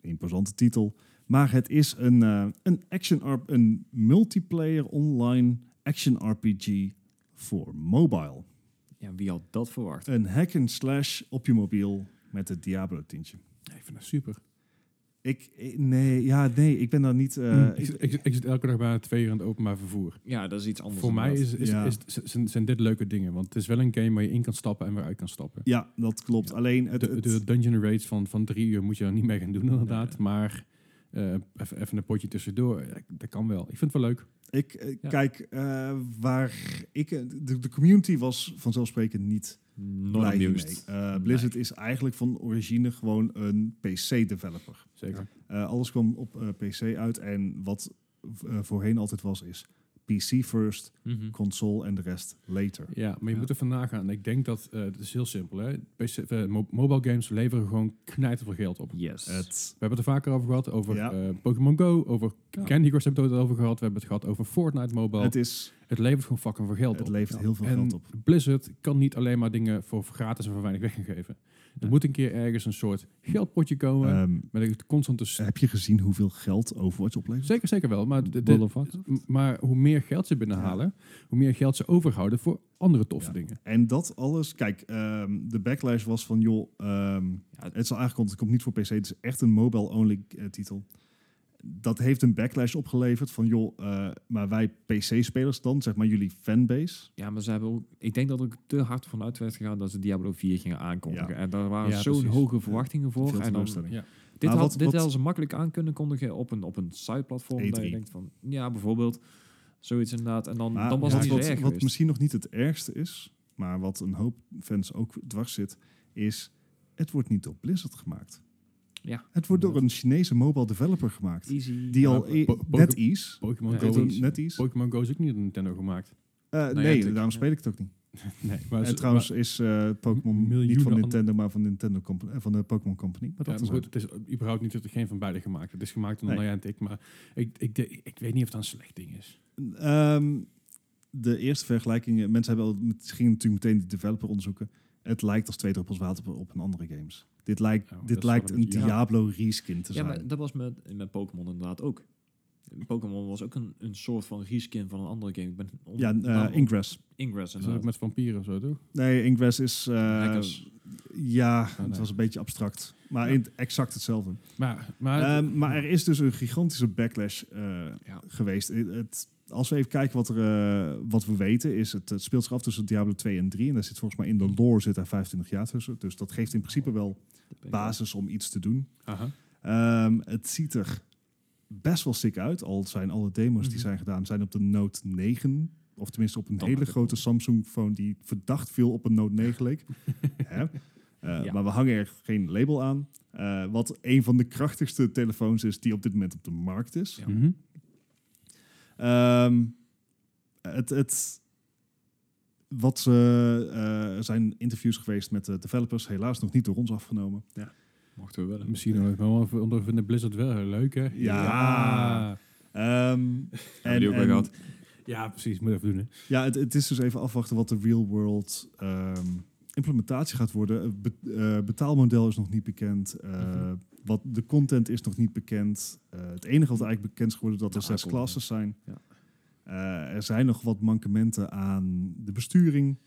Speaker 1: Imposante titel. Maar het is een, eh, een, action R- een multiplayer online action RPG voor mobile.
Speaker 2: Ja, wie had dat verwacht?
Speaker 1: Een hack and slash op je mobiel met het Diablo tintje.
Speaker 3: Ik vind dat super.
Speaker 1: Ik, ik- nee, ja, nee, ik ben daar niet... eh,
Speaker 3: Mm. ik, zit- ik, zit- ik zit elke dag bijna twee uur in het openbaar vervoer.
Speaker 2: Ja, dat is iets anders.
Speaker 3: Voor mij
Speaker 2: inderdaad.
Speaker 3: is, is,
Speaker 1: Ja.
Speaker 3: is, z- zijn, zijn dit leuke dingen. Want het is wel een game waar je in kan stappen en weer uit kan stappen.
Speaker 1: ja, dat klopt.
Speaker 3: Ja.
Speaker 1: Alleen het,
Speaker 3: De,
Speaker 1: het-
Speaker 3: de dungeon raids van, van drie uur moet je dan niet meer gaan doen inderdaad.
Speaker 2: Nee.
Speaker 3: Maar eh, even, even een potje tussendoor. Ja, dat kan wel. Ik vind het wel leuk.
Speaker 1: Ik eh,
Speaker 2: Ja.
Speaker 1: kijk eh, waar ik eh, de, de community was vanzelfsprekend niet
Speaker 2: Not
Speaker 1: blij
Speaker 2: amused.
Speaker 1: hiermee. Eh, Blizzard is eigenlijk van origine gewoon een PC developer.
Speaker 3: Zeker.
Speaker 1: alles kwam op eh, PC uit en wat v- eh, voorheen altijd was is PC first,
Speaker 2: Mhm.
Speaker 1: console en de rest later.
Speaker 3: Ja, maar je
Speaker 2: Ja.
Speaker 3: moet ervan nagaan. Ik denk dat eh, het is heel simpel. Hè? PC, eh, mo- mobile games leveren gewoon knijterveel geld op.
Speaker 2: Yes.
Speaker 1: Het,
Speaker 3: We hebben het er vaker over gehad, over
Speaker 1: Ja.
Speaker 3: eh, Pokémon Go, over
Speaker 2: Ja.
Speaker 3: Candy Crush hebben we het over gehad. We hebben het gehad over Fortnite Mobile.
Speaker 1: het
Speaker 3: Het,
Speaker 1: is,
Speaker 3: levert gewoon fucking veel geld
Speaker 1: het
Speaker 3: op.
Speaker 1: levert heel veel
Speaker 3: en
Speaker 1: geld op.
Speaker 3: Blizzard kan niet alleen maar dingen voor gratis en voor weinig weg gaan geven. Er moet een keer ergens een soort geldpotje komen.
Speaker 1: Ehm,
Speaker 3: met een constante... s-
Speaker 1: heb je gezien hoeveel geld Overwatch oplevert?
Speaker 3: Zeker, zeker wel. Maar, de, de-
Speaker 2: World of Warcraft?
Speaker 3: m- maar hoe meer geld ze binnenhalen, hoe meer geld ze overhouden voor andere toffe
Speaker 1: Ja.
Speaker 3: dingen.
Speaker 1: En dat alles, kijk, ehm, de backlash was van, joh, ehm,
Speaker 2: Ja,
Speaker 1: het is al aangekondigd, het komt niet voor PC, het is echt een mobile-only eh, titel. Dat heeft een backlash opgeleverd van, joh, eh, maar wij PC-spelers dan, zeg maar jullie fanbase.
Speaker 2: Ja, maar ze hebben ook, ik denk dat er ook te hard vanuit werd gegaan dat ze Diablo 4 gingen aankondigen. En daar waren
Speaker 3: Ja,
Speaker 2: zo'n
Speaker 3: precies.
Speaker 2: hoge verwachtingen voor.
Speaker 1: Veel
Speaker 2: En dan,
Speaker 1: teleurstelling.
Speaker 3: ja.
Speaker 2: dit
Speaker 1: Maar
Speaker 2: had,
Speaker 1: wat-
Speaker 2: dit
Speaker 1: wat- E
Speaker 2: hadden ze makkelijk aan kunnen kondigen op een, op een site-platform. Dat
Speaker 1: E3.
Speaker 2: je denkt van, ja, bijvoorbeeld, zoiets inderdaad. En dan,
Speaker 1: Maar
Speaker 2: dan was
Speaker 1: wat,
Speaker 2: het niet zo
Speaker 1: wat,
Speaker 2: erg
Speaker 1: wat
Speaker 2: geweest.
Speaker 1: misschien nog niet het ergste is, maar wat een hoop fans ook dwars zit, is het wordt niet door Blizzard gemaakt.
Speaker 2: Ja.
Speaker 1: Het wordt door
Speaker 2: Inderdaad.
Speaker 1: een Chinese mobile developer gemaakt.
Speaker 2: Easy.
Speaker 1: Die al
Speaker 3: Ja, po- po-
Speaker 1: NetEase,
Speaker 3: Pokémon
Speaker 2: Ja,
Speaker 3: Go
Speaker 1: heet dat
Speaker 3: is-
Speaker 1: NetEase?
Speaker 3: Pokémon Go is ook niet door Nintendo gemaakt.
Speaker 1: Eh,
Speaker 2: Nou ja,
Speaker 1: nee,
Speaker 2: natuurlijk.
Speaker 1: daarom
Speaker 2: Ja.
Speaker 1: speel ik het ook niet.
Speaker 3: Nee, maar
Speaker 1: en
Speaker 3: ze-
Speaker 1: trouwens is eh, Pokémon niet
Speaker 3: miljoenen
Speaker 1: van
Speaker 3: an-
Speaker 1: Nintendo, maar van, Nintendo Compa- eh, van de Pokémon Company. Maar
Speaker 3: Ja,
Speaker 1: dat
Speaker 3: maar
Speaker 1: is
Speaker 3: goed, het is überhaupt niet dat er geen van beide gemaakt. Het is gemaakt door
Speaker 1: Nee.
Speaker 3: Naya en ik, maar ik, ik, ik, ik weet niet of dat een slecht ding is.
Speaker 1: Ehm, de eerste vergelijkingen, mensen hebben al, met- ze gingen natuurlijk meteen de developer onderzoeken. Het lijkt als twee druppels water op, op een andere games. Dit lijkt,
Speaker 3: Ja, dat
Speaker 1: dit
Speaker 3: is
Speaker 1: lijkt
Speaker 3: wel
Speaker 1: een
Speaker 3: een beetje-
Speaker 1: Diablo reskin te
Speaker 2: Ja,
Speaker 1: zijn.
Speaker 2: maar dat was met, met Pokémon inderdaad ook. Pokémon was ook een, een soort van reskin van een andere game. Ik ben on-
Speaker 1: ja,
Speaker 2: naam-
Speaker 1: eh, Ingress.
Speaker 2: Ingress
Speaker 3: Is dat ook
Speaker 2: inderdaad.
Speaker 3: met vampieren of zo, toch?
Speaker 1: Nee, Ingress is... eh,
Speaker 2: Hackers.
Speaker 1: ja,
Speaker 2: Ah,
Speaker 1: het
Speaker 3: nee.
Speaker 1: was een beetje abstract. Maar
Speaker 3: Ja.
Speaker 1: in- exact hetzelfde.
Speaker 3: Maar, maar
Speaker 1: Ehm, maar er is dus een gigantische backlash eh, geweest. Eh, Het, als we even kijken wat, er, eh, wat we weten, is het, het speelt zich af tussen Diablo 2 en 3. En daar zit volgens mij in de lore zit daar 25 jaar tussen. Dus dat geeft in principe wel basis om iets te doen.
Speaker 3: aha.
Speaker 1: Ehm, het ziet er best wel sick uit. Al zijn alle demos die
Speaker 3: Mhm.
Speaker 1: zijn gedaan, zijn op de Note 9. Of tenminste op een
Speaker 2: Dan
Speaker 1: hele
Speaker 2: maakt het
Speaker 1: grote Samsung-phone die verdacht veel op een Note 9 leek. Hè? Eh,
Speaker 2: Ja.
Speaker 1: Maar we hangen er geen label aan. Eh, wat een van de krachtigste telefoons is die op dit moment op de markt is.
Speaker 2: Ja.
Speaker 3: Mhm.
Speaker 1: Ehm, het, het, wat ze, eh, er zijn interviews geweest met de developers, helaas nog niet door ons afgenomen.
Speaker 2: Mochten we willen.
Speaker 3: Misschien nog even, want we ondervinden Blizzard wel heel leuk, hè?
Speaker 1: Ja. Ehm,
Speaker 2: en, die ook wel gehad.
Speaker 3: Ja, precies. Moet even doen, hè?
Speaker 1: Ja, het, het is dus even afwachten wat de real world ehm, implementatie gaat worden. Het be- eh, betaalmodel is nog niet bekend. Eh,
Speaker 3: Mhm.
Speaker 1: wat, de content is nog niet bekend. Eh, het enige wat eigenlijk bekend is geworden is dat
Speaker 2: De
Speaker 1: er zes
Speaker 2: aankondiging.
Speaker 1: klassen zijn.
Speaker 2: Ja.
Speaker 1: Eh, er zijn nog wat mankementen aan de besturing.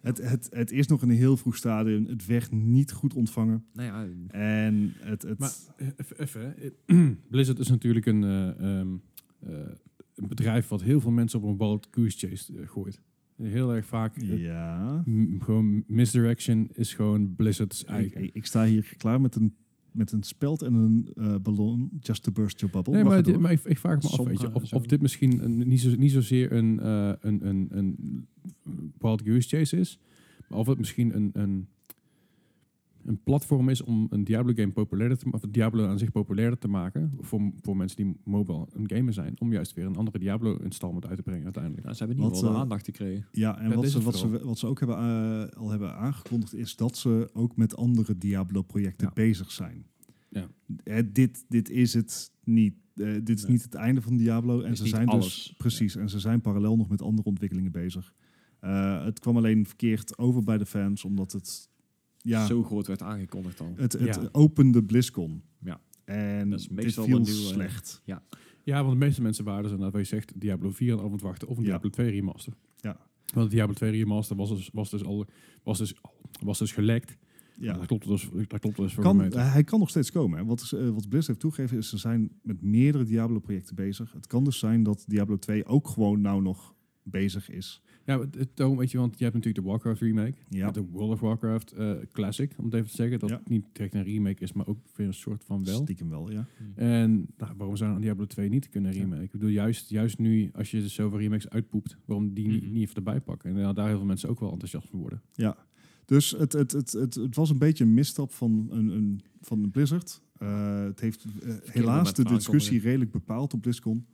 Speaker 1: Het, het, het is nog in een heel vroeg stadium. Het werd niet goed ontvangen.
Speaker 2: Nou ja,
Speaker 1: En het, het,
Speaker 3: Maar eh, even, even hè. Blizzard is natuurlijk een, eh, ehm, eh, een bedrijf wat heel veel mensen op een wild goose chase eh, gooit. Heel erg vaak... eh,
Speaker 1: ja.
Speaker 3: m- gewoon misdirection is gewoon Blizzard's
Speaker 1: Ik,
Speaker 3: eigen.
Speaker 1: ik sta hier klaar met een, met een speld en een eh, ballon. Just to burst your bubble.
Speaker 3: Nee, maar,
Speaker 1: Wacht
Speaker 3: dit-
Speaker 1: even.
Speaker 3: maar ik, ik vraag me af,
Speaker 2: Sommige
Speaker 3: weet je, of,
Speaker 2: zo.
Speaker 3: of dit misschien een, niet, zo, niet zozeer een, eh, een, een, een wild goose chase is, maar of het misschien een, een, een platform is om een Diablo game populairder te ma- of Diablo aan zich populairder te maken voor, voor mensen die mobile aan het gamen zijn, om juist weer een andere Diablo installment uit te brengen uiteindelijk.
Speaker 2: nou, ze hebben niet
Speaker 1: Wat,
Speaker 2: wel de
Speaker 1: eh,
Speaker 2: aandacht gekregen.
Speaker 1: Ja, en
Speaker 3: Ja,
Speaker 1: wat,
Speaker 3: dit
Speaker 1: ze,
Speaker 3: is het
Speaker 1: wat, ze, wat ze ook hebben, eh, al hebben aangekondigd, is dat ze ook met andere Diablo-projecten
Speaker 3: Ja.
Speaker 1: bezig zijn.
Speaker 3: Ja.
Speaker 1: Eh, dit, dit is het niet. Eh, dit is
Speaker 3: Nee.
Speaker 1: niet het einde van Diablo. En
Speaker 2: Is
Speaker 1: ze
Speaker 2: niet
Speaker 1: zijn dus
Speaker 2: alles.
Speaker 1: precies. En ze zijn parallel nog met andere ontwikkelingen bezig. Eh, het kwam alleen verkeerd over bij de fans, omdat het. Ja,
Speaker 2: Zo groot werd aangekondigd al.
Speaker 1: het, het
Speaker 3: Ja.
Speaker 1: opende BlizzCon.
Speaker 2: Ja.
Speaker 1: En
Speaker 2: Dat is
Speaker 1: dit
Speaker 2: meestal
Speaker 1: viel
Speaker 2: wat nieuw, eh,
Speaker 1: slecht.
Speaker 3: Ja, want de meeste mensen waren dus inderdaad, wat je zegt, Diablo 4 aan het afwachten of een
Speaker 1: Ja.
Speaker 3: Diablo 2 remaster.
Speaker 1: Ja.
Speaker 3: Want de Diablo 2 remaster was dus, was dus al was dus, al- was dus gelekt.
Speaker 1: ja.
Speaker 3: Dat klopt dus, dat klopt dus voor
Speaker 1: Kan, eh,
Speaker 3: een meter.
Speaker 1: hij kan nog steeds komen. Hè? Wat, is, eh, wat Blizzard heeft toegegeven is, ze zijn met meerdere Diablo-projecten bezig. Het kan dus zijn dat Diablo 2 ook gewoon nou nog bezig is.
Speaker 3: Ja, maar het- daarom weet je, want je hebt natuurlijk de Warcraft remake.
Speaker 1: Ja.
Speaker 3: De World of Warcraft eh, Classic, om het even te zeggen. Dat
Speaker 1: Ja.
Speaker 3: het niet direct een remake is, maar ook weer een soort van wel.
Speaker 1: Stiekem wel, ja.
Speaker 3: En nou, waarom zou een Diablo 2 niet kunnen
Speaker 1: Ja.
Speaker 3: remake? Ik bedoel, juist, juist nu, als je dus zoveel remakes uitpoept, waarom die niet-
Speaker 2: Mhm.
Speaker 3: niet even erbij pakken? En nou, daar heel veel mensen ook wel enthousiast van worden.
Speaker 1: Dus het, het, het, het, het was een beetje een misstap van, een, een, van een Blizzard. Eh, het heeft eh, helaas
Speaker 2: moment
Speaker 1: de
Speaker 2: van
Speaker 1: discussie
Speaker 2: aankondiging.
Speaker 1: redelijk bepaald op BlizzCon.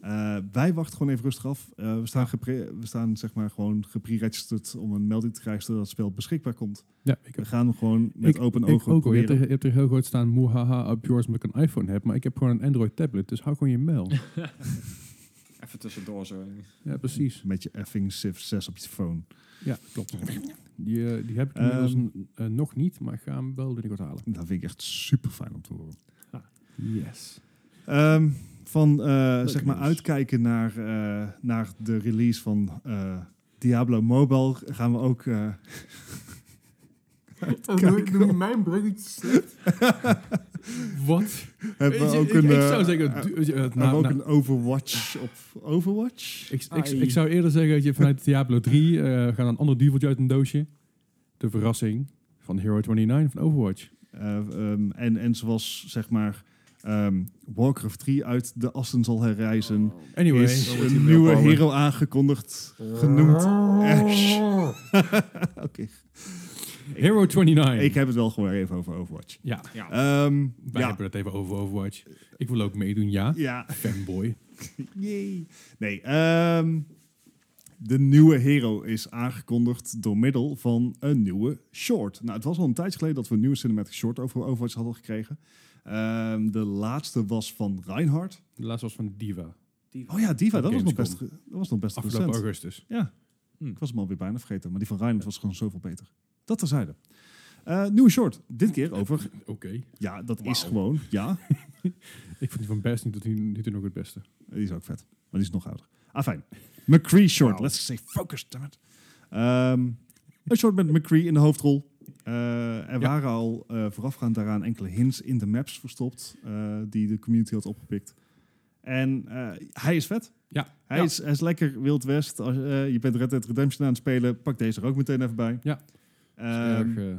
Speaker 1: Eh, wij wachten gewoon even rustig af. Eh, we, staan gepre- we staan zeg maar gewoon gepre-registered om een melding te krijgen zodat het spel beschikbaar komt.
Speaker 3: Ja, ik
Speaker 1: We gaan hem gewoon met
Speaker 3: Ik-
Speaker 1: open
Speaker 3: Ik
Speaker 1: ogen
Speaker 3: ook hoor. Je hebt, er,
Speaker 1: proberen.
Speaker 3: je hebt er heel groot staan, moehaha, op yours, omdat ik een iPhone heb. Maar ik heb gewoon een Android tablet, dus hou gewoon je mail.
Speaker 2: Even tussendoor zo.
Speaker 3: Ja, precies.
Speaker 1: Met je effing Civ 6 op je phone.
Speaker 3: Ja, klopt. Die, eh, die heb ik inmiddels n- eh, nog niet, maar ik ga hem wel binnenkort halen.
Speaker 1: Dat vind ik echt super fijn om te horen.
Speaker 3: Yes.
Speaker 1: Ehm, van eh,
Speaker 3: Leuk
Speaker 1: zeg maar
Speaker 3: nieuws.
Speaker 1: uitkijken naar, eh, naar de release van eh, Diablo Mobile gaan we ook. eh,
Speaker 4: Noem noem je mijn bruggetje slecht?
Speaker 3: Wat?
Speaker 1: hebben we
Speaker 3: Ik-
Speaker 1: ook
Speaker 3: ik,
Speaker 1: een.
Speaker 3: ik
Speaker 1: eh,
Speaker 3: zou zeggen,
Speaker 1: eh,
Speaker 3: du- eh, nou,
Speaker 1: hebben we ook
Speaker 3: nou,
Speaker 1: een Overwatch op Overwatch?
Speaker 3: ik, ik,
Speaker 2: AI.
Speaker 3: ik zou eerder zeggen dat je vanuit Diablo 3 eh, gaat een ander duveltje uit een doosje. De verrassing van Hero 29 van Overwatch.
Speaker 1: Eh, ehm, en, en zoals zeg maar ehm, Warcraft 3 uit de assen zal herrijzen,
Speaker 3: Anyway,
Speaker 1: is
Speaker 4: zo wordt hij
Speaker 1: een nieuwe
Speaker 4: opbouwen.
Speaker 1: hero aangekondigd, genoemd Ash. Oké,
Speaker 3: Hero 29.
Speaker 1: ik heb het wel gewoon even over Overwatch.
Speaker 3: ja,
Speaker 2: Ja.
Speaker 1: Ehm,
Speaker 3: wij
Speaker 1: ja,
Speaker 3: hebben het even over Overwatch. Ik wil ook meedoen, ja.
Speaker 1: ja,
Speaker 3: Fanboy.
Speaker 1: Yay. Nee, ehm, de nieuwe hero is aangekondigd door middel van een nieuwe short. Nou, het was al een tijdje geleden dat we een nieuwe cinematic short over Overwatch hadden gekregen. Ehm, de laatste was van Reinhardt.
Speaker 3: De laatste was van Diva.
Speaker 1: Oh ja, Diva, dat was, nog best,
Speaker 3: Gamescom.
Speaker 1: dat was nog best
Speaker 3: Afgelopen
Speaker 1: recent.
Speaker 3: augustus.
Speaker 1: Ja,
Speaker 2: Hm.
Speaker 1: ik was hem alweer bijna vergeten. Maar die van Reinhardt was gewoon zoveel beter. Dat terzijde. Eh nieuwe short, dit keer over...
Speaker 3: Oké.
Speaker 1: Ja, dat is
Speaker 2: Wauw.
Speaker 1: gewoon... Ja,
Speaker 3: Ik vond die van Best niet tot nu nu toe nog het beste.
Speaker 1: Die is ook vet. Maar die is nog ouder. Ah, fijn. McCree short.
Speaker 3: Wauw.
Speaker 1: Let's say focus, dammit. Ehm een short met McCree in de hoofdrol. Eh, er
Speaker 3: Ja.
Speaker 1: waren al eh, voorafgaand daaraan enkele hints in de maps verstopt... eh, die de community had opgepikt. En eh, hij is vet.
Speaker 3: Ja.
Speaker 1: Hij,
Speaker 3: Ja.
Speaker 1: Is, hij is lekker Wild West. Als, eh, je bent Red Dead Redemption aan het spelen. Pak deze er ook meteen even bij.
Speaker 3: Ja.
Speaker 1: Ehm,
Speaker 3: erg eh,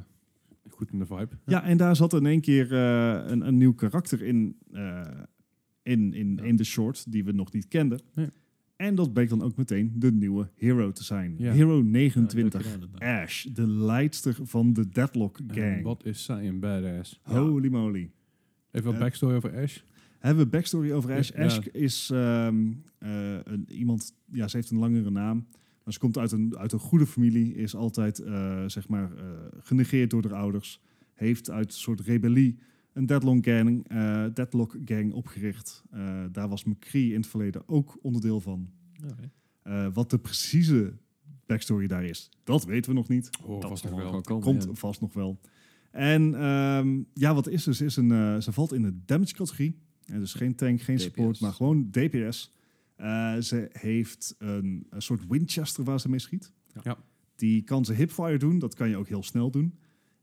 Speaker 3: goed in de vibe.
Speaker 1: ja, en daar zat in één keer eh, een, een nieuw karakter in, eh, in, in,
Speaker 3: Ja.
Speaker 1: in de short, die we nog niet kenden.
Speaker 3: Nee.
Speaker 1: En dat bleek dan ook meteen de nieuwe hero te zijn.
Speaker 3: Ja.
Speaker 1: Hero
Speaker 2: Ja, leuk
Speaker 1: 29,
Speaker 2: gedaan, inderdaad.
Speaker 1: Ash, de leidster van de Deadlock
Speaker 3: En
Speaker 1: Gang.
Speaker 3: Ehm, Wat is zij een badass.
Speaker 1: Holy moly.
Speaker 3: Even wat
Speaker 1: Eh,
Speaker 3: backstory over Ash.
Speaker 1: Hebben we backstory over Ash?
Speaker 3: Ja.
Speaker 1: Ash is ehm, eh, een, iemand, ja, ze heeft een langere naam. Maar ze komt uit een, uit een goede familie, is altijd eh, zeg maar eh, genegeerd door de ouders. Heeft uit een soort rebellie een deadlock gang, eh, deadlock gang opgericht. Eh, daar was McCree in het verleden ook onderdeel van.
Speaker 2: Oké.
Speaker 1: Eh, wat de precieze backstory daar is, dat weten we nog niet.
Speaker 3: Oh,
Speaker 2: Dat
Speaker 3: vast
Speaker 2: zal
Speaker 3: nog
Speaker 2: wel
Speaker 3: wel.
Speaker 2: gewoon komen.
Speaker 1: Komt
Speaker 2: ja.
Speaker 1: vast nog wel. En ehm, ja, wat is dus, is een, eh, ze valt in de damage categorie. En dus geen tank, geen support,
Speaker 2: DPS.
Speaker 1: maar gewoon DPS. Eh, ze heeft een, een soort Winchester waar ze mee schiet.
Speaker 2: Ja.
Speaker 3: Ja.
Speaker 1: Die kan ze hipfire doen, dat kan je ook heel snel doen.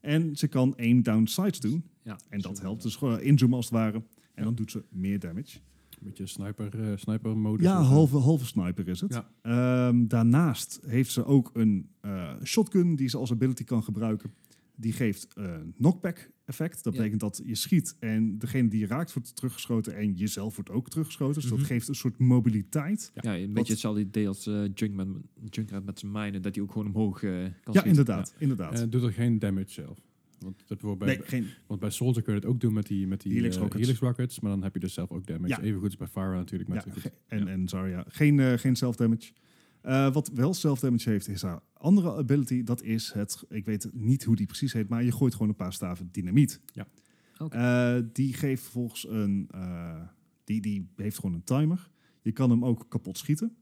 Speaker 1: En ze kan aim down sights doen.
Speaker 2: Ja.
Speaker 1: En dat
Speaker 2: Zo.
Speaker 1: helpt dus gewoon inzoomen als het ware. En
Speaker 3: Ja.
Speaker 1: dan doet ze meer damage.
Speaker 3: Een beetje sniper, eh, sniper modus.
Speaker 1: Ja, halve, halve sniper is het.
Speaker 3: Ja.
Speaker 1: Ehm, daarnaast heeft ze ook een eh, shotgun die ze als ability kan gebruiken. Die geeft eh knockback effect. Dat
Speaker 2: Ja.
Speaker 1: betekent dat je schiet en degene die je raakt wordt teruggeschoten en jezelf wordt ook teruggeschoten. Dus
Speaker 3: Mhm.
Speaker 1: dat geeft een soort mobiliteit.
Speaker 2: Ja, een beetje hetzelfde idee als eh Junkman, Junkrat met zijn mijnen, dat hij ook gewoon omhoog eh, kan schieten.
Speaker 1: ja, inderdaad. inderdaad.
Speaker 3: En Eh, doet er geen damage zelf. Want, dat wordt bij,
Speaker 1: nee, geen,
Speaker 3: want bij Soldier kun je het ook doen met die, met die eh,
Speaker 1: Helix rockets.
Speaker 3: Helix rockets, Maar dan heb je dus zelf ook damage.
Speaker 1: Ja.
Speaker 3: Even goed als bij Farah natuurlijk. Met
Speaker 1: ja,
Speaker 3: de-
Speaker 1: ge- en,
Speaker 3: Ja.
Speaker 1: en Zarya. Geen, eh, geen self-damage. Eh, wat wel self-damage heeft, is haar andere ability. Dat is het, ik weet niet hoe die precies heet, maar je gooit gewoon een paar staven dynamiet.
Speaker 3: Ja.
Speaker 2: Oké.
Speaker 1: Eh, die geeft volgens een, eh, die, die heeft gewoon een timer. Je kan hem ook kapot schieten.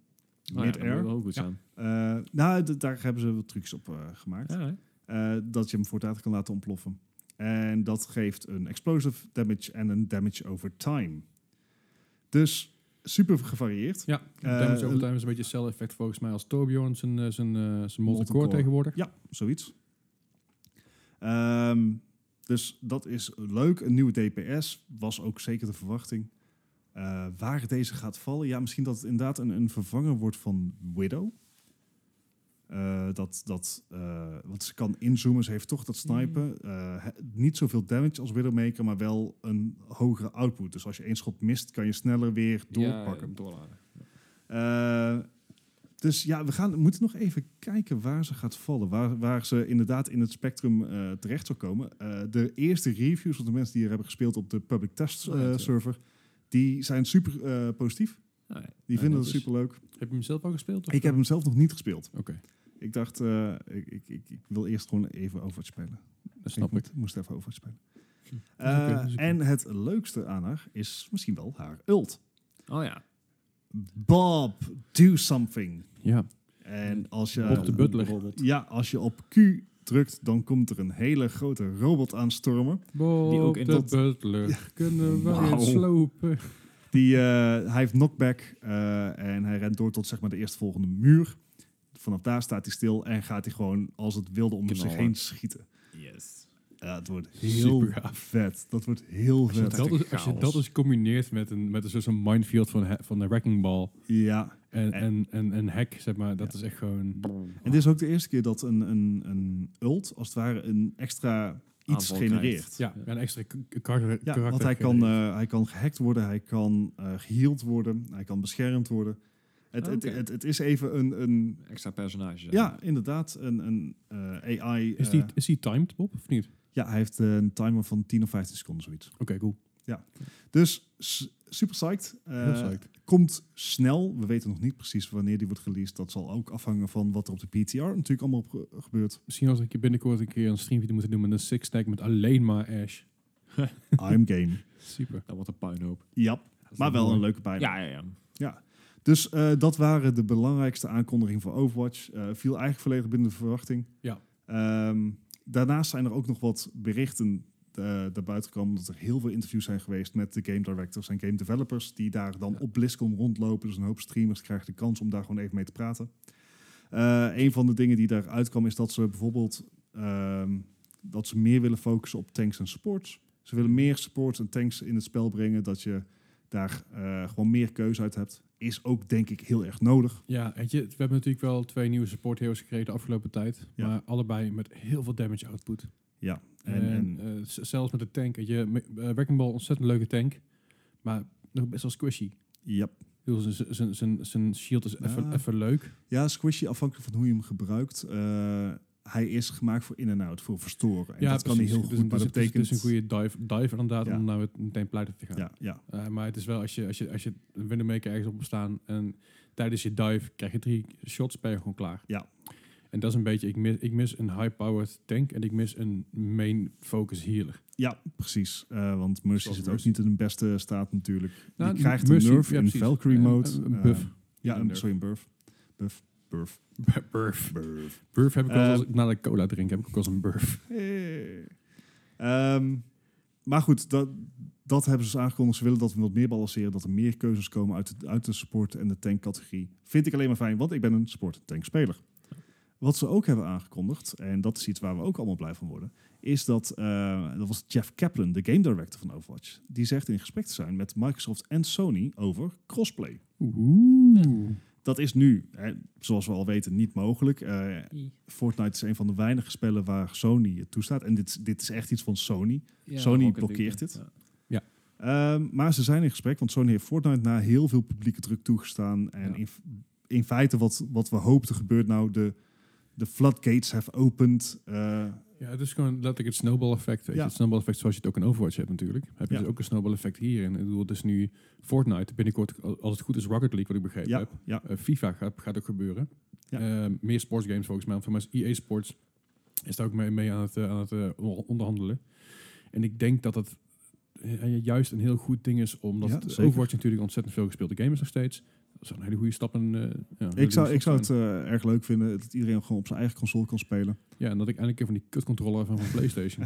Speaker 2: Nou ja, dat
Speaker 1: Mid-air.
Speaker 2: moet wel goed
Speaker 3: Ja.
Speaker 2: zijn.
Speaker 1: Eh, nou, d- daar hebben ze wat trucs op eh, gemaakt.
Speaker 2: Ja, hè?
Speaker 1: Eh, dat je hem voortaan kan laten ontploffen. En dat geeft een explosive damage en een damage over time. Dus super gevarieerd.
Speaker 3: Ja,
Speaker 1: Eh,
Speaker 3: damage over time is een beetje hetzelfde effect volgens mij als Torbjorn zijn, eh, zijn, eh, zijn Molten
Speaker 1: Molten
Speaker 3: Core
Speaker 1: Core.
Speaker 3: tegenwoordig.
Speaker 1: Ja, zoiets. Ehm, dus dat is leuk. Een nieuwe DPS was ook zeker de verwachting. Eh, waar deze gaat vallen, ja, misschien dat het inderdaad een, een vervanger wordt van Widow. Eh, dat, dat, eh, want ze kan inzoomen, ze heeft toch dat snipen. Eh, he- niet zoveel damage als Widowmaker, maar wel een hogere output. Dus als je één schot mist, kan je sneller weer doorpakken.
Speaker 2: Ja, doorladen.
Speaker 1: Eh, dus ja, we gaan, moeten nog even kijken waar ze gaat vallen. Waar, waar ze inderdaad in het spectrum eh, terecht zou komen. Eh, de eerste reviews van de mensen die er hebben gespeeld op de public test
Speaker 2: Oh ja,
Speaker 1: eh,
Speaker 2: tuurlijk.
Speaker 1: server... die zijn super eh, positief.
Speaker 2: Nou ja.
Speaker 1: Die
Speaker 2: Ja,
Speaker 1: vinden
Speaker 2: dat
Speaker 1: het
Speaker 2: is-
Speaker 1: superleuk.
Speaker 3: Heb je hem zelf al gespeeld? of-
Speaker 1: Ik heb hem zelf nog niet gespeeld.
Speaker 3: Oké,
Speaker 1: Ik dacht, eh, ik, ik, ik, ik wil eerst gewoon even Overwatch spelen.
Speaker 3: dat snap ik.
Speaker 1: Moest, moest even Overwatch spelen.
Speaker 2: Hm.
Speaker 1: Eh,
Speaker 3: Dat is oké, dat is oké.
Speaker 1: En het leukste aan haar is misschien wel haar ult.
Speaker 2: Oh ja.
Speaker 1: Bob, do something.
Speaker 3: Ja,
Speaker 1: En als je,
Speaker 3: Bob de Butler.
Speaker 1: ja, als je op Q drukt, dan komt er een hele grote robot aanstormen.
Speaker 3: Bob
Speaker 2: ook in
Speaker 3: de
Speaker 2: dat-
Speaker 3: Butler. Kunnen we
Speaker 2: Wauw.
Speaker 3: het slopen?
Speaker 1: Die, eh, hij heeft knockback eh, en hij rent door tot zeg maar, de eerstvolgende muur. Vanaf daar staat hij stil en gaat hij gewoon als het wilde om zich
Speaker 2: Knallen.
Speaker 1: heen schieten.
Speaker 2: Yes.
Speaker 1: Ja, het wordt heel
Speaker 3: Supergaaf.
Speaker 1: vet. Dat wordt heel
Speaker 2: Als je
Speaker 1: vet.
Speaker 3: Dat is, als je
Speaker 2: chaos.
Speaker 3: dat eens combineert met een, met een soort van minefield van, he- van de Wrecking Ball
Speaker 1: Ja.
Speaker 3: en,
Speaker 1: En-
Speaker 3: en, en, en hack, zeg maar, dat is echt gewoon...
Speaker 1: En dit is ook de eerste keer dat een, een, een ult, als het ware, een extra iets
Speaker 2: Aanval
Speaker 1: genereert.
Speaker 2: krijgt.
Speaker 3: Ja, een extra k- k- karakter.
Speaker 1: Ja,
Speaker 3: karakter
Speaker 1: want hij kan,
Speaker 3: genereren.
Speaker 1: eh, hij kan gehackt worden, hij kan eh geheeld worden, hij kan beschermd worden. Het,
Speaker 2: Ah,
Speaker 1: het,
Speaker 2: oké.
Speaker 1: het, het is even een, een
Speaker 2: Extra personage.
Speaker 1: ja, inderdaad, een, een eh, AI.
Speaker 3: is, die,
Speaker 1: eh,
Speaker 3: is die timed, Bob, of niet? Oké,
Speaker 1: ja, hij heeft eh, een timer van 10 of 15 seconden, zoiets.
Speaker 3: cool.
Speaker 1: Dus s- super psyched. eh,
Speaker 3: Heel psyched.
Speaker 1: Komt snel. We weten nog niet precies wanneer die wordt released. Dat zal ook afhangen van wat er op de PTR natuurlijk allemaal op ge- gebeurt.
Speaker 3: Misschien als ik binnenkort een keer een streamje moet doen met een six-stack met alleen maar Ash.
Speaker 1: I'm game.
Speaker 3: Super.
Speaker 2: Dat wordt een puinhoop.
Speaker 1: Ja, maar wel
Speaker 3: mooi.
Speaker 1: een leuke pijn.
Speaker 2: Ja, ja, ja.
Speaker 1: Dus eh, dat waren de belangrijkste aankondigingen voor Overwatch. Eh, viel eigenlijk volledig binnen de verwachting.
Speaker 3: Ja.
Speaker 1: Ehm, daarnaast zijn er ook nog wat berichten daarbuiten buiten gekomen. Dat er heel veel interviews zijn geweest met de game directors en game developers. Die daar dan op BlizzCon rondlopen. Dus een hoop streamers krijgen de kans om daar gewoon even mee te praten. Eh, een van de dingen die daaruit kwam is dat ze bijvoorbeeld... ehm, dat ze meer willen focussen op tanks en supports. Ze willen meer supports en tanks in het spel brengen. Dat je daar eh, gewoon meer keuze uit hebt. Is ook denk ik heel erg nodig.
Speaker 3: Ja, weet je, we hebben natuurlijk wel twee nieuwe support heroes gekregen de afgelopen tijd.
Speaker 1: Ja.
Speaker 3: Maar allebei met heel veel damage output.
Speaker 1: En,
Speaker 3: En,
Speaker 1: en,
Speaker 3: eh, z- zelfs met de tank. Weet je, me- eh, Wrecking Ball, ontzettend leuke tank. Maar nog best wel squishy.
Speaker 1: ja.
Speaker 3: Ik bedoel, z- z- z- z- Zijn shield is even
Speaker 1: Ja.
Speaker 3: even leuk.
Speaker 1: ja, squishy afhankelijk van hoe je hem gebruikt. Eh, hij is gemaakt voor in-en-out, voor verstoren. En dat kan hij
Speaker 3: precies.
Speaker 1: heel
Speaker 3: Dus-
Speaker 1: goed, maar
Speaker 3: dus
Speaker 1: dat
Speaker 3: het is-
Speaker 1: betekent...
Speaker 3: Het is een goede dive, dive inderdaad
Speaker 1: Ja.
Speaker 3: om nou het meteen pleiten te gaan.
Speaker 1: ja, ja,
Speaker 3: Eh, maar het is wel als je, als je, als je een Windermaker ergens op staan en tijdens je dive krijg je drie shots per gewoon klaar.
Speaker 1: Ja.
Speaker 3: En dat is een beetje, ik mis, ik mis een high-powered tank en ik mis een main focus healer.
Speaker 1: ja, precies. Eh, want Mercy
Speaker 3: Zoals
Speaker 1: zit ook
Speaker 3: Mercy.
Speaker 1: niet in de beste staat natuurlijk.
Speaker 3: Nou,
Speaker 1: Die krijgt
Speaker 3: Mercy,
Speaker 1: een nerf
Speaker 3: ja,
Speaker 1: in
Speaker 3: precies.
Speaker 1: Valkyrie
Speaker 3: En-
Speaker 1: mode.
Speaker 3: en een buff.
Speaker 1: Eh, ja,
Speaker 3: Een
Speaker 1: een,
Speaker 3: nerf.
Speaker 1: sorry, een buff. Buff, burf,
Speaker 3: burf.
Speaker 1: burf.
Speaker 3: Burf heb ik al
Speaker 1: Eh,
Speaker 3: als ik na de cola drink, heb ik ook als een burf.
Speaker 1: Hey. Eh. Ehm, maar goed, dat, dat hebben ze dus aangekondigd. Ze willen dat we wat meer balanceren. Dat er meer keuzes komen uit de, uit de support- en de tankcategorie. Vind ik alleen maar fijn, want ik ben een support- en tankspeler. Wat ze ook hebben aangekondigd, en dat is iets waar we ook allemaal blij van worden... is dat, eh, dat was Jeff Kaplan, de game director van Overwatch... die zegt in gesprek te zijn met Microsoft en Sony over crossplay.
Speaker 3: Oeh.
Speaker 1: Dat is nu, hè, zoals we al weten, niet mogelijk. Eh, Fortnite is een van de weinige spellen waar Sony het toestaat. En dit, dit is echt iets van Sony. Sony blokkeert dit. Ehm, maar ze zijn in gesprek, want Sony heeft Fortnite na heel veel publieke druk toegestaan. En
Speaker 3: Ja.
Speaker 1: in, f- in feite wat, wat we hoopten gebeurt nou, de, de floodgates have opened. Eh,
Speaker 3: Ja, het is gewoon letterlijk het snowball effect. Weet
Speaker 1: Ja.
Speaker 3: je, het snowball effect zoals je het ook in Overwatch hebt natuurlijk. Heb je
Speaker 1: Ja.
Speaker 3: dus ook een snowball effect hier. En ik bedoel, het is nu Fortnite. Binnenkort, al- als het goed is, Rocket League, wat ik begrepen
Speaker 1: ja,
Speaker 3: heb.
Speaker 1: ja,
Speaker 3: Eh, FIFA gaat, gaat ook gebeuren.
Speaker 1: Ja.
Speaker 3: Eh, meer sportsgames volgens mij. Want Volgens mij is EA Sports is daar ook mee, mee aan het, eh, aan het eh, on- onderhandelen. En ik denk dat dat eh, juist een heel goed ding is. Omdat
Speaker 1: Ja,
Speaker 3: het
Speaker 1: zeker.
Speaker 3: Overwatch natuurlijk ontzettend veel gespeelde game is nog steeds. Dat zou een hele goede stap. En, eh, ja,
Speaker 1: ik zou,
Speaker 3: stap
Speaker 1: ik zou
Speaker 3: zijn.
Speaker 1: het eh, erg leuk vinden dat iedereen gewoon op zijn eigen console kan spelen.
Speaker 3: Ja, en dat ik eindelijk even van die kutcontroller van mijn PlayStation.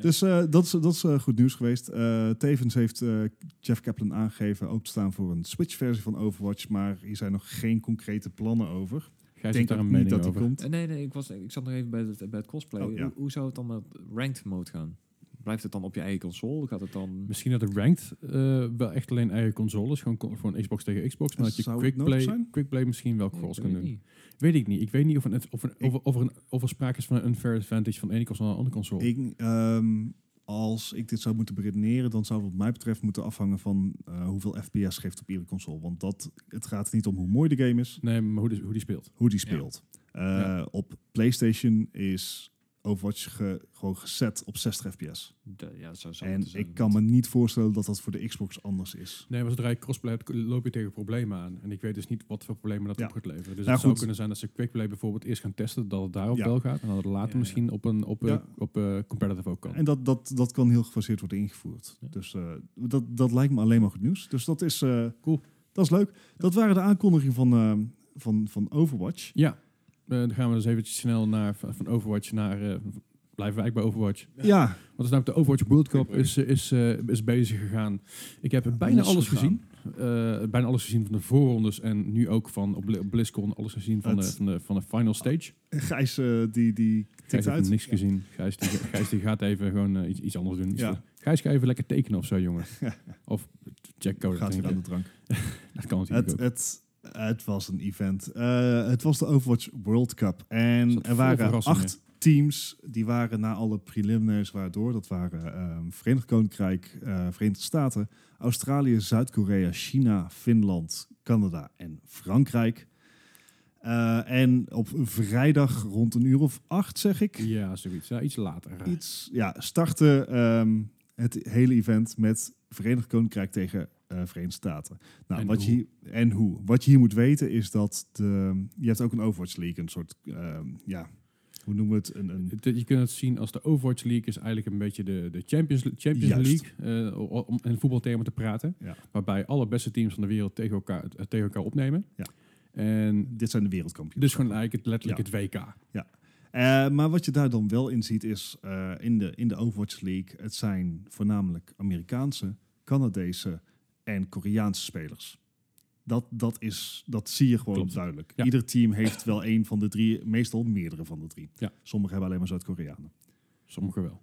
Speaker 1: Dus eh, dat is, dat is eh, goed nieuws geweest. Eh, tevens heeft eh, Jeff Kaplan aangegeven ook te staan voor een Switch-versie van Overwatch. Maar hier zijn nog geen concrete plannen over.
Speaker 3: Gij
Speaker 1: Ik
Speaker 3: zit
Speaker 1: denk
Speaker 3: daar
Speaker 1: ook
Speaker 3: een
Speaker 1: niet
Speaker 3: mening
Speaker 1: dat die
Speaker 3: over.
Speaker 1: komt.
Speaker 2: Eh, Nee, nee, ik, was, ik zat nog even bij het, bij het cosplay.
Speaker 1: Oh, ja.
Speaker 2: hoe, hoe zou het dan met ranked mode gaan? Blijft het dan op je eigen console? Gaat het dan...
Speaker 3: Misschien dat de ranked eh, wel echt alleen eigen consoles, gewoon co- gewoon Xbox tegen Xbox, maar dat je
Speaker 1: Zou het
Speaker 3: quickplay
Speaker 1: nodig zijn?
Speaker 3: quickplay misschien wel cross
Speaker 2: Ik
Speaker 3: kan
Speaker 2: weet
Speaker 3: doen.
Speaker 2: niet.
Speaker 3: Weet ik niet. Ik weet niet of, een, of, een, of, er- of er een, of er sprake is van een unfair advantage van de ene console naar de andere console.
Speaker 1: Ik, ehm, als ik dit zou moeten beredeneren, dan zou het wat mij betreft moeten afhangen van eh, hoeveel FPS geeft op iedere console. Want dat, het gaat er niet om hoe mooi de game is,
Speaker 3: nee, maar hoe die, hoe die speelt.
Speaker 1: hoe die speelt. Eh,
Speaker 3: Ja.
Speaker 1: Op PlayStation is Overwatch ge- gewoon gezet op 60 FPS.
Speaker 2: De- ja, zo zou dus
Speaker 1: En
Speaker 2: moeten zijn.
Speaker 1: ik kan me niet voorstellen dat dat voor de Xbox anders is.
Speaker 3: Nee, maar zodra je crossplay hebt, loop je tegen problemen aan. En ik weet dus niet wat voor problemen dat
Speaker 1: Ja.
Speaker 3: op gaat leveren. Dus
Speaker 1: Nou,
Speaker 3: het zou
Speaker 1: goed.
Speaker 3: kunnen zijn dat ze quickplay bijvoorbeeld eerst gaan testen, dat het daarop
Speaker 1: Ja.
Speaker 3: wel gaat. En dat het later
Speaker 2: Ja, ja.
Speaker 3: misschien op een op, eh,
Speaker 1: Ja.
Speaker 3: op eh, competitive ook kan.
Speaker 1: En dat, dat, dat kan heel gefaseerd worden ingevoerd.
Speaker 2: Ja.
Speaker 1: Dus eh, dat, dat lijkt me alleen maar goed nieuws. Dus dat is eh,
Speaker 3: Cool.
Speaker 1: Dat is leuk. Dat waren de aankondigingen van, eh, van, van Overwatch.
Speaker 3: Ja, Eh, dan gaan we dus eventjes snel naar, van van Overwatch naar... eh, blijven wij bij Overwatch.
Speaker 1: Ja,
Speaker 3: Want is namelijk de Overwatch World Cup is, eh, is, eh, is bezig gegaan. Ik heb bijna
Speaker 1: los
Speaker 3: alles
Speaker 1: gegaan.
Speaker 3: gezien. Eh, bijna alles gezien van de voorrondes en nu ook van op Bl- BlizzCon alles gezien van, de,
Speaker 1: Het-
Speaker 3: van, de, van de final stage.
Speaker 1: Gijs eh, die, die
Speaker 3: Gijs
Speaker 1: tikt
Speaker 3: heeft
Speaker 1: uit.
Speaker 3: niks gezien. Gijs die, Gijs die gaat even gewoon eh, iets, iets anders doen. Iets
Speaker 1: Ja.
Speaker 3: voor- Gijs, ga even lekker tekenen of zo, jongen. Of Jack Code.
Speaker 1: Gaat weer aan de drank.
Speaker 3: Dat kan natuurlijk
Speaker 1: Het,
Speaker 3: ook.
Speaker 1: het, het was een event. Eh, het was de Overwatch World Cup.
Speaker 3: Zat
Speaker 1: En
Speaker 3: vol
Speaker 1: er waren
Speaker 3: verrassingen.
Speaker 1: acht teams. Die waren na alle preliminaires waardoor. Dat waren ehm, Verenigd Koninkrijk, eh, Verenigde Staten, Australië, Zuid-Korea, China, Finland, Canada en Frankrijk. Eh, en op vrijdag rond een uur of acht, zeg ik,
Speaker 3: Ja, zoiets. Ja, iets later.
Speaker 1: iets, ja, startte ehm, het hele event met Verenigd Koninkrijk tegen eh Verenigde Staten. Nou,
Speaker 3: En
Speaker 1: wat
Speaker 3: hoe.
Speaker 1: Je, hier- en hoe. Wat je hier moet weten is dat de, je hebt ook een Overwatch League, een soort, ehm, ja, hoe noemen we het? Een, een,
Speaker 3: Het- Je kunt het zien als de Overwatch League is eigenlijk een beetje de, de Champions, Champions
Speaker 1: Juist.
Speaker 3: League, eh, o- om in voetbaltermen te praten.
Speaker 1: Ja.
Speaker 3: Waarbij alle beste teams van de wereld tegen elkaar, eh, tegen elkaar opnemen.
Speaker 1: Ja.
Speaker 3: En
Speaker 1: dit zijn de wereldkampioenen.
Speaker 3: dus gewoon eigenlijk het, letterlijk het WK.
Speaker 1: Eh, maar wat je daar dan wel in ziet is, eh, in, de, in de Overwatch League, het zijn voornamelijk Amerikaanse, Canadese en Koreaanse spelers. Dat, dat, is, dat zie je gewoon
Speaker 3: Klopt.
Speaker 1: duidelijk.
Speaker 3: Ja.
Speaker 1: Ieder team heeft wel één van de drie, meestal meerdere van de drie.
Speaker 3: Ja.
Speaker 1: Sommigen hebben alleen maar Zuid-Koreanen.
Speaker 3: Sommigen wel.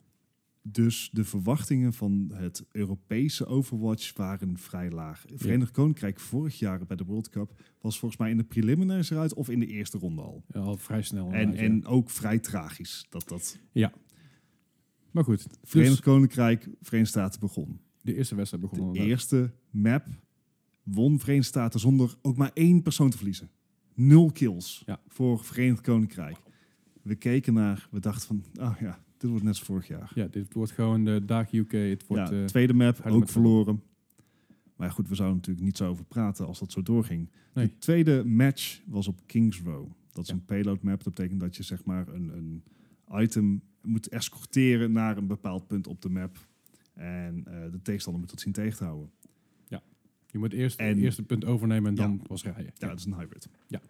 Speaker 1: Dus de verwachtingen van het Europese Overwatch waren vrij laag. Verenigd Koninkrijk vorig jaar bij de World Cup was volgens mij in de preliminaires eruit of in de eerste ronde al.
Speaker 3: Ja, Al vrij snel.
Speaker 1: En,
Speaker 3: inderdaad, Oh,
Speaker 1: en
Speaker 3: ja.
Speaker 1: ook vrij tragisch dat dat
Speaker 3: maar goed,
Speaker 1: Verenigd
Speaker 3: dus
Speaker 1: Koninkrijk, Verenigde Staten begon.
Speaker 3: de eerste wedstrijd begon.
Speaker 1: De
Speaker 3: inderdaad.
Speaker 1: eerste map won Verenigde Staten zonder ook maar één persoon te verliezen. Nul kills
Speaker 3: Ja.
Speaker 1: voor Verenigd Koninkrijk. We keken naar, we dachten van, ah ja, dit wordt net als vorig jaar.
Speaker 3: Ja, dit wordt gewoon de dag UK. Het wordt
Speaker 1: ja,
Speaker 3: eh,
Speaker 1: tweede map,
Speaker 3: harde
Speaker 1: ook
Speaker 3: map.
Speaker 1: verloren. Maar goed, we zouden natuurlijk niet zo over praten als dat zo doorging.
Speaker 3: Nee.
Speaker 1: De tweede match was op Kings Row. Dat is
Speaker 3: Ja.
Speaker 1: een payload map. Dat betekent dat je zeg maar een, een item moet escorteren naar een bepaald punt op de map. En eh, de tegenstander moet dat zien tegen te houden.
Speaker 3: je moet eerst het
Speaker 1: en-
Speaker 3: eerste punt overnemen en dan pas rijden.
Speaker 1: Ja, dat is een hybrid.
Speaker 3: Ja.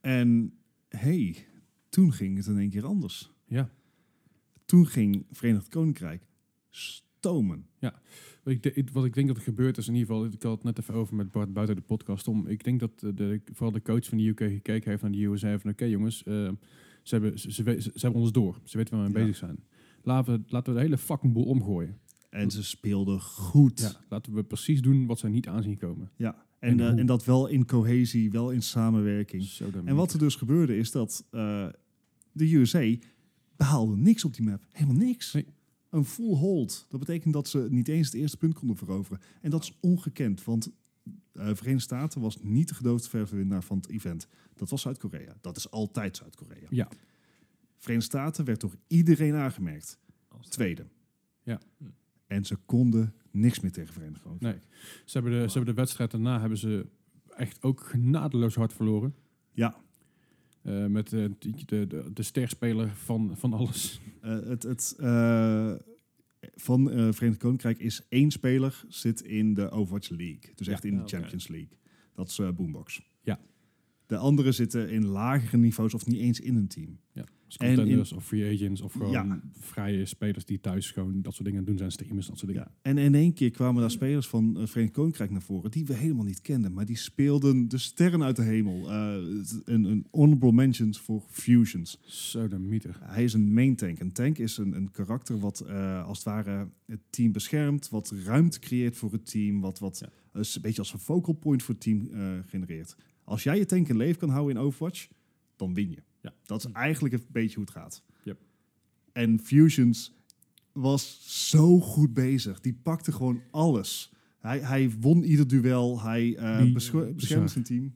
Speaker 1: En hey, toen ging het in één keer anders.
Speaker 3: Ja.
Speaker 1: Toen ging Verenigd Koninkrijk stomen.
Speaker 3: Wat ik, de- ik- wat ik denk dat er gebeurd is, in ieder geval, ik had het net even over met Bart buiten de podcast om. Ik denk dat eh, de, vooral de coach van de UK gekeken heeft naar de USA en van oké jongens, eh, ze, hebben, ze, ze, we- ze hebben ons door. Ze weten waar we mee
Speaker 1: Ja.
Speaker 3: bezig zijn. Laten we, laten we de hele fucking boel omgooien.
Speaker 1: En ze speelden goed.
Speaker 3: Ja. Laten we precies doen wat ze niet aan zien komen.
Speaker 1: Ja, en,
Speaker 3: En
Speaker 1: eh,
Speaker 3: hoe?
Speaker 1: en dat wel in cohesie, wel in samenwerking.
Speaker 3: Zo dan
Speaker 1: En wat er dus gebeurde is dat eh, de USA behaalde niks op die map. Helemaal niks.
Speaker 3: Nee.
Speaker 1: Een full hold. Dat betekent dat ze niet eens het eerste punt konden veroveren. En dat is ongekend, want eh Verenigde Staten was niet de gedoofde ververwinnaar van het event. Dat was Zuid-Korea. Dat is altijd Zuid-Korea.
Speaker 3: Ja.
Speaker 1: Verenigde Staten werd door iedereen aangemerkt. Tweede.
Speaker 3: Ja.
Speaker 1: En ze konden niks meer tegen Verenigd Koninkrijk.
Speaker 3: Nee. Ze hebben, de, ze hebben de wedstrijd daarna hebben ze echt ook genadeloos hard verloren.
Speaker 1: Ja.
Speaker 3: Eh, met eh, die- de, de, de sterspeler van, van alles.
Speaker 1: Eh, het, het, eh, van eh Verenigd Koninkrijk is één speler zit in de Overwatch League. Dus
Speaker 3: Ja,
Speaker 1: echt in de
Speaker 2: oké.
Speaker 1: Champions League. Dat is eh, Boombox.
Speaker 3: Ja.
Speaker 1: De anderen zitten in lagere niveaus of niet eens in een team.
Speaker 3: Dus
Speaker 1: En in-
Speaker 3: contenders of free agents of gewoon
Speaker 1: Ja.
Speaker 3: vrije spelers die thuis gewoon dat soort dingen doen zijn. Streamers, dat soort dingen.
Speaker 1: Ja. En in één keer kwamen daar spelers van eh, Verenigd Koninkrijk naar voren... die we helemaal niet kenden. Maar die speelden de sterren uit de hemel. Eh, het- een, een honorable mentions voor Fusions.
Speaker 3: Zo de mieter.
Speaker 1: Hij is een main tank. Een tank is een, een karakter wat eh, als het ware het team beschermt, wat ruimte creëert voor het team, wat, wat
Speaker 3: Ja.
Speaker 1: is een beetje als een focal point voor het team eh, genereert. Als jij je tank in leven kan houden in Overwatch, dan win je.
Speaker 3: Ja. Hm.
Speaker 1: Dat is eigenlijk een beetje hoe het gaat.
Speaker 3: Yep.
Speaker 1: En Fusions was zo goed bezig. Die pakte gewoon alles. Hij, hij won ieder duel. Hij eh,
Speaker 3: Wie-
Speaker 1: bescho- beschermde
Speaker 3: bizar.
Speaker 1: zijn team.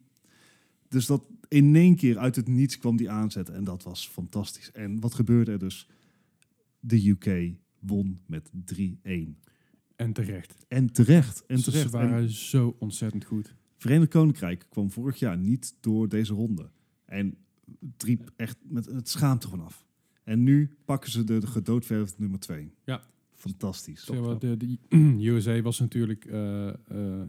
Speaker 1: Dus dat in één keer uit het niets kwam die aanzet. En dat was fantastisch. En wat gebeurde er dus? De UK won met 3-1.
Speaker 3: En terecht.
Speaker 1: En terecht. En
Speaker 3: Ze- Ze
Speaker 1: terecht. En
Speaker 3: waren zo ontzettend goed.
Speaker 1: Verenigd Koninkrijk kwam vorig jaar niet door deze ronde. En het riep echt met het schaamte vanaf. En nu pakken ze de, de gedoodverfde nummer 2.
Speaker 3: Ja.
Speaker 1: fantastisch.
Speaker 3: Zeg maar, de, de USA was natuurlijk, eh, eh,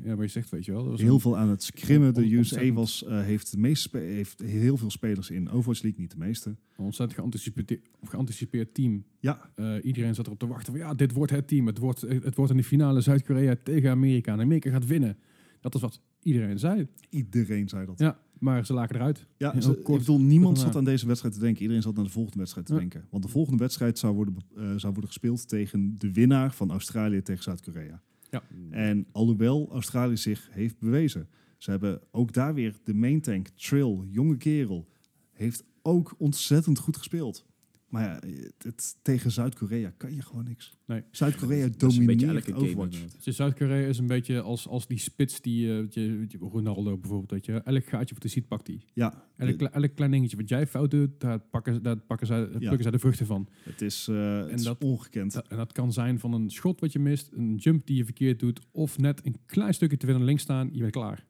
Speaker 3: ja, wat je zegt, weet je wel. dat was
Speaker 1: Heel
Speaker 3: een-
Speaker 1: veel aan het scrimmen. De USA
Speaker 3: Ontzettend.
Speaker 1: was, eh, heeft, de meeste spe- heeft heel veel spelers in. Overwatch League niet de meeste.
Speaker 3: Een ontzettend geanticipeerde- geanticipeerd team.
Speaker 1: Ja.
Speaker 3: Eh, iedereen zat erop te wachten van ja, dit wordt het team. Het wordt, het wordt in de finale Zuid-Korea tegen Amerika. En Amerika gaat winnen. Dat is wat iedereen zei.
Speaker 1: Iedereen zei dat.
Speaker 3: Ja, maar ze laken eruit.
Speaker 1: Ja,
Speaker 3: Heel
Speaker 1: ze-
Speaker 3: kort.
Speaker 1: ik bedoel, niemand
Speaker 3: Kort
Speaker 1: zat aan deze wedstrijd te denken. Iedereen zat aan de volgende wedstrijd te
Speaker 3: Ja.
Speaker 1: denken. Want de volgende wedstrijd zou worden, be- eh, zou worden gespeeld tegen de winnaar van Australië tegen Zuid-Korea.
Speaker 2: Hmm.
Speaker 1: En alhoewel Australië zich heeft bewezen. Ze hebben ook daar weer de main tank, Trill, jonge kerel, heeft ook ontzettend goed gespeeld. Maar ja, het, het- tegen Zuid-Korea kan je gewoon niks.
Speaker 3: Nee.
Speaker 1: Zuid-Korea
Speaker 2: Dat is een beetje
Speaker 1: domineert
Speaker 2: elke game
Speaker 1: Overwatch.
Speaker 2: inderdaad.
Speaker 3: Dus Zuid-Korea is een beetje als, als die spits die, eh, weet je, weet je, Ronaldo bijvoorbeeld, weet je, elk gaatje wat hij ziet pakt hij.
Speaker 1: ja,
Speaker 3: Elk, kle- elk klein dingetje wat jij fout doet, daar pakken, daar pakken zij, plukken zij de vruchten van.
Speaker 1: het is, eh, het
Speaker 3: En
Speaker 1: is
Speaker 3: dat-
Speaker 1: ongekend.
Speaker 3: En dat kan zijn van een schot wat je mist, een jump die je verkeerd doet, of net een klein stukje te ver naar links staan, je bent klaar.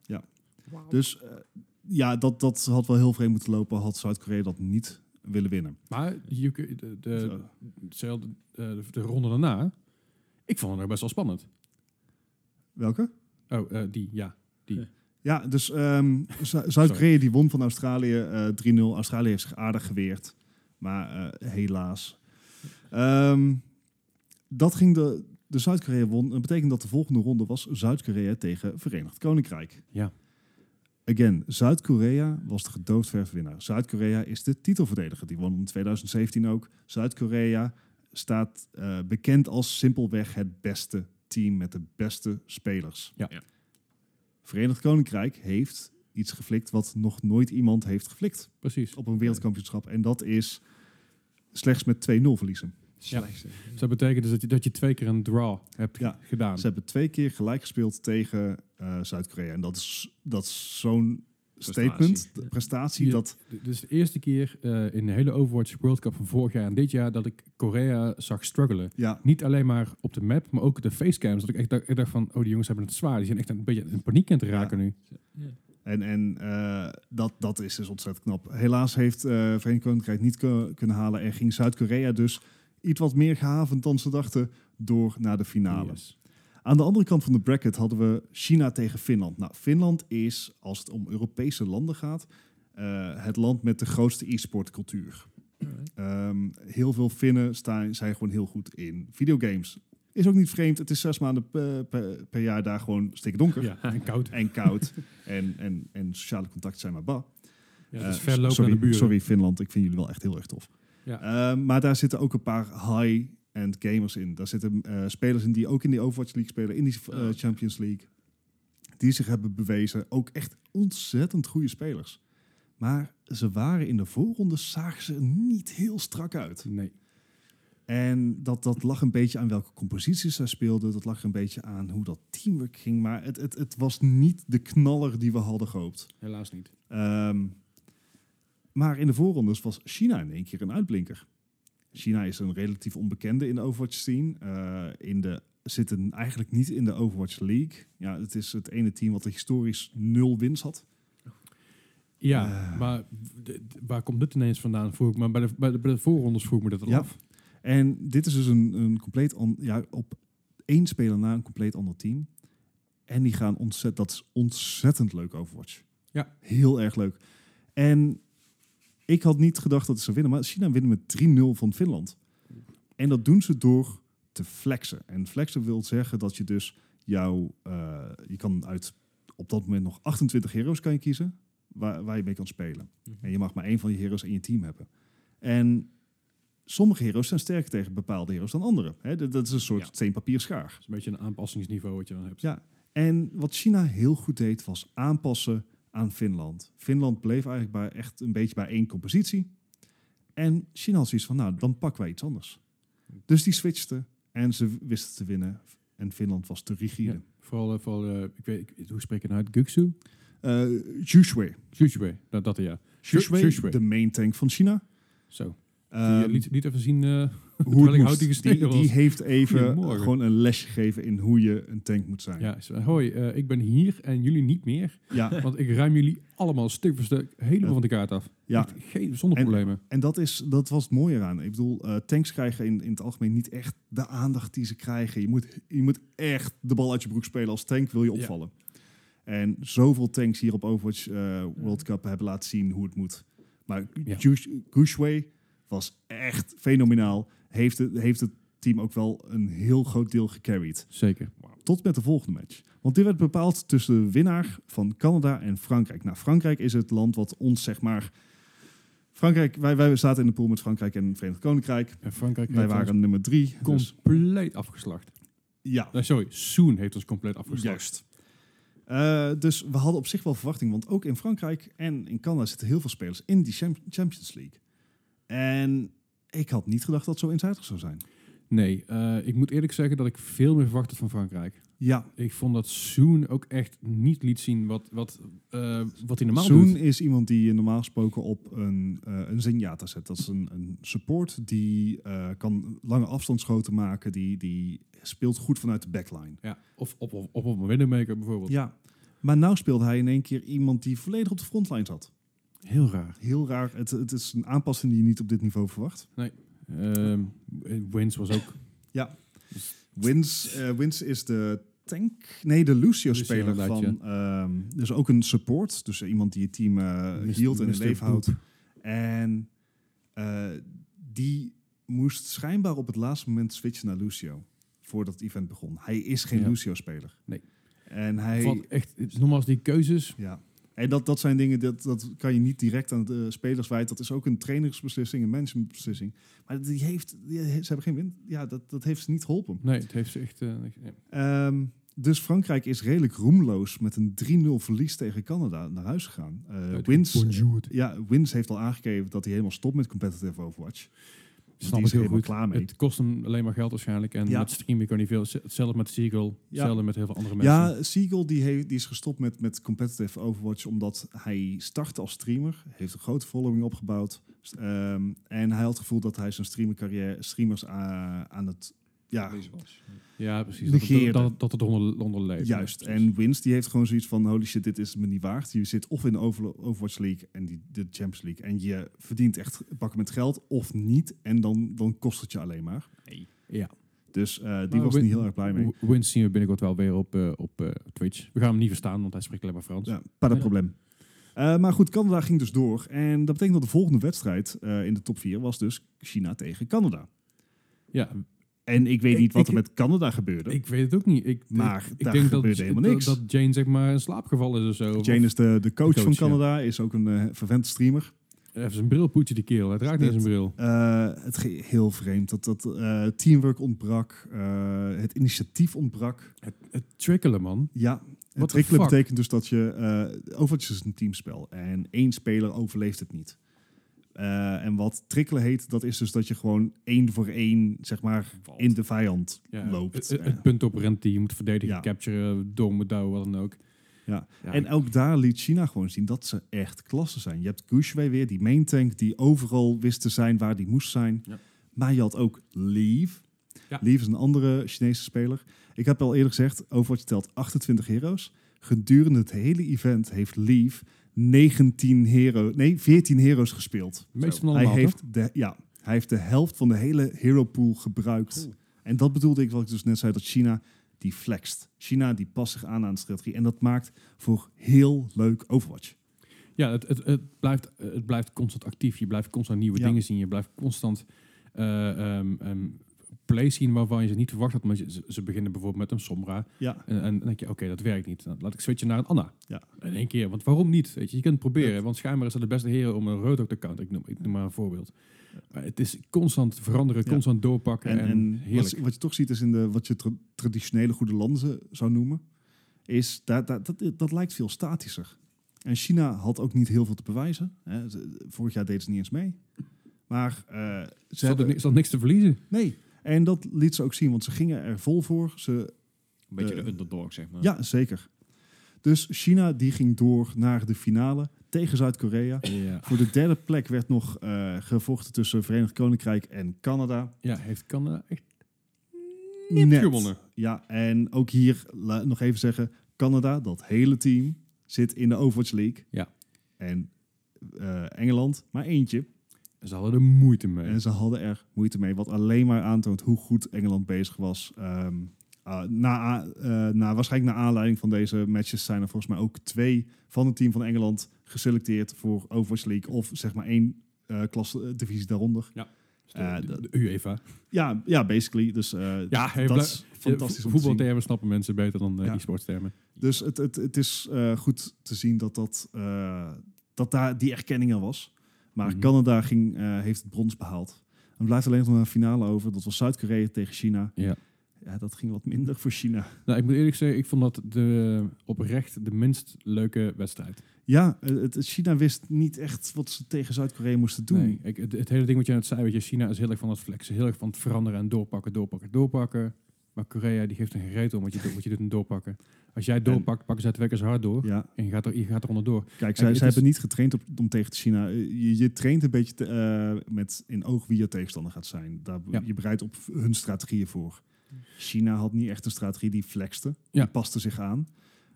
Speaker 1: Dus eh, ja, dat, dat had wel heel vreemd moeten lopen had Zuid-Korea dat niet willen winnen.
Speaker 3: Maar je, kun- de, de,
Speaker 1: Zo.
Speaker 3: hetzelfde, eh, de, de ronde daarna, ik vond het nog best wel spannend.
Speaker 1: Welke?
Speaker 3: Oh, eh, die, ja.
Speaker 1: Ja, dus ehm, Zu- Zuid-Korea die won van Australië eh, 3-0. Australië heeft zich aardig geweerd, maar eh, helaas. Ehm, dat ging de, de Zuid-Korea won. Dat betekent dat de volgende ronde was Zuid-Korea tegen Verenigd Koninkrijk.
Speaker 3: Ja.
Speaker 1: Again, Zuid-Korea was de gedoodverf winnaar. Zuid-Korea is de titelverdediger. Die won in 2017 ook. Zuid-Korea staat eh, bekend als simpelweg het beste team met de beste spelers.
Speaker 3: Ja.
Speaker 2: Ja.
Speaker 1: Verenigd Koninkrijk heeft iets geflikt wat nog nooit iemand heeft geflikt
Speaker 3: Precies.
Speaker 1: op een wereldkampioenschap. En dat is slechts met 2-0 verliezen.
Speaker 2: Slechtste.
Speaker 3: Dus dat betekent dus dat je, dat je twee keer een draw hebt
Speaker 1: Ja.
Speaker 3: gedaan.
Speaker 1: Ze hebben twee keer gelijk gespeeld tegen eh, Zuid-Korea. En dat is, dat is zo'n
Speaker 2: Prestatie.
Speaker 1: statement,
Speaker 2: Ja.
Speaker 1: de prestatie,
Speaker 3: Ja.
Speaker 1: dat...
Speaker 3: D- Dit is de eerste keer eh, in de hele Overwatch World Cup van vorig jaar en dit jaar dat ik Korea zag struggelen.
Speaker 1: Ja,
Speaker 3: Niet alleen maar op de map, maar ook de facecams. Dat ik echt dacht, ik dacht van, oh die jongens hebben het zwaar. Die zijn echt een beetje in paniek aan het raken nu.
Speaker 1: en, en eh, dat, dat is dus ontzettend knap. Helaas heeft eh Verenigd Koninkrijk niet ku- kunnen halen. En ging Zuid-Korea dus iets wat meer gehavend dan ze dachten... door naar de finale.
Speaker 3: Yes.
Speaker 1: Aan de andere kant van de bracket hadden we China tegen Finland. Nou, Finland is, als het om Europese landen gaat, eh, het land met de grootste e-sportcultuur. Ehm, heel veel Finnen staan, zijn gewoon heel goed in videogames. Is ook niet vreemd, het is zes maanden per, per- per jaar daar gewoon stikdonker.
Speaker 3: Ja, en koud.
Speaker 1: En koud. en, en, en sociale contacten zijn maar bah.
Speaker 3: Ja, het is
Speaker 1: Eh,
Speaker 3: ver lopen
Speaker 1: sorry,
Speaker 3: naar de buren.
Speaker 1: Sorry Finland, ik vind jullie wel echt heel erg tof.
Speaker 3: Ja.
Speaker 1: Eh, maar daar zitten ook een paar high-end gamers in. Daar zitten eh, spelers in die ook in die Overwatch League spelen, in die eh,
Speaker 3: Oh,
Speaker 2: Ja.
Speaker 1: Champions League. Die zich hebben bewezen. Ook echt ontzettend goede spelers. Maar ze waren in de voorronde, zagen ze er niet heel strak uit.
Speaker 3: Nee.
Speaker 1: En dat, dat lag een beetje aan welke composities zij speelden. Dat lag een beetje aan hoe dat teamwork ging. Maar het, het, het was niet de knaller die we hadden gehoopt.
Speaker 3: Helaas niet.
Speaker 1: Ehm, maar in de voorrondes was China in één keer een uitblinker. China is een relatief onbekende in de Overwatch scene. Eh, in de, zitten eigenlijk niet in de Overwatch League. Ja, het is het ene team wat er historisch nul winst had.
Speaker 3: Ja,
Speaker 1: Eh.
Speaker 3: maar d- d- waar komt dit ineens vandaan? Vroeg ik me, bij, de, bij, de, bij de voorrondes vroeg ik me dat al
Speaker 1: Ja.
Speaker 3: af.
Speaker 1: En dit is dus een, een compleet an- ja, op één speler na een compleet ander team. En die gaan ontzettend, dat is ontzettend leuk Overwatch.
Speaker 3: Ja.
Speaker 1: Heel erg leuk. En ik had niet gedacht dat ze zou winnen, maar China winnen met 3-0 van Finland. En dat doen ze door te flexen. En flexen wil zeggen dat je dus jouw, eh, je kan uit op dat moment nog 28 heroes kan je kiezen waar, waar je mee kan spelen. En je mag maar één van je heroes in je team hebben. En sommige heroes zijn sterker tegen bepaalde heroes dan andere. Hè, dat, dat is een soort
Speaker 3: Ja.
Speaker 1: steen, papier, schaar.
Speaker 3: Dat is een beetje een aanpassingsniveau wat je dan hebt.
Speaker 1: Ja. En wat China heel goed deed, was aanpassen aan Finland. Finland bleef eigenlijk bij, echt een beetje bij één compositie. En China had zoiets van, nou, dan pakken wij iets anders. Dus die switchten en ze wisten te winnen. En Finland was te rigide.
Speaker 3: Ja. Vooral, eh, vooral eh, ik weet, ik, hoe spreek je nou uit? Guksu?
Speaker 1: Eh, Jushwe.
Speaker 3: Jushwe, dat, dat ja. Ju-
Speaker 1: Jushwe,
Speaker 3: Jushwe.
Speaker 1: de main tank van China.
Speaker 3: Zo. Die, eh,
Speaker 1: Ehm,
Speaker 3: liet, liet even zien eh,
Speaker 1: hoe het
Speaker 3: ik
Speaker 1: moest.
Speaker 3: hout die gestegen
Speaker 1: die,
Speaker 3: was.
Speaker 1: die heeft even eh,
Speaker 3: Goedemorgen.
Speaker 1: gewoon een lesje gegeven in hoe je een tank moet zijn.
Speaker 3: Ja, zo, hoi, eh, ik ben hier en jullie niet meer.
Speaker 1: ja.
Speaker 3: Want ik ruim jullie allemaal stuk voor stuk helemaal
Speaker 1: Ja.
Speaker 3: van de kaart af.
Speaker 1: ja.
Speaker 3: Echt Geen, zonder
Speaker 1: En-
Speaker 3: problemen.
Speaker 1: En dat, is, dat was het mooie eraan. Ik bedoel, eh, tanks krijgen in, in het algemeen niet echt de aandacht die ze krijgen. Je moet, je moet echt de bal uit je broek spelen als tank, wil je
Speaker 3: Ja.
Speaker 1: opvallen. En zoveel tanks hier op Overwatch eh, World Cup hebben laten zien hoe het moet. Maar
Speaker 3: Ja.
Speaker 1: Gush- Gushway was echt fenomenaal. Heeft het, heeft het team ook wel een heel groot deel gecarried.
Speaker 3: Zeker.
Speaker 1: Tot met de volgende match. Want dit werd bepaald tussen de winnaar van Canada en Frankrijk. Nou, Frankrijk is het land wat ons, zeg maar... Frankrijk, wij, wij zaten in de pool met Frankrijk en het Verenigd Koninkrijk.
Speaker 3: En Frankrijk
Speaker 1: Wij
Speaker 3: heeft ons
Speaker 1: waren nummer drie. Dus,
Speaker 3: compleet afgeslacht.
Speaker 1: ja,
Speaker 3: Nee, sorry, Soon heeft ons compleet afgeslacht.
Speaker 1: juist. Eh, dus we hadden op zich wel verwachting. Want ook in Frankrijk en in Canada zitten heel veel spelers in die Cham- Champions League. En ik had niet gedacht dat het zo eenzijdig zou zijn.
Speaker 3: Nee, eh, ik moet eerlijk zeggen dat ik veel meer verwacht had van Frankrijk.
Speaker 1: Ja,
Speaker 3: Ik vond dat Soon ook echt niet liet zien wat, wat, eh, wat hij normaal
Speaker 1: Zoen
Speaker 3: doet.
Speaker 1: is iemand die je normaal gesproken op een, eh een zenjata zet. Dat is een, een support die eh, kan lange afstandsschoten maken. Die, die speelt goed vanuit de backline.
Speaker 3: Ja, of op, op, op, op een Widowmaker bijvoorbeeld.
Speaker 1: Ja, maar nou speelde hij in één keer iemand die volledig op de frontline zat.
Speaker 3: Heel raar.
Speaker 1: Heel raar. Het, het is een aanpassing die je niet op dit niveau verwacht.
Speaker 3: Ehm Wins was ook...
Speaker 1: Wins, eh, Wins is de tank... Nee, de Lucio-speler
Speaker 3: Lucio,
Speaker 1: van...
Speaker 3: inderdaad,
Speaker 1: ehm dus ook een support. Dus iemand die het team eh
Speaker 3: Mr.
Speaker 1: hield en in
Speaker 3: Mr.
Speaker 1: leven houdt.
Speaker 3: Poep.
Speaker 1: En eh, die moest schijnbaar op het laatste moment switchen naar Lucio. Voordat het event begon. Hij is geen
Speaker 3: Ja.
Speaker 1: Lucio-speler.
Speaker 3: Nee.
Speaker 1: En hij...
Speaker 3: Wat echt, nogmaals, die keuzes.
Speaker 1: Ja. En dat, dat zijn dingen, dat, dat kan je niet direct aan de spelers wijten. Dat is ook een trainersbeslissing, een managementbeslissing. Maar die heeft, die, eh, ze hebben geen win. Ja, dat, dat heeft ze niet geholpen.
Speaker 3: Nee, het heeft ze echt... eh, nee.
Speaker 1: Ehm, dus Frankrijk is redelijk roemloos met een 3-0 verlies tegen Canada naar huis gegaan. Eh, Wins,
Speaker 3: Bonjour.
Speaker 1: ja, Wins heeft al aangegeven dat hij helemaal stopt met competitive Overwatch.
Speaker 3: Snap
Speaker 1: die
Speaker 3: ik
Speaker 1: is
Speaker 3: heel
Speaker 1: helemaal
Speaker 3: goed.
Speaker 1: klaar mee.
Speaker 3: Het kost hem alleen maar geld waarschijnlijk. En
Speaker 1: Ja.
Speaker 3: met streamen kan hij veel. Z- Hetzelfde met Seagull. Hetzelfde met heel veel andere mensen.
Speaker 1: Ja, Siegel die, heeft, die is gestopt met, met competitive Overwatch omdat hij startte als streamer, heeft een grote following opgebouwd ehm, en hij had het gevoel dat hij zijn streamercarrière, streamers a- aan het ja,
Speaker 2: Deze was.
Speaker 3: ja precies. Dat het,
Speaker 1: Negeren.
Speaker 3: dat, dat het onder, onder leeft.
Speaker 1: juist.
Speaker 3: Ja, precies.
Speaker 1: En Wins die heeft gewoon zoiets van holy shit, dit is me niet waard. Je zit of in de Over- Overwatch League en die, de Champions League en je verdient echt bakken met geld of niet en dan, dan kost het je alleen maar.
Speaker 3: ja.
Speaker 1: Dus eh, die
Speaker 3: Maar
Speaker 1: was
Speaker 3: Win-
Speaker 1: niet heel erg blij mee.
Speaker 3: W- Wins zien we binnenkort wel weer op, eh, op eh, Twitch. We gaan hem niet verstaan, want hij spreekt alleen maar Frans.
Speaker 1: Ja, pas dat probleem. Eh, maar goed, Canada ging dus door. En dat betekent dat de volgende wedstrijd eh, in de top 4 was dus China tegen Canada.
Speaker 3: Ja,
Speaker 1: En ik weet
Speaker 3: Ik-
Speaker 1: niet wat
Speaker 3: ik-
Speaker 1: er met Canada gebeurde.
Speaker 3: ik weet het ook niet. Ik,
Speaker 1: Maar
Speaker 3: ik, ik
Speaker 1: daar
Speaker 3: denk dat,
Speaker 1: gebeurde helemaal
Speaker 3: dat-
Speaker 1: niks.
Speaker 3: dat Jane zeg maar een slaapgeval is of zo. Of-
Speaker 1: Jane is de, de, coach
Speaker 3: De coach,
Speaker 1: van Canada, is ook een eh vervent streamer.
Speaker 3: Even zijn bril poetje die keel. Hij draagt niet
Speaker 1: Dat-
Speaker 3: eens een bril.
Speaker 1: Eh, het ging heel vreemd dat, dat eh, teamwork ontbrak, eh, het initiatief ontbrak.
Speaker 3: Het, het trickelen, man.
Speaker 1: Ja,
Speaker 3: the
Speaker 1: het trickelen
Speaker 3: fuck?
Speaker 1: betekent dus dat je... eh Overwatch is een teamspel en één speler overleeft het niet. Eh, en wat trickelen heet, dat is dus dat je gewoon één voor één, zeg maar, in de vijand
Speaker 3: Ja, Eh,
Speaker 1: loopt.
Speaker 3: Het, het punt op rent die je moet verdedigen,
Speaker 1: Ja.
Speaker 3: capturen, door moet duwen, wat dan ook.
Speaker 1: Ja.
Speaker 3: en
Speaker 1: en ook daar liet China gewoon zien dat ze echt klasse zijn. Je hebt Gushwei weer, die main tank, die overal wist te zijn waar die moest zijn.
Speaker 3: Ja.
Speaker 1: Maar je had ook Leaf.
Speaker 3: Ja.
Speaker 1: Leaf is een andere Chinese speler. Ik heb al eerder gezegd, Overwatch telt 28 heroes. Gedurende het hele event heeft Leaf 19 hero, nee, 14 heroes gespeeld.
Speaker 3: meest van
Speaker 1: Hij
Speaker 3: allemaal, toch?
Speaker 1: heeft, de, ja, hij heeft de helft van de hele hero pool gebruikt.
Speaker 3: Cool.
Speaker 1: En dat bedoelde ik wat ik dus net zei, dat China die flext. China die past zich aan aan de strategie. En dat maakt voor heel leuk Overwatch.
Speaker 3: Ja, het, het, het, blijft, het blijft constant actief. Je blijft constant nieuwe
Speaker 1: Ja.
Speaker 3: dingen zien. Je blijft constant eh ehm ehm, plays zien waarvan je ze niet verwacht had. Maar ze, ze beginnen bijvoorbeeld met een Sombra.
Speaker 1: Ja,
Speaker 3: En, en dan denk je, oké, dat werkt niet. Dan laat ik switchen naar een Anna.
Speaker 1: Ja.
Speaker 3: In één keer. Want waarom niet? Weet je, je kunt het proberen. Want schijnbaar is dat de beste heren om een rood ook te counteren. Ik noem, ik noem maar een voorbeeld. Maar het is constant veranderen,
Speaker 1: Ja.
Speaker 3: constant doorpakken.
Speaker 1: en,
Speaker 3: En,
Speaker 1: en wat,
Speaker 3: heerlijk.
Speaker 1: wat je toch ziet is in de, wat je tra- traditionele goede landen ze- zou noemen, is dat, dat, dat, dat lijkt veel statischer. En China had ook niet heel veel te bewijzen. Hè. Ze- Vorig jaar deden ze niet eens mee. Maar eh, ze
Speaker 3: Ze hadden
Speaker 1: hebben...
Speaker 3: ni- ze hadden niks te verliezen.
Speaker 1: Nee, en dat liet ze ook zien, want ze gingen er vol voor. Ze
Speaker 2: Een beetje
Speaker 1: De-
Speaker 2: de underdog, zeg maar.
Speaker 1: Ja, zeker. Dus China die ging door naar de finale tegen Zuid-Korea.
Speaker 3: Ja.
Speaker 1: Voor de derde plek werd nog eh, gevochten tussen Verenigd Koninkrijk en Canada.
Speaker 3: ja, heeft Canada echt
Speaker 1: Net.
Speaker 3: gewonnen.
Speaker 1: Ja, en ook hier la- nog even zeggen: Canada, dat hele team, zit in de Overwatch League.
Speaker 3: Ja.
Speaker 1: En eh, Engeland, maar eentje.
Speaker 3: Ze hadden er moeite mee.
Speaker 1: En ze hadden er moeite mee, wat alleen maar aantoont hoe goed Engeland bezig was. Ehm, ah, na, a- eh, na, waarschijnlijk naar aanleiding van deze matches zijn er volgens mij ook twee van het team van Engeland geselecteerd voor Overwatch League. Of zeg maar één eh klasse, eh, divisie daaronder.
Speaker 3: Dus de,
Speaker 1: eh,
Speaker 3: de-
Speaker 1: dat-
Speaker 3: de UEFA.
Speaker 1: Ja, ja basically. Dus eh,
Speaker 3: Ja, hij
Speaker 1: dat
Speaker 3: blijft-
Speaker 1: is fantastisch om te zien.
Speaker 3: Voetbaltermen snappen mensen beter dan eh
Speaker 1: Ja.
Speaker 3: e-sportstermen.
Speaker 1: Dus het, het, het is eh, goed te zien dat, dat, eh, dat daar die erkenning er was. Maar
Speaker 3: Mhm.
Speaker 1: Canada ging, eh, heeft het brons behaald. En blijft alleen nog een finale over. Dat was Zuid-Korea tegen China.
Speaker 3: Ja.
Speaker 1: Ja, dat ging wat minder voor China.
Speaker 3: Nou, ik moet eerlijk zeggen, ik vond dat de, oprecht de minst leuke wedstrijd.
Speaker 1: Ja, eh, het, het China wist niet echt wat ze tegen Zuid-Korea moesten doen.
Speaker 3: Nee, ik, het, het hele ding wat je net zei, weet je, China is heel erg van het flexen, heel erg van het veranderen en doorpakken, doorpakken, doorpakken. Maar Korea die geeft een gereed om wat je, doet- wat je doet en doorpakken. Als jij doorpakt, pakken zij het wekkers hard door
Speaker 1: Ja,
Speaker 3: en je gaat, er, je gaat er onderdoor.
Speaker 1: kijk, zij,
Speaker 3: het dus-
Speaker 1: zij
Speaker 3: is-
Speaker 1: hebben niet getraind op, om tegen te China. Eh, Je, je traint een beetje te- eh, met in oog wie je tegenstander gaat zijn. Daar,
Speaker 3: Ja.
Speaker 1: Je bereidt op hun strategieën voor. China had niet echt een strategie die flexte.
Speaker 3: Ja.
Speaker 1: Die paste zich aan.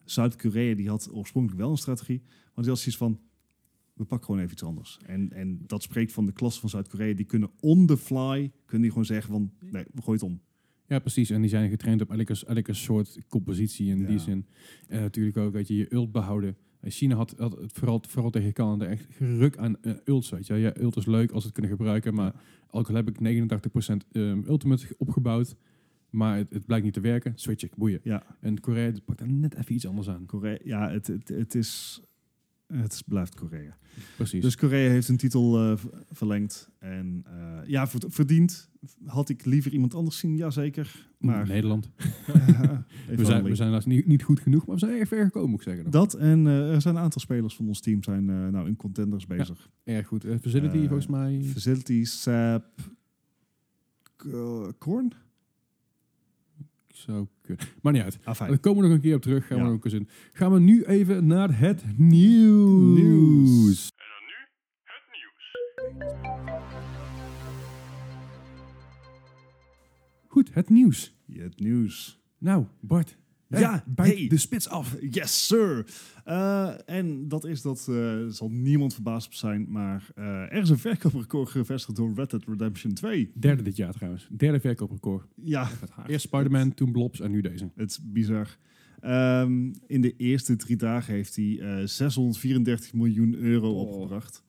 Speaker 1: Zuid-Korea die had oorspronkelijk wel een strategie. Maar die had zoiets van, we pakken gewoon even iets anders. En, en dat spreekt van de klasse van Zuid-Korea. Die kunnen on the fly, kunnen die gewoon zeggen van, nee, we gooien het om.
Speaker 3: Ja, precies. En die zijn getraind op elke, elke soort compositie in
Speaker 1: Ja.
Speaker 3: die zin. En natuurlijk ook dat je je ult behouden. En China had, had het vooral, vooral tegen Canada echt geruk aan eh, ults. Weet je. wel. Ja, ult is leuk als we het kunnen gebruiken, maar ook al heb ik 89% ehm, ultimate ge- opgebouwd, maar het, het blijkt niet te werken, switch ik, boeien.
Speaker 1: Ja.
Speaker 3: En Korea pakt daar net even iets anders aan.
Speaker 1: Korea, ja, het, het, het, is, het is- blijft Korea.
Speaker 3: Precies.
Speaker 1: Dus Korea heeft een titel eh, v- verlengd. En eh, ja, verd- verdiend. Had ik liever iemand anders zien, jazeker. Maar
Speaker 3: Nederland.
Speaker 1: Ja,
Speaker 3: We zijn, we zijn helaas niet, niet goed genoeg, maar we zijn erg ver gekomen, moet ik zeggen. nog.
Speaker 1: dat en eh, er zijn een aantal spelers van ons team zijn eh, nou in contenders bezig.
Speaker 3: Erg goed. Eh, facility,
Speaker 1: Eh,
Speaker 3: volgens mij.
Speaker 1: Facility, Sap, K- Korn?
Speaker 3: Zo kunnen. Maar niet uit.
Speaker 1: Ah,
Speaker 3: Daar
Speaker 1: fijn.
Speaker 3: komen we nog een keer op terug. Gaan
Speaker 1: Ja.
Speaker 3: we nog eens in. Gaan we nu even naar het nieuws.
Speaker 1: Nieuws.
Speaker 3: Goed, het nieuws.
Speaker 1: Het nieuws.
Speaker 3: Nou, Bart. hè,
Speaker 1: Ja,
Speaker 3: bijt
Speaker 1: hey.
Speaker 3: de spits af.
Speaker 1: Yes, sir! Eh, en dat is dat, eh, zal niemand verbaasd op zijn, maar eh, er is een verkooprecord gevestigd door Red Dead Redemption 2.
Speaker 3: Derde dit jaar trouwens. Derde verkooprecord.
Speaker 1: Ja,
Speaker 3: Eerst Spider-Man, toen Blobs en nu deze.
Speaker 1: Het is bizar. Ehm, in de eerste drie dagen heeft hij eh, 634 miljoen euro
Speaker 3: Oh.
Speaker 1: opgebracht.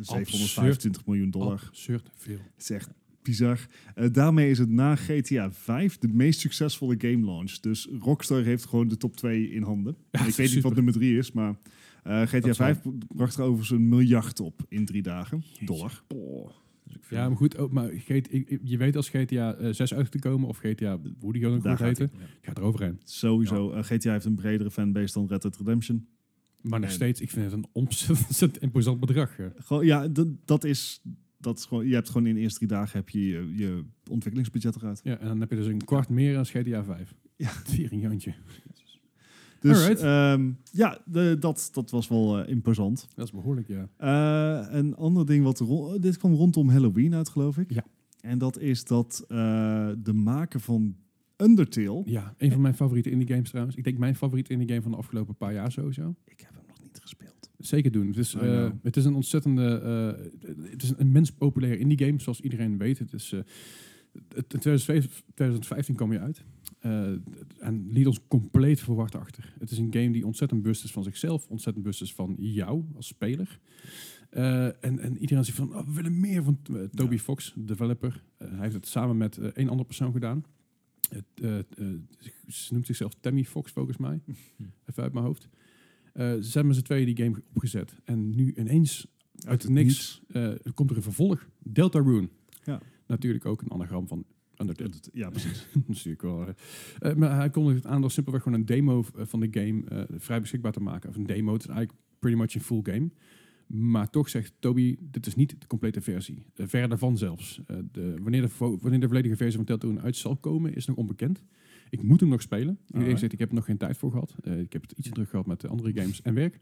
Speaker 1: 725 miljoen dollar.
Speaker 3: Absurd veel.
Speaker 1: Het is echt bizar. Eh, daarmee is het na GTA 5 de meest succesvolle game launch. Dus Rockstar heeft gewoon de top 2 in handen.
Speaker 3: Ja,
Speaker 1: Ik weet niet
Speaker 3: super.
Speaker 1: wat nummer 3 is, maar eh, GTA
Speaker 3: is
Speaker 1: 5 bracht er overigens een miljard op in drie dagen. Dollar.
Speaker 2: Dus
Speaker 3: Ja, maar goed. ook maar GT ik- ik- je weet als GTA eh, 6 uit te komen of GTA, hoe die ook
Speaker 1: Daar
Speaker 3: nog
Speaker 1: gaat
Speaker 3: heette. Gaat er overheen.
Speaker 1: Sowieso. eh, GTA heeft een bredere fanbase dan Red Dead Redemption.
Speaker 3: Maar nog
Speaker 1: En-
Speaker 3: steeds, ik vind het een ontzettend imposant bedrag. hè.
Speaker 1: Gewoon, ja, dat, dat is. Dat is gewoon, je hebt gewoon in de eerste drie dagen heb je, je je ontwikkelingsbudget eruit.
Speaker 3: Ja, en dan heb je dus een kwart meer dan GTA 5.
Speaker 1: Ja.
Speaker 3: Vieringhandje.
Speaker 1: Dus
Speaker 3: Alright.
Speaker 1: ehm, ja, de, dat, dat was wel eh, imposant.
Speaker 3: Dat is behoorlijk, ja.
Speaker 1: Eh, een ander ding wat ro- dit kwam rondom Halloween uit, geloof ik.
Speaker 3: Ja.
Speaker 1: En dat is dat eh, de maker van Undertale.
Speaker 3: Ja, een van mijn favoriete indie games trouwens. Ik denk mijn favoriete indie game van de afgelopen paar jaar sowieso.
Speaker 1: Ik heb hem nog niet gespeeld.
Speaker 3: Zeker doen. Het is,
Speaker 1: I
Speaker 3: eh,
Speaker 1: know.
Speaker 3: het is een ontzettende... eh, het is een immens populair indie game, zoals iedereen weet. Het is... eh, het- in 2005 2015 kwam je uit. Eh, en liet ons compleet verward achter. Het is een game die ontzettend bewust is van zichzelf. Ontzettend bewust is van jou als speler. Eh, en, en iedereen zegt van, oh, we willen meer van eh, Toby
Speaker 1: Ja.
Speaker 3: Fox, developer. Eh, hij heeft het samen met eh, één andere persoon gedaan. Het, eh, eh, ze noemt zichzelf Tammy Fox, volgens mij. Even uit mijn hoofd. Eh, ze hebben met z'n tweeën die game opgezet. En nu ineens, uit het niks, eh, komt er een vervolg. Deltarune.
Speaker 1: Ja.
Speaker 3: Natuurlijk ook een anagram van Undertale.
Speaker 1: Ja, precies.
Speaker 3: Dat is natuurlijk wel. eh, eh, maar hij kondigde het aan door simpelweg gewoon een demo eh, van de game eh, vrij beschikbaar te maken. Of een demo, het is eigenlijk pretty much een full game. Maar toch zegt Toby, dit is niet de complete versie. Eh, ver daarvan zelfs. Eh, de, wanneer, de vo- wanneer de volledige versie van Teltoon uit zal komen, is nog onbekend. Ik moet hem nog spelen. Iedereen
Speaker 1: Alright.
Speaker 3: zegt, ik heb er nog geen tijd voor gehad. Eh, ik heb het iets druk gehad met de andere games en werk.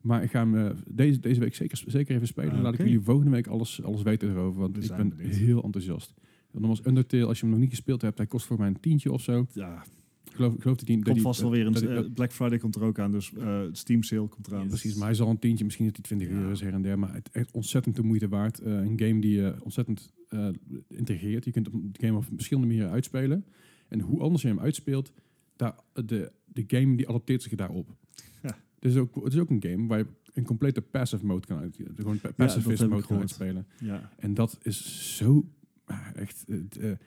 Speaker 3: Maar ik ga hem eh, deze, deze week zeker, zeker even spelen.
Speaker 1: Ah,
Speaker 3: Laat ik
Speaker 1: oké.
Speaker 3: jullie volgende week alles, alles weten erover. Want
Speaker 1: We
Speaker 3: ik
Speaker 1: zijn
Speaker 3: ben
Speaker 1: benieuwd.
Speaker 3: heel enthousiast. Dan was Undertale, als je hem nog niet gespeeld hebt, hij kost voor mij een tientje of zo.
Speaker 1: Ja,
Speaker 3: Ik geloof, ik geloof dat die... dat
Speaker 1: komt
Speaker 3: die-
Speaker 1: vast wel
Speaker 3: dat-
Speaker 1: weer een...
Speaker 3: dat die- dat-
Speaker 1: eh, Black Friday komt er ook aan, dus eh, Steam Sale komt eraan. Dus,
Speaker 3: Precies, maar hij zal een tientje, misschien dat hij 20
Speaker 1: Ja.
Speaker 3: euro is her en der. Maar het echt ontzettend de moeite waard. Eh, een game die je ontzettend eh, integreert. Je kunt hem- de game op verschillende manieren uitspelen. En hoe anders je hem uitspeelt, daar, de, de game die adapteert zich daarop.
Speaker 1: Ja.
Speaker 3: Dus ook, het is ook een game waar je een complete passive mode kan uit, gewoon pa-
Speaker 1: dat heb
Speaker 3: pacifist
Speaker 1: ik
Speaker 3: mode kan
Speaker 1: gehoord.
Speaker 3: uitspelen.
Speaker 1: Ja.
Speaker 3: En dat is zo ah, echt. Het, eh, het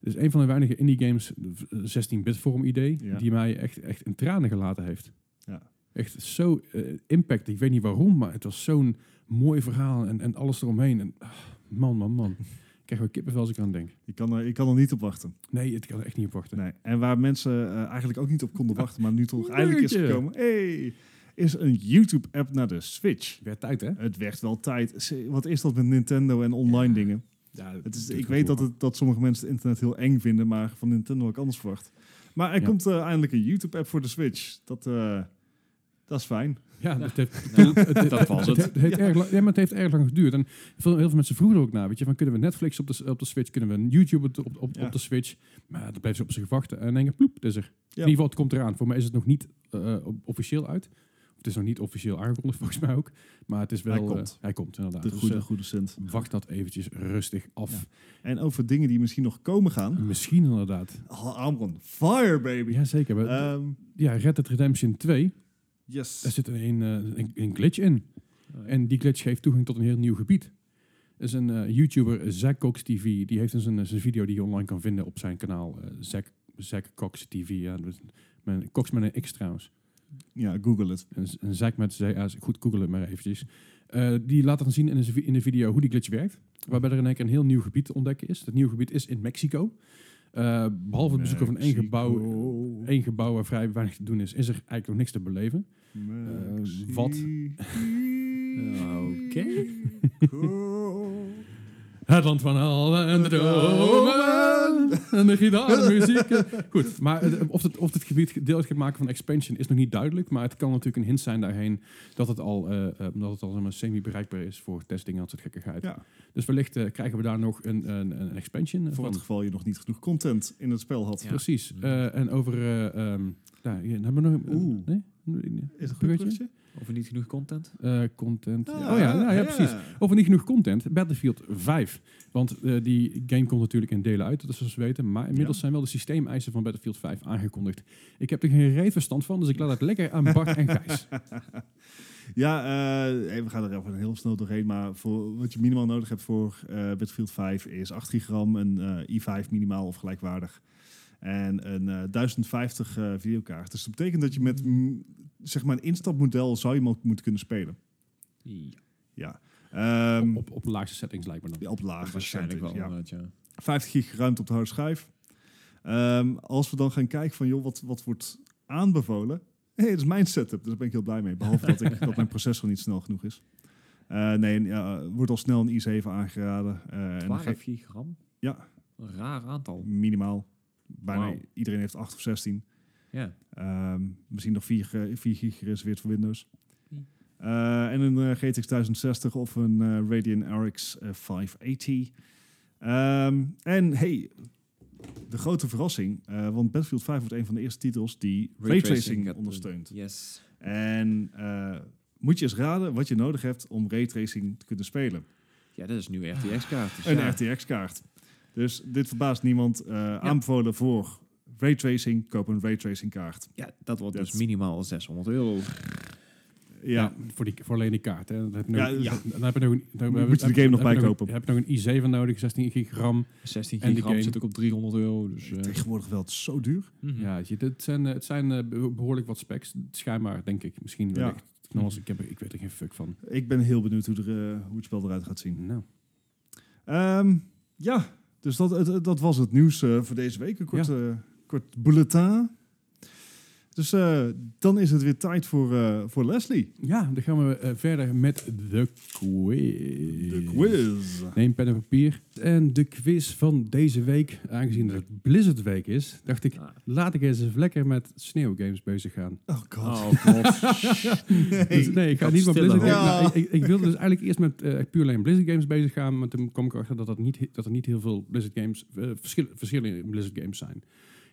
Speaker 3: is een van de weinige indie games, v- 16-bit vorm idee,
Speaker 1: Ja.
Speaker 3: die mij echt, echt in tranen gelaten heeft.
Speaker 1: Ja.
Speaker 3: Echt zo eh, impact. Ik weet niet waarom, maar het was zo'n mooi verhaal en, en alles eromheen. En, ah, man, man, man. ik krijg wel kippenvel als ik aan denk.
Speaker 1: Ik kan, er, ik kan er niet op wachten.
Speaker 3: Nee, het kan er echt niet op wachten.
Speaker 1: Nee. En waar mensen eh, eigenlijk ook niet op konden wachten, maar nu toch eindelijk is
Speaker 3: leukje.
Speaker 1: gekomen. Hey, is een YouTube-app naar de Switch.
Speaker 3: Werd tijd, hè?
Speaker 1: Het werd wel tijd. Ze- Wat is dat met Nintendo en online
Speaker 3: Ja.
Speaker 1: dingen?
Speaker 3: Ja,
Speaker 1: Het is, ik weet dat, het, dat sommige mensen het internet heel eng vinden, maar van Nintendo ook anders verwacht. Maar er
Speaker 3: Ja.
Speaker 1: komt eh, eindelijk een YouTube-app voor de Switch. Dat, eh, dat is fijn.
Speaker 3: Ja, dat heeft,
Speaker 2: Nou,
Speaker 3: het, het-
Speaker 2: dat was het.
Speaker 3: heeft- heeft erg lang, ja, maar het heeft erg lang geduurd. En veel, heel veel mensen vroegen er ook naar. Weet je, van, kunnen we Netflix op de, op de Switch? Kunnen we YouTube op, de- op, op,
Speaker 1: Ja.
Speaker 3: op de Switch? Maar dat bleef ze op zich wachten. En denk ik, ploep, het is er. In
Speaker 1: Ja.
Speaker 3: ieder geval, het komt eraan. Voor mij is het nog niet eh, op- officieel uit. Het is nog niet officieel aangekondigd, volgens mij ook. Maar het is wel...
Speaker 1: Hij
Speaker 3: eh,
Speaker 1: komt.
Speaker 3: hij komt, inderdaad.
Speaker 1: De
Speaker 3: Dus,
Speaker 1: goede,
Speaker 3: eh,
Speaker 1: goede cent.
Speaker 3: wacht dat eventjes rustig af.
Speaker 1: En over dingen die misschien nog komen gaan.
Speaker 3: Misschien inderdaad.
Speaker 1: Oh, I'm on fire, baby.
Speaker 3: Jazeker. We-
Speaker 1: Ehm,
Speaker 3: ja, Red Dead Redemption 2. Daar
Speaker 1: yes.
Speaker 3: zit een, eh, een, een glitch in. En die glitch geeft toegang tot een heel nieuw gebied. Er is een eh, YouTuber, Zack Cox TV, die heeft dus een, zijn video die je online kan vinden op zijn kanaal. eh Zack, Zack Cox TV, ja. dat is- Met, Cox met een X trouwens.
Speaker 1: Ja, Google het.
Speaker 3: En, Z- en Zack met CA, goed googelen het maar eventjes. Eh, die laat dan zien in de, vi- in de video hoe die glitch werkt. Waarbij er in één keer een heel nieuw gebied te ontdekken is. Dat nieuwe gebied is in Mexico. Eh, behalve het bezoeken van één gebouw,
Speaker 1: Mexico.
Speaker 3: één gebouw waar vrij weinig te doen is, is er eigenlijk nog niks te beleven. Eh, wat?
Speaker 2: Oké.
Speaker 1: Mexico.
Speaker 3: Het land van alle en de dromen. En de gitaarmuziek. Goed, maar het- of het, of het gebied deel uit gaat maken van expansion is nog niet duidelijk. Maar het kan natuurlijk een hint zijn daarheen dat het al, eh, eh, dat het al zeg maar, semi-bereikbaar is voor testing en dat soort gekkigheid.
Speaker 1: Ja.
Speaker 3: Dus wellicht eh, krijgen we daar nog een, een, een expansion
Speaker 1: Voor
Speaker 3: van.
Speaker 1: het geval je nog niet genoeg content in het spel had.
Speaker 2: Ja.
Speaker 3: Precies. Eh, en over... eh, ehm, ja, hier, hebben we nog...
Speaker 1: Oeh.
Speaker 3: Nee?
Speaker 1: Is het een goed
Speaker 3: Bruggetje?
Speaker 1: bruggetje?
Speaker 2: Of er niet genoeg content?
Speaker 3: Eh, content.
Speaker 1: Ah.
Speaker 3: oh ja, nou, ja, precies. Over niet genoeg content, Battlefield 5. Want eh, die game komt natuurlijk in delen uit, dat is zoals we weten. Maar inmiddels
Speaker 1: Ja.
Speaker 3: zijn wel de systeemeisen van Battlefield 5 aangekondigd. Ik heb er geen reet verstand van, dus ik laat het lekker aan Bart en Gijs.
Speaker 1: Ja, eh, hey, we gaan er even heel snel doorheen. Maar voor wat je minimaal nodig hebt voor eh, Battlefield 5 is 8 gigram, een eh, i5 minimaal of gelijkwaardig. En een eh, 1050 eh, videokaart. Dus dat betekent dat je met mm, zeg maar een instapmodel zou je hem ook moeten kunnen spelen.
Speaker 2: Ja.
Speaker 1: Ja. Ehm,
Speaker 3: Op, op de laagste settings lijkt me dan.
Speaker 1: ja, op lage
Speaker 5: Waarschijnlijk wel,
Speaker 1: settings, ja.
Speaker 5: inderdaad, ja.
Speaker 1: 50 gig ruimte op de harde schijf. Ehm, als we dan gaan kijken van, joh, wat, wat wordt aanbevolen? Hé, dat is mijn setup, dus daar ben ik heel blij mee. Behalve dat, ik, dat mijn processor niet snel genoeg is. Eh, nee, ja, wordt al snel een i7 aangeraden. eh, en dan ga
Speaker 2: 12
Speaker 1: ik
Speaker 2: gigram?
Speaker 1: Ja.
Speaker 2: Een raar aantal.
Speaker 1: minimaal. Bijna
Speaker 2: Wauw.
Speaker 1: iedereen heeft 8 of 16.
Speaker 2: Ja.
Speaker 1: Ehm, misschien nog 4, eh, 4 gig gereserveerd voor Windows.
Speaker 2: Hmm.
Speaker 1: Eh, en een eh, GTX 1060 of een eh, Radeon RX eh, 580. Ehm, en hey, de grote verrassing, eh, want Battlefield 5 wordt een van de eerste titels die raytracing
Speaker 5: gaat-
Speaker 1: ondersteunt.
Speaker 2: Yes.
Speaker 1: En eh, moet je eens raden wat je nodig hebt om raytracing te kunnen spelen.
Speaker 2: Ja, dat is nu RTX-kaart. Dus
Speaker 1: Een
Speaker 2: ja.
Speaker 1: RTX-kaart. Dus dit verbaast niemand. eh, Aanbevolen voor raytracing, koop een raytracing-kaart.
Speaker 2: ja, dat wordt
Speaker 1: Dat-
Speaker 2: dus minimaal 600 euro.
Speaker 1: ja,
Speaker 3: voor, die, voor alleen die kaart. Hè. Dan heb je nog,
Speaker 1: Ja,
Speaker 3: ja,
Speaker 1: ja.
Speaker 3: Dan heb je nog een, dan
Speaker 1: Moet
Speaker 3: heb-
Speaker 1: je de
Speaker 3: heb-
Speaker 1: game nog
Speaker 3: dan heb je
Speaker 1: bijkopen.
Speaker 3: Heb je nog een i7 nodig, 16 gigram.
Speaker 2: 16
Speaker 3: En die
Speaker 2: gigram
Speaker 3: game.
Speaker 2: zit ook op 300 euro. Dus, eh,
Speaker 1: Tegenwoordig wel, het is zo duur.
Speaker 2: mhm.
Speaker 3: Ja, weet je, het zijn, eh, het zijn eh, be- behoorlijk wat specs, schijnbaar, denk ik. Misschien
Speaker 1: Ja.
Speaker 3: wel echt. Nogmaals, ik, heb, er- ik weet er geen fuck van.
Speaker 1: Ik ben heel benieuwd hoe, er, eh, hoe het spel eruit gaat zien.
Speaker 3: Nou,
Speaker 1: Ehm, ja, dus dat, het- het- dat was het nieuws eh, voor deze week. Een korte, kort bulletin. eh, Dus eh, dan is het weer tijd voor, eh, voor Leslie.
Speaker 3: Ja, dan gaan we eh, verder met de quiz.
Speaker 1: De quiz.
Speaker 3: Neem pen en papier. En de quiz van deze week, aangezien het Blizzard Week is, dacht ik,
Speaker 2: Ah.
Speaker 3: laat ik eens even lekker met sneeuwgames bezig gaan.
Speaker 1: Oh god.
Speaker 2: Oh, god.
Speaker 3: Dus nee, ik ga
Speaker 2: dat
Speaker 3: niet
Speaker 2: stille
Speaker 3: met Blizzard
Speaker 1: hoop.
Speaker 3: Games.
Speaker 1: Ja.
Speaker 3: Nou, ik, ik, ik wilde dus eigenlijk eerst met eh, puur alleen Blizzard Games bezig gaan, maar toen kwam ik erachter dat, dat, niet, he- dat er niet heel veel Blizzard Games, eh, verschil- verschillen in Blizzard Games zijn.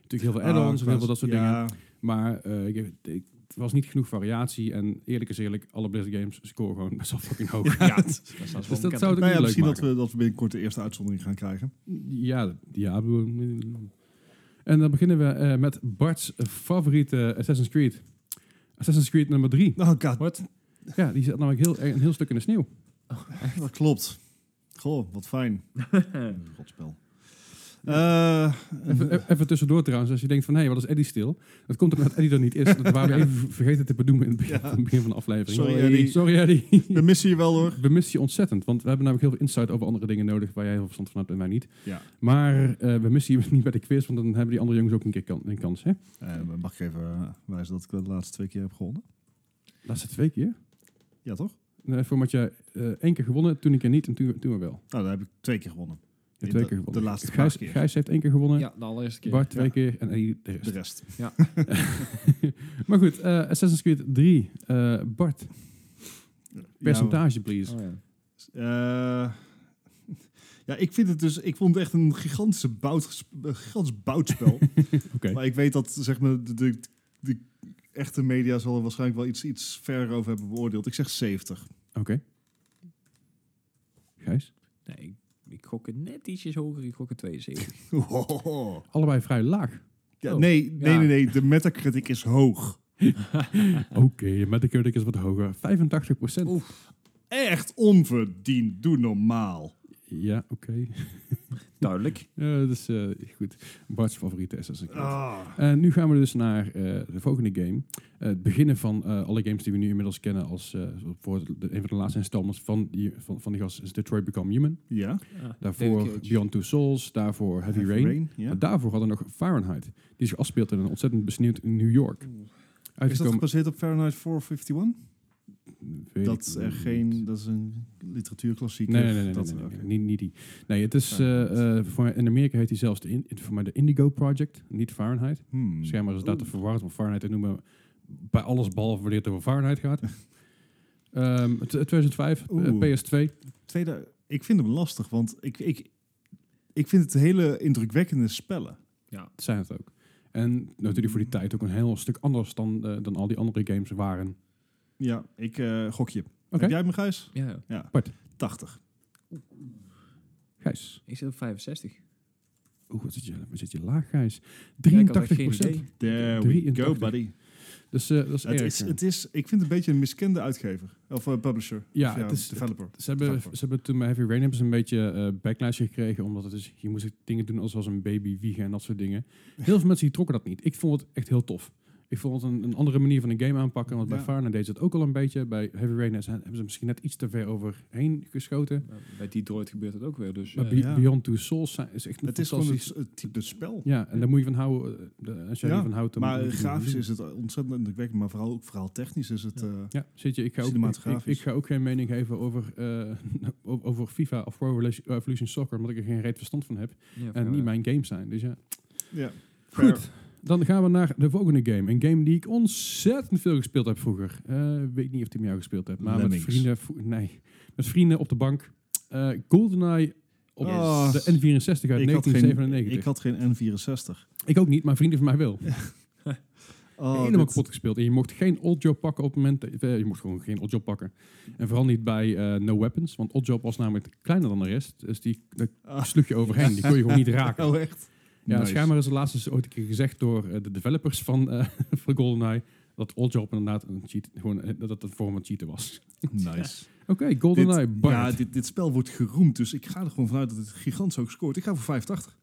Speaker 3: Natuurlijk heel veel
Speaker 1: Ah,
Speaker 3: add-ons en heel veel dat soort dingen. Maar eh, ik, ik- het was niet genoeg variatie en eerlijk is eerlijk, alle Blizzard Games scoren gewoon best wel fucking hoog.
Speaker 2: ja, dat is wel
Speaker 3: Dus dat
Speaker 2: bekend.
Speaker 3: zou het ook
Speaker 1: Nou ja,
Speaker 3: niet leuk
Speaker 1: misschien
Speaker 3: maken.
Speaker 1: dat we, dat we binnenkort de eerste uitzondering gaan krijgen.
Speaker 3: Ja, ja. we- En dan beginnen we eh, met Bart's favoriete Assassin's Creed. Assassin's Creed nummer 3.
Speaker 1: Oh god,
Speaker 2: Wat?
Speaker 3: Ja, die zat namelijk heel, een heel stuk in de sneeuw.
Speaker 1: dat klopt. Goh, wat fijn. Eh, Godspel.
Speaker 3: Even, e- even tussendoor trouwens, als je denkt van, hé, wat is Eddie stil? Dat komt omdat Eddie er niet is. Dat waren we even v- vergeten te bedoemen in het begin,
Speaker 1: Ja.
Speaker 3: aan het begin van de aflevering.
Speaker 1: Sorry, Eddie.
Speaker 3: Sorry, Eddie.
Speaker 1: We missen je wel hoor.
Speaker 3: We missen je ontzettend, want we hebben namelijk heel veel insight over andere dingen nodig waar jij heel veel verstand van hebt en wij niet.
Speaker 1: Ja.
Speaker 3: Maar eh, we missen je niet bij de quiz, want dan hebben die andere jongens ook een keer kan- een kans, hè?
Speaker 1: Eh, mag ik even eh, wijzen dat ik de laatste twee keer heb gewonnen?
Speaker 3: Laatste twee keer.
Speaker 1: Ja toch?
Speaker 3: Nee, voor wat je eh, één keer gewonnen, toen een keer niet en toen, toen wel.
Speaker 1: Nou, dan heb ik twee keer gewonnen.
Speaker 3: Ja,
Speaker 1: In
Speaker 3: twee
Speaker 1: de-
Speaker 3: keer gewonnen.
Speaker 1: de laatste
Speaker 3: Gijs,
Speaker 1: paar keer.
Speaker 3: Gijs heeft één keer gewonnen.
Speaker 2: Ja, de allereerste keer.
Speaker 3: Bart twee
Speaker 1: Ja.
Speaker 3: keer en Eddie de
Speaker 1: De
Speaker 3: rest.
Speaker 1: rest.
Speaker 3: maar goed, eh, Assassin's Creed 3. eh, Bart, percentage please.
Speaker 2: Oh, ja.
Speaker 1: Eh, ja, ik vind het dus. Ik vond het echt een gigantische bout, een gigantisch boutspel.
Speaker 3: Oké.
Speaker 1: Maar ik weet dat zeg maar de, de, de echte media zal er waarschijnlijk wel iets, iets verder over hebben beoordeeld. Ik zeg 70.
Speaker 3: Oké. Gijs?
Speaker 2: Nee, ik, ik gok het net ietsjes hoger. Ik gok het 72.
Speaker 3: Allebei vrij laag.
Speaker 1: Ja,
Speaker 2: Oh,
Speaker 1: nee, nee,
Speaker 2: ja.
Speaker 1: nee, nee. De metacritic is hoog.
Speaker 3: Oké, met de Metacritic is wat hoger. 85
Speaker 1: Echt onverdiend. Doe normaal.
Speaker 3: Ja, oké.
Speaker 2: Duidelijk.
Speaker 3: Eh, dat is eh, goed. Bart's favoriete Assassin's Creed.
Speaker 1: Ah.
Speaker 3: Eh, nu gaan we dus naar eh, de volgende game. Eh, het beginnen van eh, alle games die we nu inmiddels kennen als eh, voor de, een van de laatste installments van die, van, van die gast is Detroit Become Human.
Speaker 1: Ja.
Speaker 3: Daarvoor Beyond Two Souls, daarvoor Heavy, Rain.
Speaker 1: ja.
Speaker 3: Maar daarvoor hadden we nog Fahrenheit, die zich afspeelt in een ontzettend besneeuwd New York.
Speaker 1: Is dat
Speaker 3: Uitgekomen,
Speaker 1: gebaseerd op Fahrenheit 451?
Speaker 3: Weet
Speaker 1: Dat is
Speaker 3: ik
Speaker 1: er
Speaker 3: niet.
Speaker 1: geen... Dat is een literatuurklassieker.
Speaker 3: Nee, nee, nee, nee,
Speaker 1: dat,
Speaker 3: nee, nee,
Speaker 1: oké.
Speaker 3: nee, niet, niet die. Nee, het is eh, eh, voor, in Amerika heet hij zelfs de, in, voor mij de Indigo Project, niet Fahrenheit.
Speaker 1: Hmm.
Speaker 3: Schijnbaar is dat te verwarrend om Fahrenheit te noemen. Bij alles behalve wanneer het over Fahrenheit gaat. Ehm, t- 2005, eh,
Speaker 1: Oeh.
Speaker 3: PS2.
Speaker 1: Tweede, ik vind hem lastig, want ik, ik, ik vind het hele indrukwekkende spellen.
Speaker 3: Dat zijn het ook. En natuurlijk voor die tijd ook een heel stuk anders dan, eh, dan al die andere games waren.
Speaker 1: Ja, ik eh gok je.
Speaker 3: Oké,
Speaker 1: Heb jij hem, Gijs?
Speaker 2: Ja, ja.
Speaker 1: Ja.
Speaker 3: Bart.
Speaker 1: 80.
Speaker 3: Gijs.
Speaker 2: Ik zit op 65.
Speaker 3: Oeh, wat zit je, wat zit je laag, Gijs?
Speaker 2: Ja, ik had
Speaker 3: 83
Speaker 2: echt geen idee.
Speaker 1: There we
Speaker 3: 83.
Speaker 1: go, buddy.
Speaker 3: Dus eh, dat is
Speaker 1: Het
Speaker 3: erg.
Speaker 1: is, het is, ik vind het een beetje een miskende uitgever. Of eh, publisher.
Speaker 3: Ja,
Speaker 1: Of
Speaker 3: het is-
Speaker 1: developer.
Speaker 3: Ze hebben, ze hebben toen bij Heavy Rain hebben ze een beetje eh, backlash gekregen. Omdat het is, je moest dingen doen als, als een baby wiegen en dat soort dingen. Heel veel mensen die trokken dat niet. Ik vond het echt heel tof. Ik vond het een, een andere manier van een game aanpakken. Want bij
Speaker 1: Ja.
Speaker 3: Farna deed ze het ook al een beetje. Bij Heavy Rain zijn- hebben ze misschien net iets te ver overheen geschoten.
Speaker 2: Maar Bij Detroit gebeurt het ook weer. Dus,
Speaker 3: Maar
Speaker 2: eh,
Speaker 3: Be-
Speaker 1: ja.
Speaker 3: Beyond Two Souls zijn- is echt een
Speaker 1: Het is gewoon
Speaker 3: fantastisch-
Speaker 1: het, het type spel.
Speaker 3: Ja, en daar moet je van houden. eh, de- als jij
Speaker 1: Ja,
Speaker 3: ervan houdt... dan
Speaker 1: maar
Speaker 3: moet je
Speaker 1: eh,
Speaker 3: het
Speaker 1: grafisch
Speaker 3: doen.
Speaker 1: is het ontzettend indrukwekkend. Maar vooral, ook verhaal technisch is het...
Speaker 2: Ja.
Speaker 1: eh,
Speaker 3: Ja, zit je, ik ga, ook, ik, ik,
Speaker 1: Cinematografisch.
Speaker 3: ik ga ook geen mening geven over, eh, o- over FIFA of Pro Evolution- Evolution Soccer, omdat ik er geen reet verstand van heb.
Speaker 2: ja,
Speaker 3: En
Speaker 2: ja.
Speaker 3: niet mijn games zijn, dus ja.
Speaker 1: ja.
Speaker 3: Goed, dan gaan we naar de volgende game. Een game die ik ontzettend veel gespeeld heb vroeger. Eh weet niet of die met jou gespeeld hebt, maar
Speaker 1: Lemmings.
Speaker 3: met vrienden... vo- Nee, met vrienden op de bank. Eh, GoldenEye op
Speaker 1: Oh.
Speaker 3: de N64 uit
Speaker 1: Ik had, geen,
Speaker 3: 1997.
Speaker 1: ik
Speaker 3: Ik,
Speaker 1: had geen N64.
Speaker 3: ook niet, maar vrienden van mij wel.
Speaker 1: Oh,
Speaker 3: Helemaal
Speaker 1: dit-
Speaker 3: kapot gespeeld. En je mocht geen odd job pakken op het moment... dat- eh, je mocht gewoon geen odd job pakken. En vooral niet bij eh, No Weapons, want odd job was namelijk kleiner dan de rest. Dus die daar
Speaker 1: Ah.
Speaker 3: sloeg je overheen. Die kon je gewoon niet raken.
Speaker 1: Oh, echt?
Speaker 3: Ja,
Speaker 1: Nice.
Speaker 3: schijnbaar is het laatst eens ooit een keer gezegd door eh, de developers van, eh van GoldenEye dat Oddjob inderdaad een cheat, gewoon, eh, dat het een vorm van cheaten was.
Speaker 1: Nice.
Speaker 3: Oké, GoldenEye,
Speaker 1: dit,
Speaker 3: Bart.
Speaker 1: Ja, dit, dit spel wordt geroemd, dus ik ga er gewoon vanuit dat het gigantisch ook scoort. Ik ga voor 85.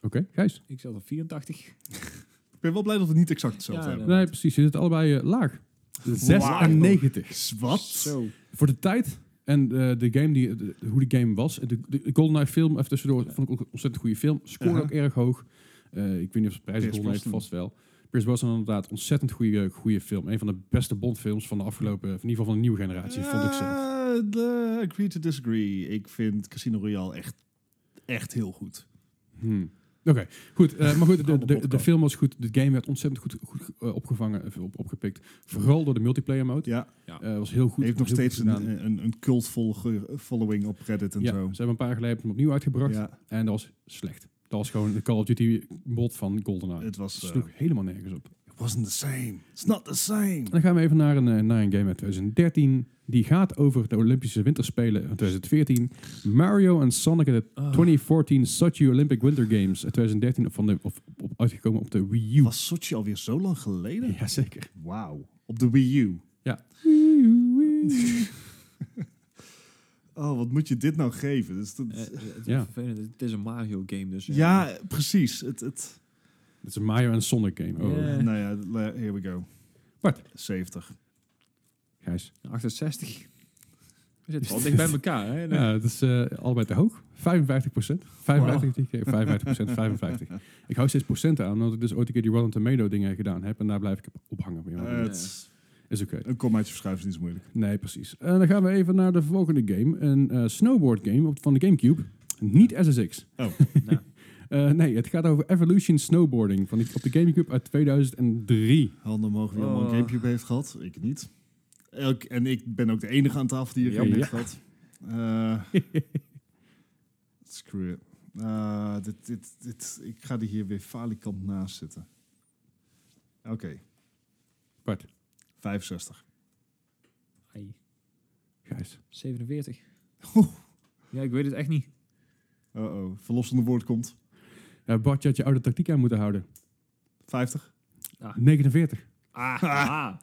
Speaker 3: Oké, Gijs.
Speaker 2: Ik zat op 84.
Speaker 1: Ik ben wel blij dat we niet exact hetzelfde
Speaker 2: Ja,
Speaker 1: hebben.
Speaker 2: ja.
Speaker 3: Nee, precies. Je zit allebei eh, laag. 96.
Speaker 1: Wat?
Speaker 2: Zo.
Speaker 3: Voor de tijd en eh, de game die, de- hoe die game was. De, de, de GoldenEye film, even tussendoor, vond ik ook een ontzettend goede film. Scoorde
Speaker 1: Aha.
Speaker 3: ook erg hoog. Eh, ik weet niet of ze prijzen
Speaker 1: Uh-huh. Pierce
Speaker 3: gewonnen heeft,
Speaker 1: Brosnan.
Speaker 3: vast wel. Chris Brosnan inderdaad ontzettend goede, goede film. Een van de beste Bondfilms van de afgelopen, in ieder geval van de nieuwe generatie, vond ik zelf.
Speaker 1: Eh, de- agree to disagree. Ik vind Casino Royale echt, echt heel goed.
Speaker 3: Hmm. Oké, goed. eh, maar goed, de,
Speaker 1: Allemaal
Speaker 3: de, de
Speaker 1: podcast.
Speaker 3: film was goed. De game werd ontzettend goed, goed eh, opgevangen, eh, op, opgepikt. Vooral door de multiplayer mode.
Speaker 1: Ja,
Speaker 3: Eh, was heel goed.
Speaker 1: heeft nog
Speaker 3: was heel goed
Speaker 1: steeds een,
Speaker 3: gedaan.
Speaker 1: een, een cultvolle following op Reddit en
Speaker 3: ja,
Speaker 1: zo.
Speaker 3: Ze hebben een paar geleden hem opnieuw uitgebracht.
Speaker 1: Ja,
Speaker 3: En dat was slecht. Dat was gewoon de Call of Duty mod van GoldenEye. Het
Speaker 1: het was... eh,
Speaker 3: sloeg helemaal nergens op.
Speaker 1: it wasn't the same. It's not the same.
Speaker 3: En dan gaan we even naar een, eh, naar een game uit 2013. Die gaat over de Olympische Winterspelen van 2014. Mario en Sonic at the
Speaker 2: Ah.
Speaker 3: 2014 Sochi Olympic Winter Games uit 2013 van de, of, op, uitgekomen op de Wii U.
Speaker 1: Was Sochi alweer zo lang geleden?
Speaker 3: Jazeker.
Speaker 1: Wauw. Op de Wii U. Oh, wat moet je dit nou geven? Dus dat-
Speaker 2: Eh, eh, het, is
Speaker 3: Ja.
Speaker 2: vervelend, het is een Mario game dus. eh,
Speaker 1: ja, precies. Het, het,
Speaker 3: Het is een Mario en Sonic game. Oh,
Speaker 2: Ja. Eh.
Speaker 1: Nou ja, le- here we go.
Speaker 3: Wat?
Speaker 1: 70.
Speaker 3: Gijs.
Speaker 2: 68. We zitten al dicht bij elkaar. Hè?
Speaker 3: Ja, het is eh, allebei te hoog. 55 procent. 55 die keer, 55 55. Ik hou steeds procenten aan, omdat ik dus ooit een keer die Rotten Tomato dingen gedaan heb. En daar blijf ik op- op hangen. Maar
Speaker 1: Eh,
Speaker 3: ja,
Speaker 1: het is-
Speaker 3: is oké.
Speaker 1: Een kommaatje verschuiven is niet zo moeilijk.
Speaker 3: Nee, precies. En dan gaan we even naar de volgende game. Een eh, snowboard game op, van de Gamecube. Niet SSX.
Speaker 1: Oh.
Speaker 2: Nou.
Speaker 3: Eh, nee, het gaat over Evolution Snowboarding van die, op de Gamecube uit 2003.
Speaker 1: Handen mogen wie allemaal een
Speaker 2: Oh.
Speaker 1: Gamecube heeft gehad. Ik niet. Elk, en ik ben ook de enige aan tafel die een
Speaker 2: Ja.
Speaker 1: Gamecube heeft gehad. Eh, screw it. Eh, dit, dit, dit, ik ga er hier weer falikant naast zitten. Oké.
Speaker 3: Bart.
Speaker 1: 65.
Speaker 2: Ai,
Speaker 3: Gijs.
Speaker 2: 47. Ja, ik weet het echt niet.
Speaker 1: Uh-oh. Verlossende woord komt.
Speaker 3: Ja, Eh, Bart, je had je oude tactiek aan moeten houden.
Speaker 1: 50.
Speaker 3: 49.
Speaker 2: Ah, ah.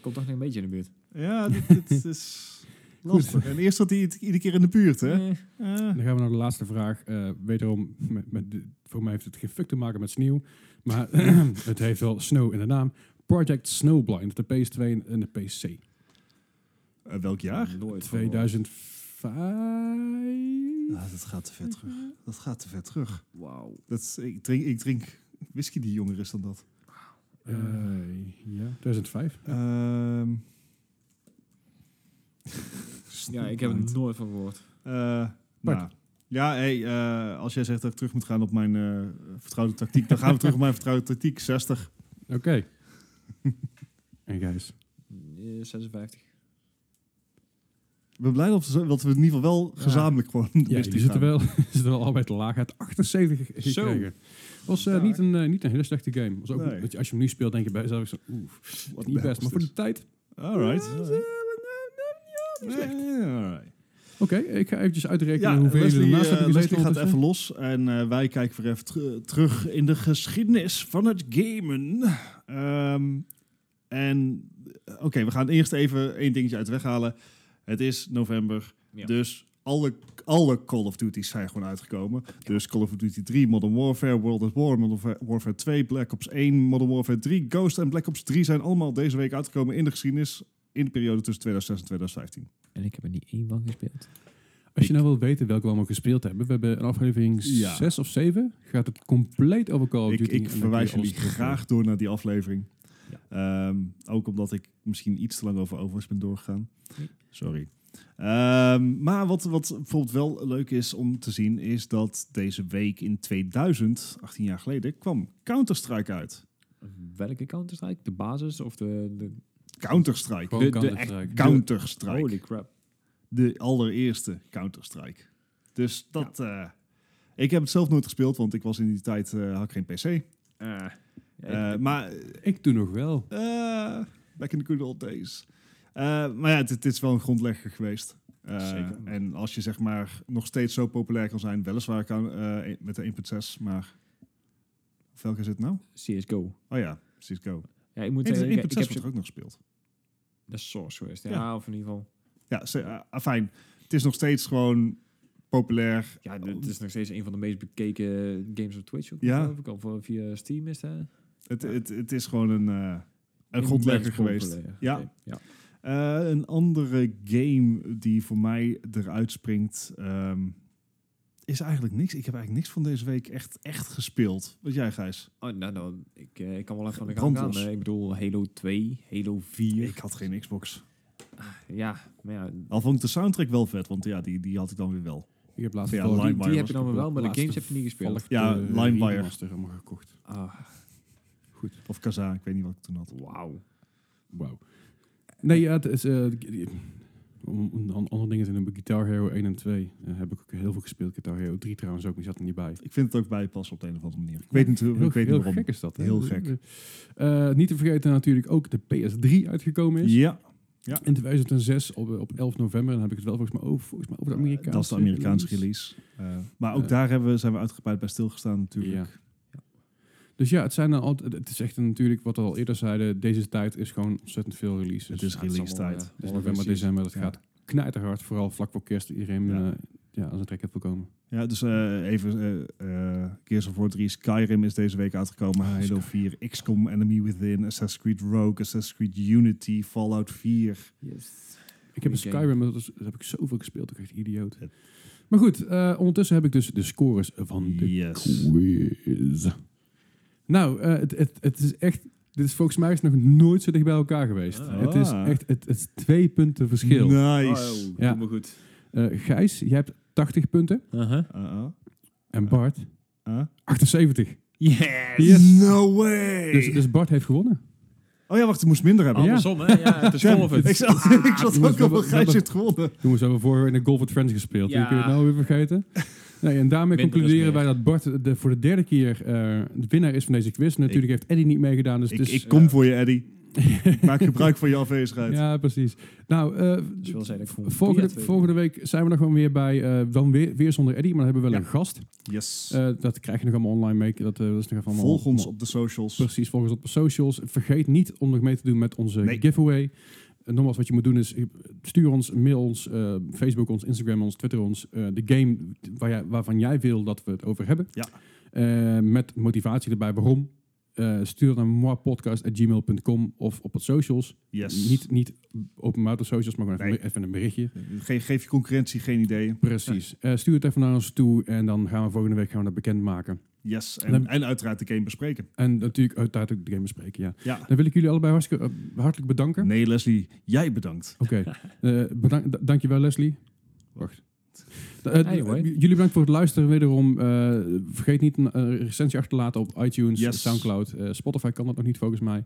Speaker 2: Komt toch nog een beetje in de buurt.
Speaker 1: Ja, dit, dit is lastig. En eerst zat hij het iedere keer in de buurt, hè?
Speaker 2: Eh,
Speaker 1: Eh.
Speaker 3: Dan gaan we naar de laatste vraag. Eh, wederom, met, met de- voor mij heeft het geen fuck te maken met sneeuw. Maar het heeft wel snow in de naam. Project Snowblind, de PS2 en- en de PC.
Speaker 1: Eh, welk jaar?
Speaker 2: Nooit. van gehoord.
Speaker 3: 2005.
Speaker 1: Ah, dat gaat te ver terug. Dat gaat te ver terug.
Speaker 2: Wauw.
Speaker 1: Dat is- ik, drink, ik drink whisky die jonger is dan dat.
Speaker 3: Eh, ja, 2005.
Speaker 1: Ehm.
Speaker 2: Ja, ik heb er nooit van gehoord.
Speaker 1: Eh,
Speaker 3: Bart.
Speaker 1: nou. Ja, hey, eh, als jij zegt dat ik terug moet gaan op mijn eh, vertrouwde tactiek, dan gaan we terug op mijn vertrouwde tactiek. 60.
Speaker 3: Oké. en Gijs.
Speaker 2: Eh, 56.
Speaker 1: Ik ben blij dat we, dat we in ieder geval wel
Speaker 2: Ja.
Speaker 1: gezamenlijk gewoon de
Speaker 3: Ja,
Speaker 1: mist
Speaker 3: die
Speaker 1: in gaan.
Speaker 3: zitten wel, zitten wel allebei te laag. Hij had 78 gekregen.
Speaker 2: Zo.
Speaker 3: Was eh,
Speaker 2: Ja.
Speaker 3: niet, een, eh, niet een hele slechte game. Was ook,
Speaker 1: Nee.
Speaker 3: weet je, als je hem nu speelt, denk je bij jezelf, zo, oeh,
Speaker 1: What
Speaker 3: niet
Speaker 1: the hell
Speaker 3: best.
Speaker 1: is
Speaker 3: Maar voor
Speaker 1: this?
Speaker 3: de tijd,
Speaker 1: Alright.
Speaker 3: Ja, ze-
Speaker 1: Ja, alright.
Speaker 3: oké, ik ga eventjes uitrekenen
Speaker 1: Ja,
Speaker 3: hoeveel je
Speaker 1: Leslie,
Speaker 3: ernaast
Speaker 1: eh,
Speaker 3: hebt gezeten.
Speaker 1: Leslie gaat
Speaker 3: ondertussen.
Speaker 1: even los en eh, wij kijken weer even teru- terug in de geschiedenis van het gamen. Ehm, en eh, oké, we gaan eerst even één dingetje uit de weg halen. Het is november,
Speaker 2: Ja.
Speaker 1: dus alle, alle Call of Duty's zijn gewoon uitgekomen. Dus Call of Duty 3, Modern Warfare, World at War, Modern Warfare- Warfare 2, Black Ops 1, Modern Warfare 3, Ghost en Black Ops 3 zijn allemaal deze week uitgekomen in de geschiedenis in de periode tussen 2006 en 2015.
Speaker 2: En ik heb er niet één van gespeeld.
Speaker 3: Als je nou wilt weten welke we allemaal gespeeld hebben. We hebben een aflevering
Speaker 1: Ja.
Speaker 3: 6 of 7. Gaat het compleet over Call of
Speaker 1: ik,
Speaker 3: Duty. en
Speaker 1: ik
Speaker 3: dan kun je
Speaker 1: verwijs
Speaker 3: alles eh.
Speaker 1: jullie
Speaker 3: terugvinden.
Speaker 1: graag door naar die aflevering. Ehm, ook omdat ik misschien iets te lang over Overwatch ben doorgegaan.
Speaker 2: Nee.
Speaker 1: Sorry. Ehm, maar wat, wat bijvoorbeeld wel leuk is om te zien, is dat deze week in 2000, 18 jaar geleden, kwam Counter-Strike uit.
Speaker 2: Welke Counter-Strike? De basis of de... de
Speaker 1: Counter-Strike.
Speaker 3: Gewoon
Speaker 2: De- de
Speaker 3: Counter-Strike.
Speaker 1: Counter-Strike.
Speaker 2: holy crap.
Speaker 1: De allereerste Counter-Strike. Dus dat... eh, ik heb het zelf nooit gespeeld, want ik was in die tijd eh, had ik geen PC.
Speaker 2: Eh,
Speaker 1: Eh,
Speaker 2: ja, ik-
Speaker 1: maar
Speaker 3: Ik doe nog wel.
Speaker 1: Eh, back in the good old days. Eh, maar ja, het, het is wel een grondlegger geweest. Eh,
Speaker 2: Zeker.
Speaker 1: En als je zeg maar nog steeds zo populair kan zijn, weliswaar kan, eh, met de 1.6, maar... Of welke is het nou?
Speaker 2: CSGO.
Speaker 1: Oh ja, CSGO.
Speaker 2: Ja, ik moet
Speaker 1: Het is
Speaker 2: zeggen,
Speaker 1: 1.6
Speaker 2: ik, ik
Speaker 1: wordt
Speaker 2: heb
Speaker 1: er ook nog gespeeld.
Speaker 2: de source geweest. Ja,
Speaker 1: Ja.
Speaker 2: of in ieder geval.
Speaker 1: Ja, ze- eh, afijn. Het is nog steeds gewoon populair.
Speaker 2: Ja, dit is nog steeds een van de meest bekeken games op Twitch. Ook,
Speaker 1: Ja.
Speaker 2: geloof ik, Of eh, via Steam is dat.
Speaker 1: Het, het, het is gewoon een, eh, een grondlegger geweest. Ja.
Speaker 2: Ja. ja.
Speaker 1: Eh, een andere game die voor mij eruit springt. ehm, is eigenlijk niks. Ik heb eigenlijk niks van deze week echt, echt gespeeld. Wat jij, Gijs?
Speaker 2: Oh, nou, nou ik, eh, ik kan wel even aan de gang gaan.
Speaker 1: Brandlos.
Speaker 2: eh. Ik bedoel, Halo 2, Halo 4.
Speaker 1: Ik had geen Xbox.
Speaker 2: Ja, maar ja,
Speaker 1: Al vond ik de soundtrack wel vet, want ja, die, die had ik dan weer wel.
Speaker 3: Ik heb laatst
Speaker 1: Ja,
Speaker 3: toevallig
Speaker 1: Limewire
Speaker 2: die heb
Speaker 1: was
Speaker 2: je dan weer wel, maar de
Speaker 3: laatste
Speaker 2: games heb je niet gespeeld.
Speaker 3: toevallig
Speaker 1: Ja,
Speaker 3: de
Speaker 1: Limewire.
Speaker 3: remaster helemaal gekocht.
Speaker 2: Ah,
Speaker 1: Of Kazaa, ik weet niet wat ik toen had.
Speaker 2: wauw.
Speaker 3: Wauw. Nee, ja, het is... eh, om- om- om andere dingen te noemen, Guitar Hero 1 en 2 eh, heb ik ook heel veel gespeeld. Guitar Hero 3 trouwens ook, maar die zat er niet bij.
Speaker 1: Ik vind het ook bijpassen op de een of andere manier. Ik weet niet, hoe-
Speaker 3: Heel,
Speaker 1: ik weet niet
Speaker 3: heel
Speaker 1: waarom.
Speaker 3: gek is dat. hè?
Speaker 1: Heel gek.
Speaker 3: Eh, niet te vergeten natuurlijk ook de PS3 uitgekomen is.
Speaker 1: Ja,
Speaker 3: In 2006 op, op 11 november. Dan heb ik het wel volgens mij over, volgens mij over de Amerikaanse
Speaker 1: dat is de Amerikaanse release. Eh, maar ook
Speaker 3: Eh.
Speaker 1: daar hebben we, zijn we uitgebreid bij stilgestaan natuurlijk.
Speaker 3: Dus ja, het, zijn dan altijd, het is echt een, natuurlijk wat we al eerder zeiden. Deze tijd is gewoon ontzettend veel releases.
Speaker 1: Het is
Speaker 3: Het
Speaker 1: release tijd. Dus
Speaker 2: allemaal, eh,
Speaker 3: is
Speaker 2: alle
Speaker 3: november,
Speaker 2: versies.
Speaker 3: december. Dat
Speaker 1: Ja.
Speaker 3: gaat knijterhard. Vooral vlak voor kerst. Iedereen
Speaker 1: Ja.
Speaker 3: ja. ja, aan zijn trek heeft voorkomen.
Speaker 1: Ja, dus eh, even eh, eh, Gears of War 3, Skyrim is deze week
Speaker 3: Oh,
Speaker 1: uitgekomen. Halo 4, XCOM, Enemy Within, Assassin's Creed Rogue, Assassin's Creed Unity, Fallout 4.
Speaker 2: Yes.
Speaker 3: Ik heb een
Speaker 2: Goeie
Speaker 3: Skyrim, dat, is- dat heb ik zoveel gespeeld. Ik echt idioot.
Speaker 1: Het-
Speaker 3: Maar goed, eh, ondertussen heb ik dus de scores van de
Speaker 1: Yes.
Speaker 3: quiz. Nou, eh, het, het, het is echt... Dit is volgens mij is nog nooit zo dicht bij elkaar geweest.
Speaker 2: Ah.
Speaker 3: Het is echt het, het is twee punten verschil.
Speaker 1: Nice.
Speaker 2: Oh,
Speaker 3: Ja.
Speaker 2: doe maar goed.
Speaker 3: Eh, Gijs, jij hebt 80 punten. Oh.
Speaker 1: Uh-uh.
Speaker 3: En Bart,
Speaker 1: Huh?
Speaker 3: 78.
Speaker 2: Yes!
Speaker 3: Yes.
Speaker 1: eh, No way!
Speaker 3: Dus, dus Bart heeft gewonnen.
Speaker 1: oh ja, wacht, ik moest minder hebben.
Speaker 2: Andersom, hè? Ja, het is forfeit.
Speaker 1: Ik zat, ik zat
Speaker 3: jongens,
Speaker 1: ook op
Speaker 3: we
Speaker 1: een
Speaker 3: hebben- we
Speaker 1: grijsje gewonnen.
Speaker 3: Jongens, we hebben vorige week in de Golf with Friends gespeeld.
Speaker 2: Ja.
Speaker 3: Kun je het nou weer vergeten? Nee, en daarmee
Speaker 2: Minder is
Speaker 3: concluderen wij
Speaker 2: meer.
Speaker 3: dat Bart de, voor de derde keer eh, de winnaar is van deze quiz. Natuurlijk heeft Eddie niet meegedaan, dus...
Speaker 1: Ik,
Speaker 3: dus
Speaker 1: ik kom voor je, Eddie. Ik maak gebruik van je afwezigheid.
Speaker 3: ja, precies. Nou, eh,
Speaker 2: Dus wel zijn dat ik gewoon
Speaker 3: volgende,
Speaker 2: drie uit
Speaker 3: volgende week zijn we nog gewoon weer bij... eh, dan weer, weer zonder Eddie, maar dan hebben we wel
Speaker 1: Ja.
Speaker 3: een gast.
Speaker 1: Yes.
Speaker 3: Eh, dat krijg je nog allemaal online mee. Dat, eh, dat is nog even allemaal...
Speaker 1: Volg ons op de socials.
Speaker 3: Precies, volg ons op de socials. Vergeet niet om nog mee te doen met onze
Speaker 1: Nee.
Speaker 3: giveaway. En nogmaals, wat je moet doen is eh, stuur ons, mail ons, eh, Facebook ons, Instagram ons, Twitter ons. eh, de game waar jij, waarvan jij wil dat we het over hebben.
Speaker 1: Ja.
Speaker 3: Eh, met motivatie erbij waarom. Eh, stuur naar moipodcast.gmail.com of op het socials.
Speaker 1: Yes.
Speaker 3: Niet, niet openbaar op de socials, maar gewoon even,
Speaker 1: Nee.
Speaker 3: even een berichtje.
Speaker 1: Ge- geef je concurrentie geen ideeën.
Speaker 3: Precies. Eh, stuur het even naar ons toe en dan gaan we volgende week gaan we dat bekendmaken.
Speaker 1: Yes.
Speaker 3: Dan-
Speaker 1: En, en uiteraard de game bespreken.
Speaker 3: En natuurlijk uiteraard ook de game bespreken, ja.
Speaker 1: Ja.
Speaker 3: Dan wil ik jullie allebei hartstikke, eh, hartelijk bedanken.
Speaker 1: Nee, Leslie, jij bedankt.
Speaker 3: Oké, Eh bedankt, da- dankjewel Leslie. Wacht. Eh, d-
Speaker 2: Anyway.
Speaker 3: eh, jullie bedankt voor het luisteren wederom. Eh, vergeet niet een eh, recensie achter te laten op iTunes,
Speaker 1: Yes.
Speaker 3: Soundcloud. Eh, Spotify kan dat nog niet volgens mij.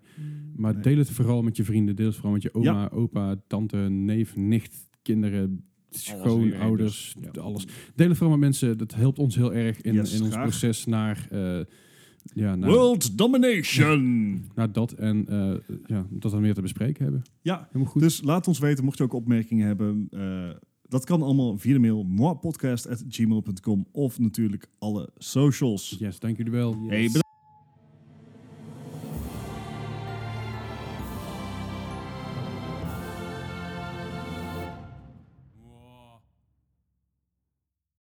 Speaker 3: Maar
Speaker 1: Nee.
Speaker 3: deel het vooral met je vrienden. Deel het vooral met je oma, opa, tante, neef, nicht, kinderen, schoonouders.
Speaker 2: iedereen dus. Ja.
Speaker 3: Alles. Deel het vooral met mensen. Dat helpt ons heel erg in,
Speaker 1: Yes,
Speaker 3: in ons
Speaker 1: graag.
Speaker 3: proces naar... eh, ja, naar,
Speaker 1: World Domination!
Speaker 3: naar dat en eh, ja, dat we meer te bespreken hebben.
Speaker 1: Ja,
Speaker 3: Helemaal goed.
Speaker 1: Dus laat ons weten, mocht je ook opmerkingen hebben. eh, dat kan allemaal via de mail moapodcast.gmail.com of natuurlijk alle socials.
Speaker 3: Yes, dank jullie wel.
Speaker 1: Hey,
Speaker 2: Yes.
Speaker 1: bedankt.